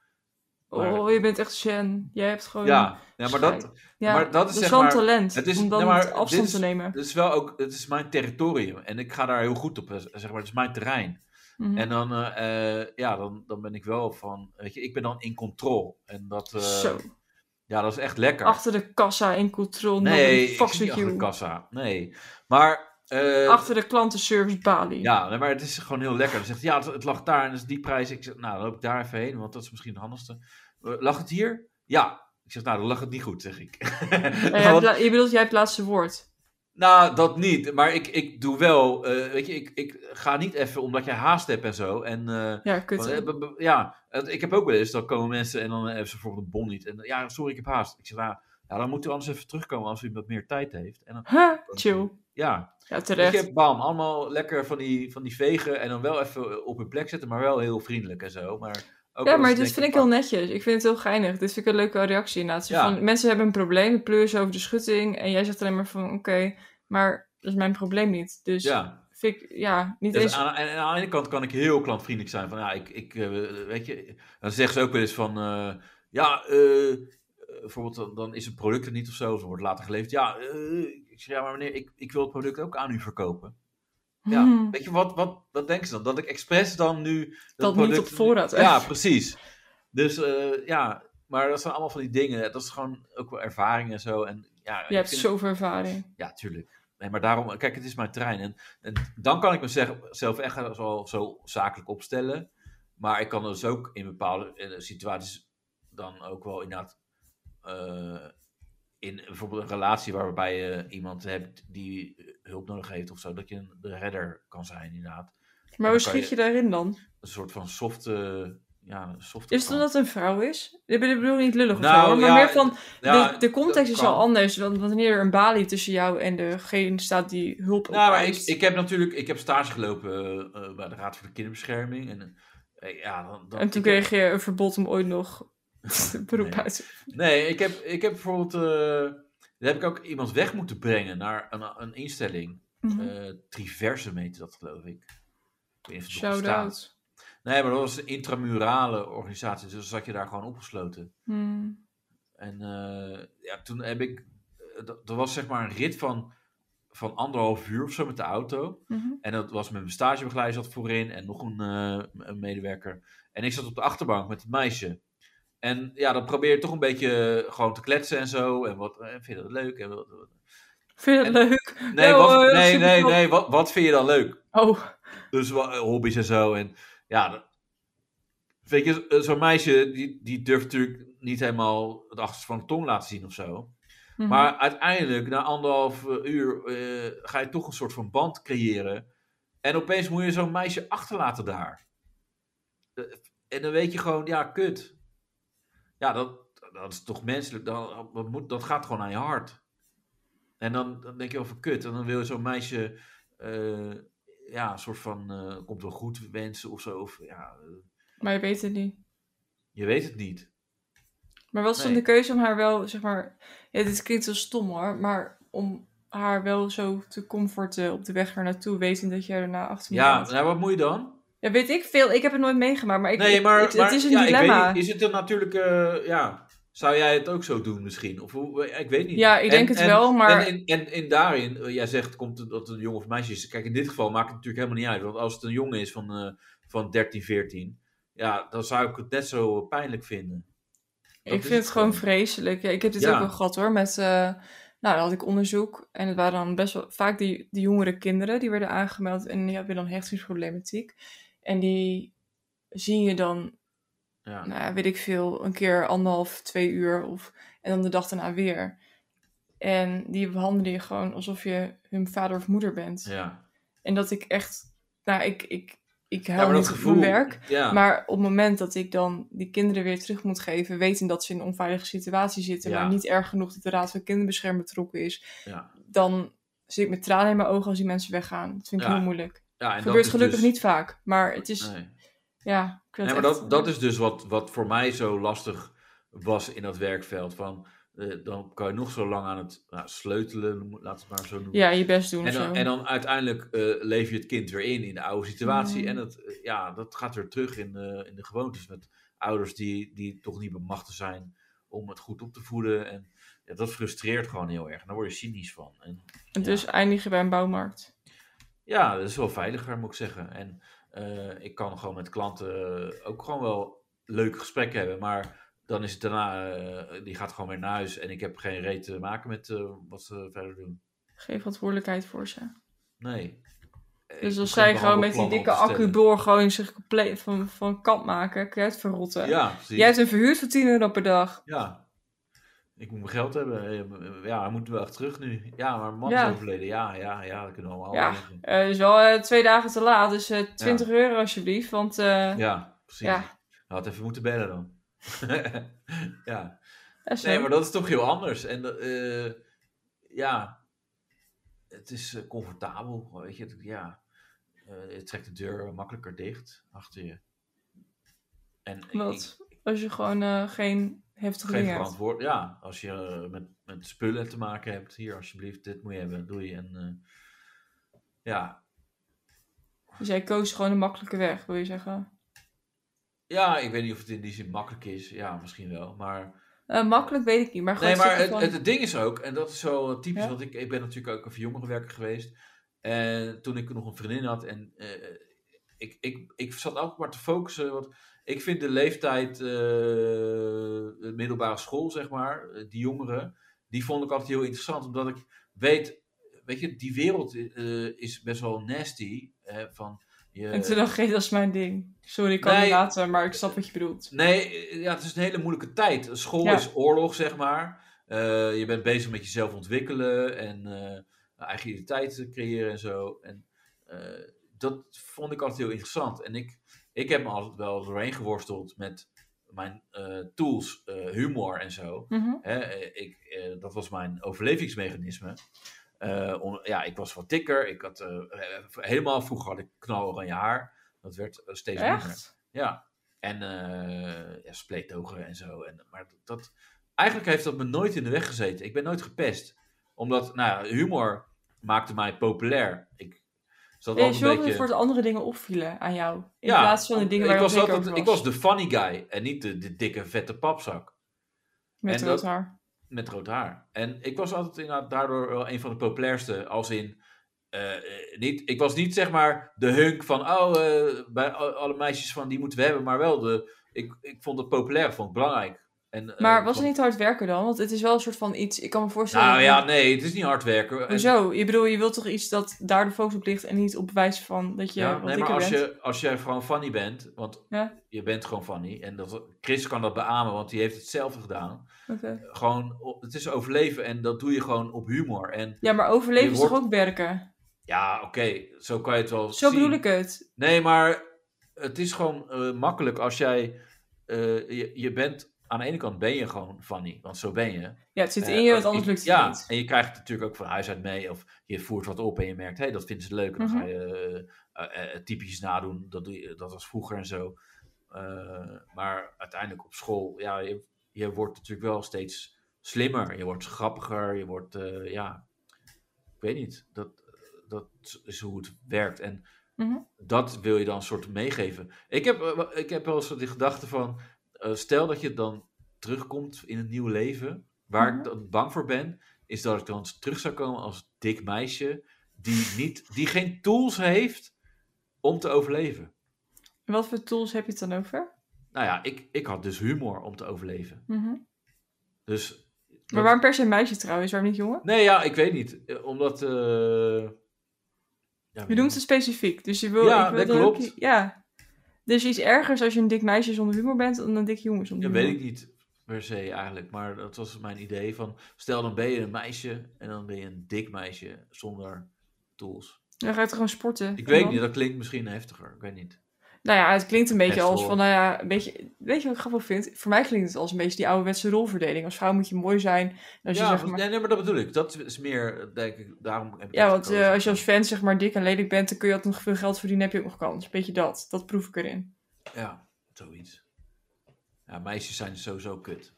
Speaker 2: maar-
Speaker 3: Oh, je bent echt Zen. Jij hebt gewoon...
Speaker 2: Ja, ja maar dat,
Speaker 3: Oh, Ja,
Speaker 2: maar dat is zeg
Speaker 3: wel een
Speaker 2: maar-
Speaker 3: talent,
Speaker 2: het is-
Speaker 3: om dan
Speaker 2: nee, maar
Speaker 3: het afstand
Speaker 2: dit is-
Speaker 3: te nemen.
Speaker 2: Het is wel ook, het is mijn territorium en ik ga daar heel goed op, eh, zeg maar, het is mijn terrein.
Speaker 3: Mhm.
Speaker 2: En dan, eh, eh, ja, dan, dan ben ik wel van, weet je, ik ben dan in controle. En dat, eh,
Speaker 3: Zo,
Speaker 2: ja, dat is echt lekker.
Speaker 3: achter de kassa in control.
Speaker 2: nee,
Speaker 3: Nee,
Speaker 2: ik
Speaker 3: fucks
Speaker 2: zit niet
Speaker 3: with
Speaker 2: achter de
Speaker 3: you.
Speaker 2: kassa. Nee, maar, eh,
Speaker 3: Achter de klantenservice balie.
Speaker 2: ja, nee, maar het is gewoon heel lekker. Dan zegt hij, ja, het, het lag daar en dat is die prijs. Ik zeg, nou, dan loop ik daar even heen, want dat is misschien het handigste. Eh, lag het hier? Ja. Ik zeg, nou, dan lag het niet goed, zeg ik.
Speaker 3: Eh, jij
Speaker 2: [LAUGHS] Want-
Speaker 3: hebt la- je bedoelt, jij hebt het laatste woord.
Speaker 2: Nou, dat niet. Maar ik, ik doe wel. eh, weet je, ik, ik ga niet even omdat jij haast hebt en zo. En eh,
Speaker 3: Ja, kut.
Speaker 2: Want, eh, b- b- Ja, het- ik heb ook wel eens, dan komen mensen en dan eh, hebben ze bijvoorbeeld een bon niet. En ja, sorry, ik heb haast. Ik zeg, nou, ja, dan moet u anders even terugkomen als u wat meer tijd heeft. En dan,
Speaker 3: Ha, chill.
Speaker 2: ja,
Speaker 3: Ja,
Speaker 2: ik
Speaker 3: terecht.
Speaker 2: heb bam, allemaal lekker van die, van die vegen en dan wel even op hun plek zetten, maar wel heel vriendelijk en zo. Maar ook
Speaker 3: Ja,
Speaker 2: wel
Speaker 3: maar
Speaker 2: eens
Speaker 3: dit
Speaker 2: denken
Speaker 3: vind ik
Speaker 2: van,
Speaker 3: heel netjes. Ik vind het heel geinig. Dit vind ik een leuke reactie inderdaad. Zo
Speaker 2: Ja.
Speaker 3: Van, mensen hebben een probleem, de pleur ze over de schutting. En jij zegt alleen maar van, oké, maar dat is mijn probleem niet. Dus
Speaker 2: Ja,
Speaker 3: vind ik, ja, niet
Speaker 2: dus
Speaker 3: eens...
Speaker 2: aan, en aan de ene kant kan ik heel klantvriendelijk zijn. Van, ja, ik, ik eh, weet je, dan zeggen ze ook wel eens van, eh, ja, eh, eh, bijvoorbeeld dan, dan is het product er niet of zo, of het wordt later geleverd. Ja, eh, ik zeg, ja, maar meneer, ik, ik wil het product ook aan u verkopen. Ja,
Speaker 3: Hmm.
Speaker 2: weet je, wat, wat, wat denken ze dan? Dat ik expres dan nu...
Speaker 3: Dat niet op voorraad, hè?
Speaker 2: Ja, precies. Dus eh, ja, maar dat zijn allemaal van die dingen. Dat is gewoon ook wel ervaring en zo. En, ja,
Speaker 3: Je
Speaker 2: ik
Speaker 3: hebt
Speaker 2: vind-
Speaker 3: zoveel ervaring.
Speaker 2: Ja, tuurlijk. Nee, maar daarom, kijk, het is mijn trein. En, en dan kan ik mezelf echt zo, zo zakelijk opstellen. Maar ik kan dus ook in bepaalde eh, situaties dan ook wel inderdaad... eh, in bijvoorbeeld een relatie waarbij je iemand hebt die eh, hulp nodig heeft of zo. Dat je een de redder kan zijn, inderdaad dan
Speaker 3: Maar hoe
Speaker 2: kan
Speaker 3: schiet
Speaker 2: je-
Speaker 3: je daarin dan?
Speaker 2: een soort van softe. Ja, softe
Speaker 3: Is het omdat het een vrouw is? Ik bedoel niet lullig of
Speaker 2: Nou,
Speaker 3: zo, hoor, maar
Speaker 2: ja,
Speaker 3: meer van...
Speaker 2: Ja,
Speaker 3: de, de context
Speaker 2: dat
Speaker 3: is
Speaker 2: kan.
Speaker 3: al anders, want wanneer er een balie tussen jou en degene staat die hulp
Speaker 2: Nou, maar ik,
Speaker 3: opeist.
Speaker 2: ik heb natuurlijk ik heb stage gelopen eh, eh, bij de Raad voor de Kinderbescherming. En, eh, ja, dan, dan,
Speaker 3: En toen
Speaker 2: ik heb-
Speaker 3: kreeg je een verbod om ooit nog
Speaker 2: [LAUGHS]
Speaker 3: beroep
Speaker 2: Nee.
Speaker 3: uit te...
Speaker 2: Nee, ik heb, ik heb bijvoorbeeld. eh, daar heb ik ook iemand weg moeten brengen naar een, een instelling.
Speaker 3: Mhm.
Speaker 2: Eh Triversum heette dat, geloof ik. Ik weet niet of het nog bestaat.
Speaker 3: Shout-out.
Speaker 2: Nee, maar dat was een intramurale organisatie. Dus dan zat je daar gewoon opgesloten.
Speaker 3: Hmm.
Speaker 2: En eh, ja, toen heb ik. eh, Dat, dat was zeg maar een rit van, van anderhalf uur of zo met de auto.
Speaker 3: Mhm.
Speaker 2: En dat was met mijn stagebegeleider zat voorin en nog een, eh, een medewerker. En ik zat op de achterbank met het meisje. En ja, dan probeer je toch een beetje eh, gewoon te kletsen en zo. En wat eh, vind je dat leuk? En wat, wat-
Speaker 3: Vind je het leuk?
Speaker 2: Nee,
Speaker 3: Ja,
Speaker 2: wat,
Speaker 3: hoor,
Speaker 2: nee, nee,
Speaker 3: supertop.
Speaker 2: nee. Wat, wat vind je dan leuk?
Speaker 3: Oh,
Speaker 2: Dus wa- eh, hobby's en zo. En ja, dat- weet je, zo- zo'n meisje die, die durft natuurlijk niet helemaal het achterste van de tong laten zien of zo.
Speaker 3: mhm.
Speaker 2: Maar uiteindelijk, na anderhalf eh, uur, eh, ga je toch een soort van band creëren. En opeens moet je zo'n meisje achterlaten daar. Eh, En dan weet je gewoon, ja, kut. Ja, dat, dat is toch menselijk. Dat, dat, moet, dat gaat gewoon aan je hart. En dan, dan denk je over kut. En dan wil je zo'n meisje, eh, ja, een soort van, eh, komt wel goed wensen of zo. Of, ja, eh,
Speaker 3: maar je weet het niet.
Speaker 2: je weet het niet.
Speaker 3: Maar wat is dan
Speaker 2: Nee.
Speaker 3: de keuze om haar wel, zeg maar... Ja, dit klinkt wel stom hoor, maar om haar wel zo te comforten op de weg er naartoe, wetend dat jij daarna achter me
Speaker 2: Ja,
Speaker 3: bent.
Speaker 2: nou, wat moet je dan?
Speaker 3: Ja, weet ik veel. Ik heb het nooit meegemaakt, maar, ik,
Speaker 2: nee,
Speaker 3: ik-
Speaker 2: maar,
Speaker 3: het,
Speaker 2: maar-
Speaker 3: het is een
Speaker 2: ja, ik
Speaker 3: dilemma.
Speaker 2: weet niet, is het een natuurlijke, eh, ja, zou jij het ook zo doen misschien? Of hoe- ik weet niet.
Speaker 3: Ja, ik denk het wel, maar-
Speaker 2: En, en, en, en daarin, eh, jij zegt komt het dat het een jongen of meisje is. Kijk, in dit geval maakt het natuurlijk helemaal niet uit. Want als het een jongen is van, eh, van 13, 14, ja, dan zou ik het net zo pijnlijk vinden. Dat is
Speaker 3: ik vind het
Speaker 2: het
Speaker 3: gewoon
Speaker 2: gewoon.
Speaker 3: vreselijk. Ja, ik heb dit
Speaker 2: Ja.
Speaker 3: ook wel gehad hoor. Met, eh, nou, dan had ik onderzoek. En het waren dan best wel vaak die, die jongere kinderen die werden aangemeld. En die hebben dan hechtingsproblematiek. En die zie je dan,
Speaker 2: Ja.
Speaker 3: nou, ja, weet ik veel, een keer anderhalf, twee uur. Of, en dan de dag daarna weer. En die behandelen je gewoon alsof je hun vader of moeder bent.
Speaker 2: ja.
Speaker 3: En dat ik echt, nou, ik, ik, ik
Speaker 2: Ja,
Speaker 3: hou niet van mijn werk.
Speaker 2: Ja.
Speaker 3: Maar op het moment dat ik dan die kinderen weer terug moet geven, weten dat ze in een onveilige situatie zitten,
Speaker 2: Ja.
Speaker 3: maar niet erg genoeg dat de Raad van Kinderbescherming betrokken is,
Speaker 2: ja.
Speaker 3: dan zit ik met tranen in mijn ogen als die mensen weggaan. Dat vind ik
Speaker 2: Ja,
Speaker 3: heel moeilijk.
Speaker 2: Ja, en dat
Speaker 3: Gebeurt
Speaker 2: is
Speaker 3: gelukkig
Speaker 2: dus-
Speaker 3: niet vaak, maar het is,
Speaker 2: Nee.
Speaker 3: ja, ik
Speaker 2: Nee,
Speaker 3: vind het
Speaker 2: maar dat,
Speaker 3: echt-
Speaker 2: dat is dus wat, wat voor mij zo lastig was in dat werkveld. Van, eh, dan kan je nog zo lang aan het nou, sleutelen, mo- laat het maar zo noemen.
Speaker 3: Ja, je best doen
Speaker 2: en,
Speaker 3: of
Speaker 2: dan,
Speaker 3: zo.
Speaker 2: en dan uiteindelijk eh, leef je het kind weer in, in de oude situatie.
Speaker 3: Mm.
Speaker 2: En dat, eh, ja, dat gaat weer terug in de, in de gewoontes met ouders die, die toch niet bemachtigd zijn om het goed op te voeden. En ja, dat frustreert gewoon heel erg. En daar word je cynisch van. En
Speaker 3: En dus eindig je bij een bouwmarkt.
Speaker 2: ja, dat is wel veiliger, moet ik zeggen. En eh, ik kan gewoon met klanten eh, ook gewoon wel leuke gesprekken hebben. Maar dan is het daarna, eh, die gaat gewoon weer naar huis. En ik heb geen reet te maken met eh, wat ze verder doen.
Speaker 3: Geef verantwoordelijkheid voor ze.
Speaker 2: Nee. Eh, ik
Speaker 3: Dus
Speaker 2: hoef
Speaker 3: als zij
Speaker 2: geen
Speaker 3: gewoon met die dikke
Speaker 2: behandelplannen op te
Speaker 3: accu
Speaker 2: stellen.
Speaker 3: door gewoon zich compleet van, van kant maken, kun je het verrotten.
Speaker 2: Ja, precies.
Speaker 3: Jij hebt hem verhuurd voor 10 euro per dag.
Speaker 2: Ja. Ik moet mijn geld hebben. Eh, Ja, hij moet wel echt terug nu. Ja, maar mijn man
Speaker 3: Ja.
Speaker 2: is overleden. Ja, ja, ja, dat kunnen we allemaal
Speaker 3: Ja.
Speaker 2: wel zeggen.
Speaker 3: Eh, dus wel eh, twee dagen te laat, dus eh 20 euro alsjeblieft. Want eh,
Speaker 2: Ja, precies.
Speaker 3: Ja.
Speaker 2: Hij had even moeten bellen dan. [LAUGHS] ja.
Speaker 3: dat is
Speaker 2: Nee,
Speaker 3: zo.
Speaker 2: maar dat is toch heel anders. En dat, eh, ja, het is eh, comfortabel, weet je. Het- Ja, Eh, het trekt de deur makkelijker dicht achter je. En ik-
Speaker 3: Klopt. als je gewoon eh, geen heftige
Speaker 2: Geen
Speaker 3: dingen hebt.
Speaker 2: verantwoord. Ja, als je eh, met, met spullen te maken hebt, hier alsjeblieft, dit moet je hebben, doe je. En eh, ja.
Speaker 3: Dus jij koos gewoon de makkelijke weg, wil je zeggen.
Speaker 2: ja, ik weet niet of het in die zin makkelijk is. Ja, misschien wel. Maar,
Speaker 3: Eh, makkelijk weet ik niet, maar gewoon
Speaker 2: nee,
Speaker 3: een
Speaker 2: maar
Speaker 3: stukje
Speaker 2: het,
Speaker 3: van-
Speaker 2: het, het ding is ook, en dat is zo typisch,
Speaker 3: Ja?
Speaker 2: want ik, ik ben natuurlijk ook even jongerenwerker geweest. En toen ik nog een vriendin had en eh, ik, ik, ik zat ook maar te focussen. Want ik vind de leeftijd, eh, de middelbare school, zeg maar, eh, die jongeren, die vond ik altijd heel interessant. Omdat ik weet, weet je, die wereld eh, is best wel nasty. Hè, van je,
Speaker 3: En toen dacht ik, dat is mijn ding. Sorry, ik kan
Speaker 2: Nee.
Speaker 3: niet laten, maar ik snap wat je bedoelt.
Speaker 2: Nee, eh, ja, het is een hele moeilijke tijd. School
Speaker 3: Ja.
Speaker 2: is oorlog, zeg maar. Eh, je bent bezig met jezelf ontwikkelen en eh, eigen identiteit te creëren en zo. En eh, dat vond ik altijd heel interessant. En ik, ik heb me altijd wel doorheen geworsteld met mijn eh, tools, eh, humor en zo.
Speaker 3: Mhm.
Speaker 2: Hè, eh, ik, eh, dat was mijn overlevingsmechanisme. Eh, om- ja, ik was wat dikker. Ik had, eh, eh, helemaal vroeger had ik knaloranje haar. Dat werd eh, steeds minder.
Speaker 3: Echt?
Speaker 2: Ja, en eh ja, spleetogen en zo. En, maar dat, dat- eigenlijk heeft dat me nooit in de weg gezeten. Ik ben nooit gepest. Omdat, nou ja, humor maakte mij populair. Ik zat
Speaker 3: Nee,
Speaker 2: altijd
Speaker 3: zorg
Speaker 2: een
Speaker 3: dat
Speaker 2: beetje...
Speaker 3: het voor de andere dingen opvielen aan jou. In
Speaker 2: Ja,
Speaker 3: plaats van de dingen waar
Speaker 2: ik
Speaker 3: je
Speaker 2: was,
Speaker 3: onzeker
Speaker 2: altijd,
Speaker 3: over
Speaker 2: ik was de funny guy en niet de, de dikke, vette papzak
Speaker 3: Met
Speaker 2: en
Speaker 3: rood
Speaker 2: dat-
Speaker 3: haar.
Speaker 2: met rood haar. En ik was altijd inderdaad daardoor wel een van de populairste. Als in, eh, eh, niet, ik was niet zeg maar de hunk van, oh, eh, bij al- alle meisjes van die moeten we hebben. Maar wel, de, ik, ik vond het populair, ik vond het belangrijk. En, eh,
Speaker 3: Maar
Speaker 2: ik
Speaker 3: was
Speaker 2: vond-
Speaker 3: het niet hard werken dan? Want het is wel een soort van iets, ik kan me voorstellen...
Speaker 2: Nou ja, nee, het is niet hard werken. En-
Speaker 3: Hoezo? Je bedoel, je wilt toch iets dat daar de focus op ligt en niet op bewijs van dat je
Speaker 2: Ja,
Speaker 3: wat
Speaker 2: nee, maar
Speaker 3: dikker
Speaker 2: als
Speaker 3: bent?
Speaker 2: je, als je gewoon funny bent, want
Speaker 3: Ja.
Speaker 2: je bent gewoon funny. En dat, Chris kan dat beamen, want die heeft hetzelfde gedaan.
Speaker 3: Oké.
Speaker 2: Gewoon, op- het is overleven en dat doe je gewoon op humor. En
Speaker 3: Ja, maar overleven
Speaker 2: Je
Speaker 3: is toch
Speaker 2: wordt-
Speaker 3: ook werken?
Speaker 2: ja, oké, zo kan je het wel
Speaker 3: Zo
Speaker 2: zien.
Speaker 3: bedoel ik het.
Speaker 2: Nee, maar het is gewoon eh, makkelijk als jij... eh, je, je bent... Aan de ene kant ben je gewoon funny, want zo ben je.
Speaker 3: Ja, het zit
Speaker 2: Eh,
Speaker 3: in je,
Speaker 2: als
Speaker 3: want anders
Speaker 2: ik-
Speaker 3: lukt het
Speaker 2: ja,
Speaker 3: niet.
Speaker 2: en je krijgt het natuurlijk ook van huis uit mee. Of je voert wat op en je merkt, hé, dat vinden ze leuk. En dan
Speaker 3: Mhm.
Speaker 2: ga je eh, eh, eh, typisch nadoen. Dat, doe je, dat was vroeger en zo. Eh, maar uiteindelijk op school, ja, je, je wordt natuurlijk wel steeds slimmer. Je wordt grappiger. Je wordt, eh, ja, ik weet niet. Dat, dat is hoe het werkt. En
Speaker 3: Mhm.
Speaker 2: dat wil je dan een soort meegeven. Ik heb, eh, wel- ik heb wel eens die gedachte van, eh, stel dat je dan terugkomt in het nieuwe leven. Waar ik
Speaker 3: Mhm.
Speaker 2: dan bang voor ben, is dat ik dan terug zou komen als dik meisje die, niet, die geen tools heeft om te overleven.
Speaker 3: En Wat voor tools heb je het dan over?
Speaker 2: Nou ja, ik, ik had dus humor om te overleven.
Speaker 3: Mhm.
Speaker 2: Dus.
Speaker 3: Maar waarom per se een meisje trouwens? Waarom niet jongen?
Speaker 2: Nee, ja, ik weet niet. Eh, Omdat. eh, ja,
Speaker 3: Je noemt het specifiek, dus je wil...
Speaker 2: Ja,
Speaker 3: ik wil
Speaker 2: dat
Speaker 3: dan ook-
Speaker 2: klopt.
Speaker 3: ja. Dus iets ergers als je een dik meisje zonder humor bent dan een dik jongen zonder
Speaker 2: Ja,
Speaker 3: humor.
Speaker 2: weet ik niet per se eigenlijk. Maar dat was mijn idee van. Stel dan ben je een meisje en dan ben je een dik meisje zonder tools.
Speaker 3: Dan ga je toch gewoon sporten?
Speaker 2: Ik
Speaker 3: En
Speaker 2: weet
Speaker 3: dan-
Speaker 2: niet, dat klinkt misschien heftiger. Ik weet niet.
Speaker 3: Nou ja, het klinkt een beetje
Speaker 2: Echt
Speaker 3: als
Speaker 2: wel.
Speaker 3: van, nou ja, een beetje, weet je wat ik grappig vind? Voor mij klinkt het als een beetje die ouderwetse rolverdeling. Als vrouw moet je mooi zijn. En Als je,
Speaker 2: ja,
Speaker 3: zeg
Speaker 2: maar...
Speaker 3: maar,
Speaker 2: Nee, nee, maar dat bedoel ik. Dat is meer, eh, denk ik, daarom heb ik
Speaker 3: ja,
Speaker 2: het
Speaker 3: want
Speaker 2: gekozen.
Speaker 3: eh, als je als fan zeg maar dik en lelijk bent, dan kun je altijd nog veel geld verdienen, heb je ook nog kans. Beetje dat, dat proef ik erin.
Speaker 2: Ja, zoiets. Ja, meisjes zijn dus sowieso kut.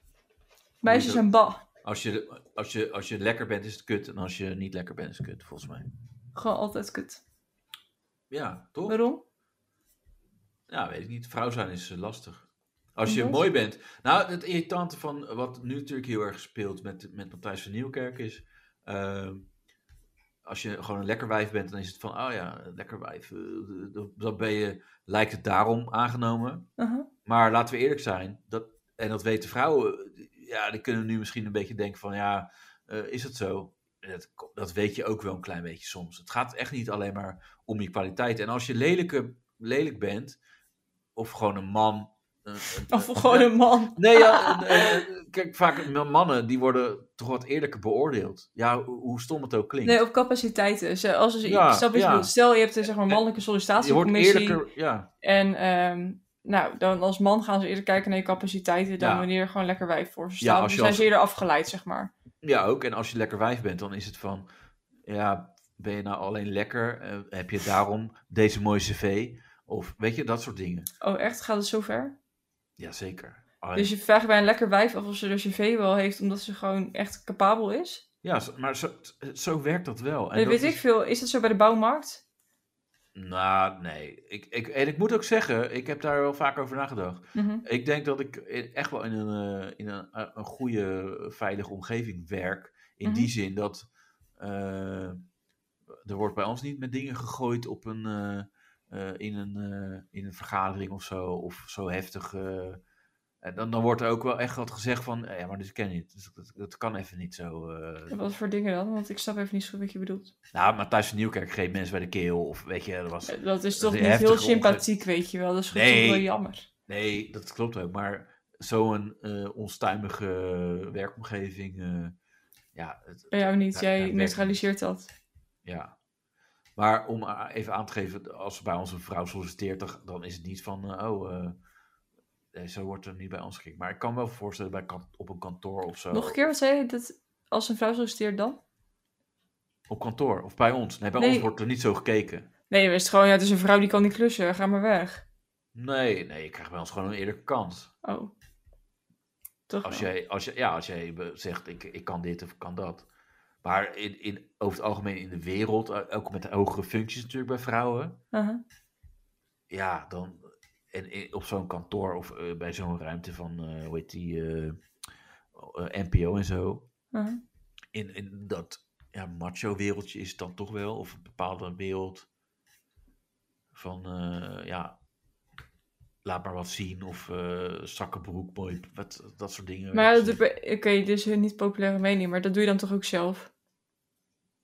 Speaker 3: Meisjes
Speaker 2: Hoezo?
Speaker 3: zijn ba.
Speaker 2: Als je, als, je, als je lekker bent, is het kut. En als je niet lekker bent, is het kut, volgens mij.
Speaker 3: Gewoon altijd kut.
Speaker 2: Ja, toch?
Speaker 3: Waarom?
Speaker 2: Ja, weet ik niet. Vrouw zijn is eh, lastig. Als je
Speaker 3: Omdat?
Speaker 2: mooi bent. Nou, het irritante van wat nu natuurlijk heel erg speelt met, met Matthijs van Nieuwkerk is. ehm, als je gewoon een lekker wijf bent, dan is het van, oh ja, een lekker wijf. eh, dat- Dan ben je, lijkt het daarom aangenomen.
Speaker 3: Uh-huh.
Speaker 2: Maar laten we eerlijk zijn, dat, en dat weten vrouwen, ja, die kunnen nu misschien een beetje denken van, ja, eh, is het zo? Dat, dat weet je ook wel een klein beetje soms. Het gaat echt niet alleen maar om je kwaliteit. En als je lelijke, lelijk bent, of gewoon een man een- een-
Speaker 3: Of gewoon een man.
Speaker 2: Nee, ja, eh, eh, eh, kijk, vaak m- mannen die worden toch wat eerlijker beoordeeld. Ja, ho- hoe stom het ook klinkt.
Speaker 3: Nee, op capaciteiten. Zo, Als er,
Speaker 2: Ja,
Speaker 3: snap je wat ik
Speaker 2: ja.
Speaker 3: bedoel? Stel, je hebt een zeg maar, mannelijke
Speaker 2: je wordt
Speaker 3: sollicitatiecommissie.
Speaker 2: eerlijker, ja.
Speaker 3: En ehm, nou, dan als man gaan ze eerder kijken naar je capaciteiten dan
Speaker 2: Ja.
Speaker 3: wanneer er gewoon lekker wijf voor ze
Speaker 2: Ja,
Speaker 3: staan.
Speaker 2: als je
Speaker 3: dan zijn
Speaker 2: als-
Speaker 3: ze eerder afgeleid, zeg maar.
Speaker 2: ja, ook. En als je lekker wijf bent, dan is het van, ja, ben je nou alleen lekker? Eh, heb je daarom deze mooie cv? Of weet je, dat soort dingen.
Speaker 3: Oh, echt? Gaat het zo ver?
Speaker 2: Jazeker. Alleen,
Speaker 3: Dus je vraagt bij een lekker wijf af of ze de cv wel heeft omdat ze gewoon echt capabel is?
Speaker 2: Ja, zo- maar zo, zo werkt dat wel. En
Speaker 3: dat
Speaker 2: dat
Speaker 3: weet
Speaker 2: is-
Speaker 3: ik veel. Is dat zo bij de bouwmarkt?
Speaker 2: Nou, nee. Ik, ik, en ik moet ook zeggen, ik heb daar wel vaak over nagedacht.
Speaker 3: Mhm.
Speaker 2: Ik denk dat ik i- echt wel in een, eh, in een, eh, een goede, eh, veilige omgeving werk. In die
Speaker 3: Mhm.
Speaker 2: zin dat eh, er wordt bij ons niet met dingen gegooid op een, eh, eh, in, een, eh, in een vergadering of zo. Of zo heftig. eh. En dan, dan wordt er ook wel echt wat gezegd van, eh, ja, maar dit ken je niet. Dus dat, dat kan even niet zo. eh.
Speaker 3: En Wat voor dingen dan? Want ik snap even niet zo goed wat je bedoelt.
Speaker 2: Nou, Matthijs van Nieuwkerk greep mensen bij de keel. Of weet je, dat was...
Speaker 3: Eh, Dat is toch
Speaker 2: een
Speaker 3: niet heel
Speaker 2: heftige
Speaker 3: sympathiek, weet je wel. Dat is gewoon
Speaker 2: Nee.
Speaker 3: toch wel jammer.
Speaker 2: Nee, dat klopt ook. Maar zo'n eh, onstuimige werkomgeving. eh, ja, het-
Speaker 3: Bij jou niet.
Speaker 2: Ja, ja,
Speaker 3: Jij
Speaker 2: werkt
Speaker 3: neutraliseert dat.
Speaker 2: ja. Maar om a- even aan te geven, als bij ons een vrouw solliciteert, dan- dan is het niet van, eh, oh, eh, nee, zo wordt er niet bij ons gekeken. Maar ik kan me wel voorstellen bij kan- op een kantoor of zo.
Speaker 3: Nog een keer, wat zei je? Dat als een vrouw solliciteert dan?
Speaker 2: Op kantoor of bij ons. Nee, bij
Speaker 3: Nee.
Speaker 2: ons wordt er niet zo gekeken.
Speaker 3: Nee, maar is het gewoon, ja, het is een vrouw die kan niet klussen. Ga maar weg.
Speaker 2: Nee, nee, je krijgt bij ons gewoon een eerlijke kans.
Speaker 3: Oh. Toch
Speaker 2: Als
Speaker 3: wel.
Speaker 2: jij, als je, ja, als jij be- zegt, ik, ik kan dit of ik kan dat. Maar in, in, over het algemeen in de wereld, eh, ook met de hogere functies natuurlijk bij vrouwen.
Speaker 3: Aha.
Speaker 2: Ja, dan en i- op zo'n kantoor of eh, bij zo'n ruimte van, eh, hoe heet die, eh, eh, NPO en zo.
Speaker 3: aha.
Speaker 2: In, in dat ja, macho wereldje is het dan toch wel, of een bepaalde wereld van, eh, ja, laat maar wat zien of eh strakke broek, mooi, wat, dat soort dingen.
Speaker 3: Maar ja,
Speaker 2: Dat
Speaker 3: dat-
Speaker 2: soort-
Speaker 3: oké, dit is een niet populaire mening, maar dat doe je dan toch ook zelf?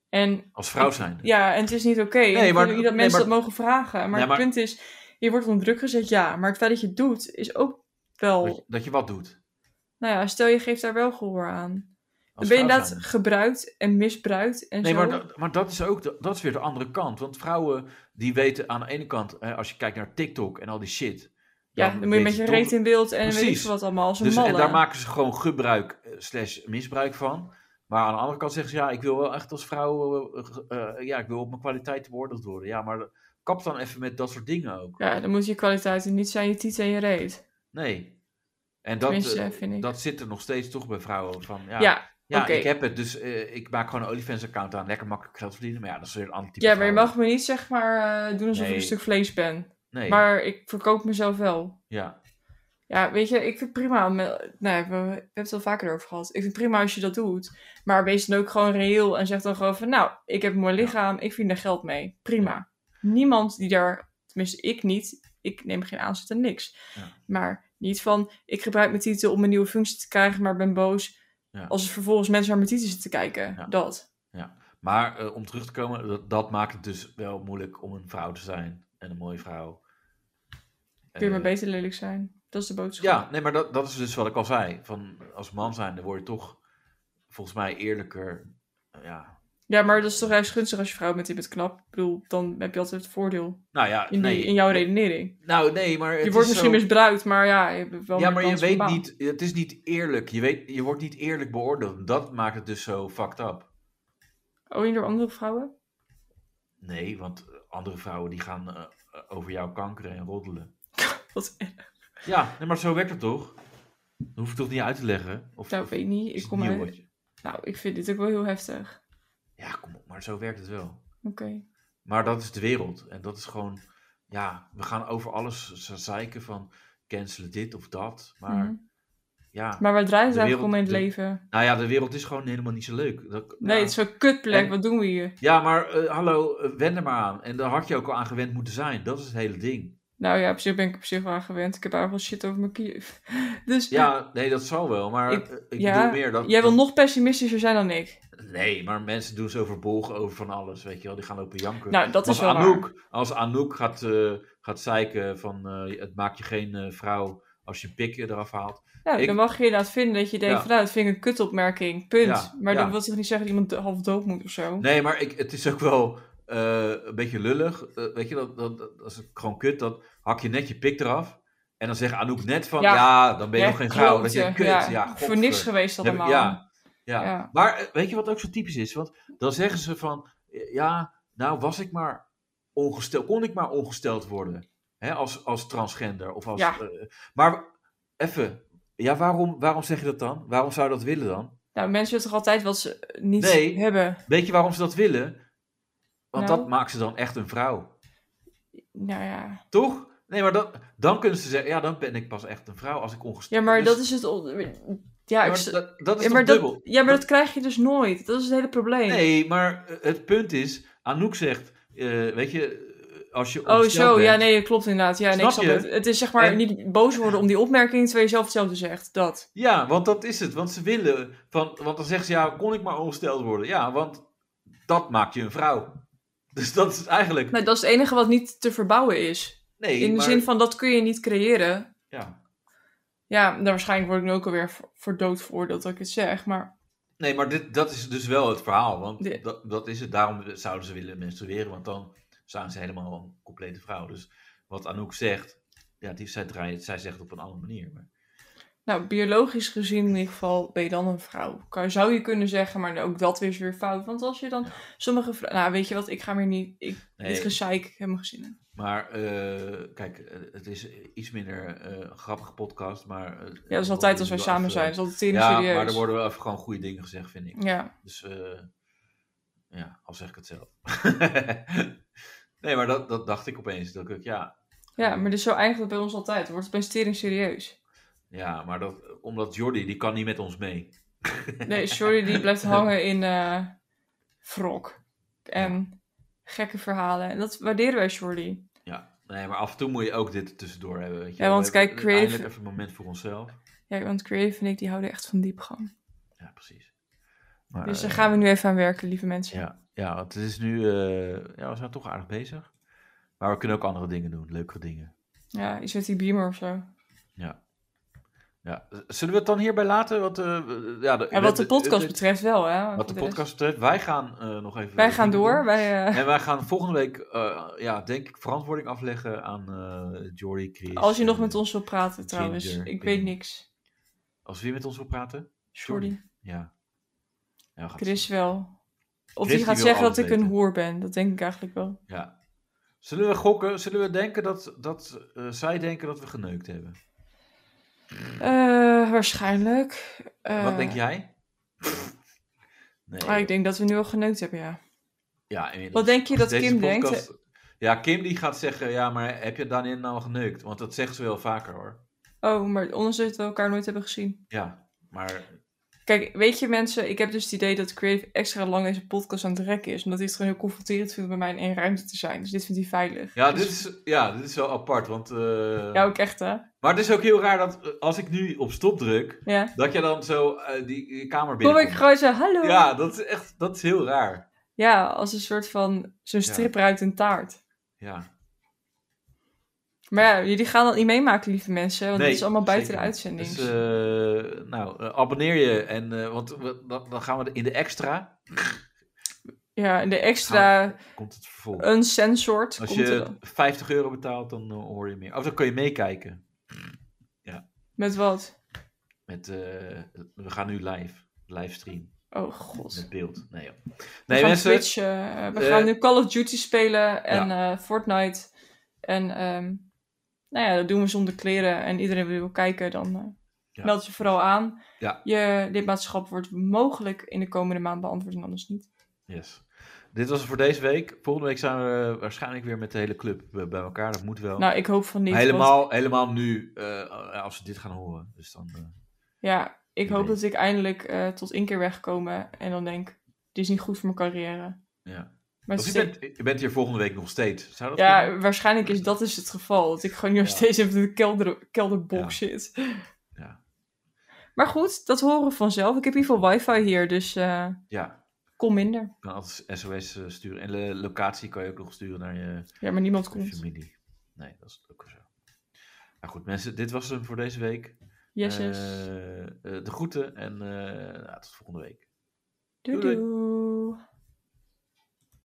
Speaker 3: En
Speaker 2: Als vrouw zijn.
Speaker 3: ja, en het is niet oké. En ik
Speaker 2: maar-
Speaker 3: vind ook niet
Speaker 2: nee,
Speaker 3: dat mensen
Speaker 2: maar-
Speaker 3: dat mogen vragen. Maar
Speaker 2: Nee,
Speaker 3: het
Speaker 2: maar-
Speaker 3: punt is, je wordt onder druk gezet, ja. Maar het feit dat je het doet, is ook wel...
Speaker 2: Dat, je- dat je wat doet.
Speaker 3: Nou ja, stel je geeft daar wel gehoor aan. Dan
Speaker 2: als
Speaker 3: ben je
Speaker 2: vrouw
Speaker 3: inderdaad
Speaker 2: zijnde.
Speaker 3: gebruikt en misbruikt en
Speaker 2: Nee,
Speaker 3: zo.
Speaker 2: maar, dat- maar dat is ook de- dat is weer de andere kant. Want vrouwen die weten aan de ene kant, hè, als je kijkt naar TikTok en al die shit.
Speaker 3: ja, dan moet je met je
Speaker 2: weten
Speaker 3: reet in beeld en weet ik
Speaker 2: Precies.
Speaker 3: veel wat allemaal. Als een
Speaker 2: dus,
Speaker 3: malle.
Speaker 2: En daar maken ze gewoon gebruik eh, slash misbruik van. Maar aan de andere kant zeggen ze, ja, ik wil wel echt als vrouw, eh, eh, eh, ja, ik wil op mijn kwaliteit beoordeeld worden. Ja, maar kap dan even met dat soort dingen ook.
Speaker 3: Ja, dan moet je kwaliteiten niet zijn je tieten en je reet.
Speaker 2: Nee. En dat,
Speaker 3: Tenminste,
Speaker 2: eh,
Speaker 3: vind ik.
Speaker 2: dat zit er nog steeds toch bij vrouwen. Van, ja,
Speaker 3: Ja,
Speaker 2: ja,
Speaker 3: oké.
Speaker 2: ik heb het, dus eh, ik maak gewoon een OnlyFans-account aan. Lekker makkelijk geld verdienen. Maar ja, dat is weer een ander type
Speaker 3: ja, maar je
Speaker 2: vrouw.
Speaker 3: mag me niet zeg maar eh, doen alsof ik
Speaker 2: Nee.
Speaker 3: een stuk vlees ben.
Speaker 2: Nee,
Speaker 3: Maar ik verkoop mezelf wel.
Speaker 2: ja.
Speaker 3: Ja, weet je, ik vind prima. om- Nee, we, we hebben het al vaker over gehad. Ik vind prima als je dat doet. Maar wees dan ook gewoon reëel en zeg dan gewoon van... Nou, ik heb een mooi lichaam, ik vind daar geld mee. Prima. Niemand die daar... Tenminste, ik niet. Ik neem geen aanzet en niks.
Speaker 2: Ja.
Speaker 3: Maar niet van... Ik gebruik mijn titel om een nieuwe functie te krijgen, maar ben boos...
Speaker 2: Ja.
Speaker 3: Als er vervolgens mensen naar mijn titel zitten kijken.
Speaker 2: Ja.
Speaker 3: Dat.
Speaker 2: Maar eh, om terug te komen, dat, dat maakt het dus wel moeilijk om een vrouw te zijn. En een mooie vrouw.
Speaker 3: Kun je maar
Speaker 2: Eh,
Speaker 3: beter lelijk zijn. Dat is de boodschap.
Speaker 2: Ja, nee, maar dat, dat is dus wat ik al zei. Van, als man zijn, dan word je toch volgens mij eerlijker. eh, ja.
Speaker 3: Ja, maar dat is toch juist gunstig als je vrouw bent die bent knap. Ik bedoel, dan heb je altijd het voordeel
Speaker 2: Nou ja,
Speaker 3: in,
Speaker 2: nee.
Speaker 3: die, in jouw redenering.
Speaker 2: Nou, nee, maar.
Speaker 3: Je
Speaker 2: het
Speaker 3: wordt
Speaker 2: is
Speaker 3: misschien
Speaker 2: zo-
Speaker 3: misbruikt, maar ja, je hebt wel
Speaker 2: Ja,
Speaker 3: meer
Speaker 2: maar je
Speaker 3: kans op
Speaker 2: weet
Speaker 3: een baan.
Speaker 2: niet. Het is niet eerlijk. Je, weet, je wordt niet eerlijk beoordeeld. Dat maakt het dus zo fucked up.
Speaker 3: Oh, en door andere vrouwen?
Speaker 2: Nee, want eh, andere vrouwen die gaan eh, eh, over jou kankeren en roddelen.
Speaker 3: Wat, [LAUGHS]
Speaker 2: Ja, nee, maar zo werkt het toch? Dat hoef je toch niet uit te leggen? Of,
Speaker 3: nou,
Speaker 2: of
Speaker 3: weet ik niet.
Speaker 2: is
Speaker 3: Ik
Speaker 2: het
Speaker 3: kom
Speaker 2: nieuw
Speaker 3: uit.
Speaker 2: wat je-
Speaker 3: Nou, ik vind dit ook wel heel heftig.
Speaker 2: Ja, kom op, maar zo werkt het wel.
Speaker 3: Oké.
Speaker 2: Maar dat is de wereld. En dat is gewoon, ja, we gaan over alles z- zeiken van cancelen dit of dat. Maar
Speaker 3: Mhm.
Speaker 2: ja,
Speaker 3: Maar waar draait het
Speaker 2: De
Speaker 3: eigenlijk om in
Speaker 2: wereld-
Speaker 3: het
Speaker 2: de-
Speaker 3: leven?
Speaker 2: nou ja, de wereld is gewoon helemaal niet zo leuk. Dat-
Speaker 3: Nee,
Speaker 2: ja.
Speaker 3: het is zo'n kutplek.
Speaker 2: En-
Speaker 3: Wat doen we hier?
Speaker 2: Ja, maar eh, hallo, eh, wend er maar aan. En daar had je ook al aan gewend moeten zijn. Dat is het hele ding.
Speaker 3: Nou ja, op zich ben ik op zich wel aan gewend. Ik heb eigenlijk wel shit over mijn kief. [LAUGHS] Dus
Speaker 2: Ja, nee, dat zal wel. Maar
Speaker 3: Ik-
Speaker 2: eh, ik,
Speaker 3: ja,
Speaker 2: bedoel meer dat...
Speaker 3: jij wil
Speaker 2: dat-
Speaker 3: nog pessimistischer zijn dan ik.
Speaker 2: Nee, maar mensen doen zo verbolgen over van alles, weet je wel. Die gaan lopen janken.
Speaker 3: Nou, dat
Speaker 2: als,
Speaker 3: is wel waar.
Speaker 2: Anouk, als Anouk gaat, eh, gaat zeiken van eh, het maakt je geen eh, vrouw als je pik eraf haalt.
Speaker 3: Ja,
Speaker 2: Ik-
Speaker 3: dan mag je inderdaad vinden dat je denkt
Speaker 2: Ja.
Speaker 3: van nou, dat vind ik een kutopmerking, punt.
Speaker 2: Ja,
Speaker 3: maar
Speaker 2: ja.
Speaker 3: dat wil toch niet zeggen dat iemand do- half dood moet of zo?
Speaker 2: Nee, maar ik, het is ook wel eh, een beetje lullig. Eh, weet je, dat, dat, dat, dat is gewoon kut. Dan hak je net je pik eraf. En dan zegt Anouk net van, ja,
Speaker 3: Ja.
Speaker 2: dan ben je
Speaker 3: Ja,
Speaker 2: nog geen vrouw. Dat
Speaker 3: klote,
Speaker 2: je kut, ja,
Speaker 3: ja. Voor niks geweest
Speaker 2: Heb ik-
Speaker 3: allemaal.
Speaker 2: ja, ja.
Speaker 3: Ja.
Speaker 2: Maar eh, weet je wat ook zo typisch is? Want dan zeggen ze van, eh, ja, nou was ik maar ongesteld, kon ik maar ongesteld worden hè, als, als transgender. Of als,
Speaker 3: Ja.
Speaker 2: eh, maar even, ja, waarom, waarom zeg je dat dan? Waarom zou je dat willen dan?
Speaker 3: Nou, mensen willen toch altijd wat ze eh, niet
Speaker 2: Nee.
Speaker 3: hebben?
Speaker 2: Weet je waarom ze dat willen? Want
Speaker 3: Nou.
Speaker 2: dat maakt ze dan echt een vrouw.
Speaker 3: Nou ja.
Speaker 2: Toch? Nee, maar dan, dan kunnen ze zeggen, ja, dan ben ik pas echt een vrouw als ik ongesteld
Speaker 3: Ja, maar
Speaker 2: Dus-
Speaker 3: dat is het... on- Ja,
Speaker 2: ja,
Speaker 3: ik...
Speaker 2: maar
Speaker 3: s-
Speaker 2: dat, dat is
Speaker 3: ja, maar
Speaker 2: toch
Speaker 3: dat,
Speaker 2: dubbel?
Speaker 3: ja, maar dat krijg je dus nooit. Dat is het hele probleem.
Speaker 2: Nee, maar eh, het punt is, Anouk zegt, eh, weet je, eh, als je
Speaker 3: Oh,
Speaker 2: ongesteld
Speaker 3: zo.
Speaker 2: bent-
Speaker 3: Ja, nee, dat klopt inderdaad. Ja, nee,
Speaker 2: Snap
Speaker 3: ik snap
Speaker 2: je?
Speaker 3: het. Het is zeg maar
Speaker 2: En-
Speaker 3: niet boos worden om die opmerking, terwijl je zelf hetzelfde zegt. Dat.
Speaker 2: Ja, want dat is het. Want ze willen, van, want dan zeggen ze, ja, kon ik maar ongesteld worden. Ja, want dat maakt je een vrouw. [LAUGHS] Dus dat is eigenlijk,
Speaker 3: Nou, dat is het enige wat niet te verbouwen is.
Speaker 2: nee,
Speaker 3: In de
Speaker 2: maar-
Speaker 3: zin van, dat kun je niet creëren.
Speaker 2: Ja.
Speaker 3: Ja, nou, waarschijnlijk word ik nu ook alweer voor, voor dood veroordeeld dat ik het zeg, maar...
Speaker 2: Nee, maar dit, dat is dus wel het verhaal. Want
Speaker 3: Ja.
Speaker 2: dat, dat is het. Daarom zouden ze willen menstrueren. Want dan zijn ze helemaal een complete vrouw. Dus wat Anouk zegt, ja, die, zij, draait, zij zegt het op een andere manier. Maar,
Speaker 3: Nou, biologisch gezien in ieder geval ben je dan een vrouw. Kan, zou je kunnen zeggen, maar ook dat is weer fout. Want als je dan
Speaker 2: Ja.
Speaker 3: sommige vrouwen... Nou, weet je wat, ik ga meer niet... Ik,
Speaker 2: nee,
Speaker 3: Dit gezeik, ik heb mijn gezin in.
Speaker 2: maar eh, kijk, eh, het is iets minder eh, een grappige podcast. Maar, eh,
Speaker 3: Ja, dat is
Speaker 2: we
Speaker 3: altijd
Speaker 2: worden
Speaker 3: als wij
Speaker 2: wel
Speaker 3: samen
Speaker 2: even-
Speaker 3: zijn. Dat is altijd tering
Speaker 2: Ja,
Speaker 3: serieus.
Speaker 2: maar er worden wel even gewoon goede dingen gezegd, vind ik.
Speaker 3: Ja,
Speaker 2: Dus eh, ja, al zeg ik het zelf. [LAUGHS] nee, maar dat, dat dacht ik opeens. Dat ik, ja,
Speaker 3: ja, maar dit is zo eigenlijk bij ons altijd. Er wordt opeens tering serieus.
Speaker 2: ja, maar dat, omdat Jordi, die kan niet met ons mee.
Speaker 3: Nee, sorry, die
Speaker 2: [LAUGHS]
Speaker 3: blijft hangen in eh wrok. En gekke verhalen. En dat waarderen wij, Jordi.
Speaker 2: Ja, nee, maar af en toe moet je ook dit er tussendoor hebben. Weet je.
Speaker 3: Ja,
Speaker 2: wel.
Speaker 3: want
Speaker 2: We hebben
Speaker 3: kijk, creative-
Speaker 2: eindelijk even een moment voor onszelf.
Speaker 3: Ja, want Creative en ik die houden echt van diepgang.
Speaker 2: Ja, precies. Maar,
Speaker 3: Dus daar
Speaker 2: eh,
Speaker 3: gaan we nu even aan werken, lieve mensen.
Speaker 2: ja, ja, want het is nu. eh, ja, we zijn toch aardig bezig. Maar we kunnen ook andere dingen doen, leukere dingen.
Speaker 3: Ja, iets met die beamer of zo.
Speaker 2: Ja. Zullen we het dan hierbij laten? Want, eh, we- ja, de,
Speaker 3: En wat de podcast
Speaker 2: betreft.
Speaker 3: betreft wel, hè.
Speaker 2: Wat de
Speaker 3: Voor de rest-
Speaker 2: podcast betreft, wij gaan eh, nog even.
Speaker 3: Wij gaan
Speaker 2: dingen
Speaker 3: door.
Speaker 2: doen.
Speaker 3: Wij, eh,
Speaker 2: En wij gaan volgende week, eh, ja, denk ik, verantwoording afleggen aan eh Jory, Chris.
Speaker 3: als je nog
Speaker 2: eh,
Speaker 3: met ons wil praten, trouwens.
Speaker 2: Ginger,
Speaker 3: Ik
Speaker 2: Pim.
Speaker 3: weet niks.
Speaker 2: Als wie met ons wil praten?
Speaker 3: Jordi.
Speaker 2: Ja. ja we gaan
Speaker 3: Chris wel. Of
Speaker 2: Chris,
Speaker 3: die gaat
Speaker 2: die wil
Speaker 3: zeggen
Speaker 2: alles
Speaker 3: dat ik een
Speaker 2: weten.
Speaker 3: hoer ben. Dat denk ik eigenlijk wel.
Speaker 2: Ja. Zullen we gokken? Zullen we denken dat, dat eh, zij denken dat we geneukt hebben?
Speaker 3: Eh, waarschijnlijk. Eh,
Speaker 2: Wat denk jij? [LAUGHS] nee.
Speaker 3: ah, ik denk dat we nu al geneukt hebben, ja.
Speaker 2: ja, inmiddels.
Speaker 3: Wat denk je dat
Speaker 2: Deze
Speaker 3: Kim
Speaker 2: podcast-
Speaker 3: denkt?
Speaker 2: Ja, Kim die gaat zeggen, ja, maar heb je Daniel nou geneukt? Want dat zegt ze wel vaker hoor.
Speaker 3: Oh, maar ondanks dat we elkaar nooit hebben gezien.
Speaker 2: Ja, maar
Speaker 3: Kijk, weet je mensen, ik heb dus het idee dat Creative extra lang deze podcast aan het rekken is. Omdat hij het gewoon heel confronterend vindt om bij mij in één ruimte te zijn. Dus dit vindt hij veilig.
Speaker 2: ja, dit is, ja, dit is wel apart. Want, eh,
Speaker 3: Ja, ook echt hè?
Speaker 2: Maar het is ook heel raar dat eh, als ik nu op stop druk,
Speaker 3: Ja.
Speaker 2: dat je dan zo eh, die, die kamer
Speaker 3: Kom ik
Speaker 2: binnenkomt.
Speaker 3: gewoon zo, hallo.
Speaker 2: Ja, dat is echt dat is heel raar.
Speaker 3: Ja, als een soort van zo'n
Speaker 2: Ja.
Speaker 3: stripper uit een taart. Oh,
Speaker 2: Ja,
Speaker 3: Maar ja, jullie gaan dat niet meemaken, lieve mensen. Want
Speaker 2: Nee,
Speaker 3: dit is allemaal buiten
Speaker 2: zeker
Speaker 3: de
Speaker 2: niet.
Speaker 3: uitzending.
Speaker 2: dus eh, nou, eh, abonneer je. En, eh, want we- dan, dan gaan we in de extra,
Speaker 3: Ja, en de extra
Speaker 2: komt het vervolg.
Speaker 3: uncensored
Speaker 2: Als
Speaker 3: Eh, komt er
Speaker 2: je
Speaker 3: dan.
Speaker 2: 50 euro betaalt, dan eh, hoor je meer. Of dan kun je meekijken.
Speaker 3: Met wat?
Speaker 2: Met, eh, we gaan nu live, livestream,
Speaker 3: Oh god.
Speaker 2: met beeld. Nee, joh.
Speaker 3: We
Speaker 2: nee
Speaker 3: gaan
Speaker 2: mensen,
Speaker 3: Twitch, eh, we
Speaker 2: eh,
Speaker 3: gaan nu Call of Duty spelen en eh, Fortnite. En ehm, nou ja, dat doen we zonder kleren. En iedereen die wil kijken, dan eh,
Speaker 2: Ja.
Speaker 3: meld je vooral aan.
Speaker 2: Ja.
Speaker 3: Je lidmaatschap wordt mogelijk in de komende maand beantwoord en anders niet.
Speaker 2: Yes. Dit was het voor deze week. Volgende week zijn we waarschijnlijk weer met de hele club eh, bij elkaar. Dat moet wel.
Speaker 3: Nou, ik hoop van niet. want-
Speaker 2: helemaal, helemaal nu, eh, als ze dit gaan horen. Dus dan, eh,
Speaker 3: ja, ik
Speaker 2: Wie
Speaker 3: hoop
Speaker 2: weet.
Speaker 3: dat ik eindelijk eh, tot inkeer wegkomen en dan denk, dit is niet goed voor mijn carrière.
Speaker 2: ja.
Speaker 3: Maar
Speaker 2: Of je,
Speaker 3: het is-
Speaker 2: bent, je bent hier volgende week nog steeds. Zou dat kunnen?
Speaker 3: ja, waarschijnlijk is dat is het geval. Dat ik gewoon nu nog
Speaker 2: Ja.
Speaker 3: steeds even in de kelder, kelderbox zit.
Speaker 2: Ja.
Speaker 3: Maar goed, dat horen we vanzelf. Ik heb in ieder geval wifi hier, dus eh,
Speaker 2: Ja,
Speaker 3: kom minder.
Speaker 2: je kan altijd SOS eh, sturen. En de locatie kan je ook nog sturen naar je
Speaker 3: Ja, maar niemand komt.
Speaker 2: familie. Nee, dat is ook zo. Nou goed, mensen, dit was hem voor deze week.
Speaker 3: Yes, yes.
Speaker 2: Eh, eh, de groeten en eh, nou, tot volgende week.
Speaker 3: doei.
Speaker 2: doei.
Speaker 3: doei.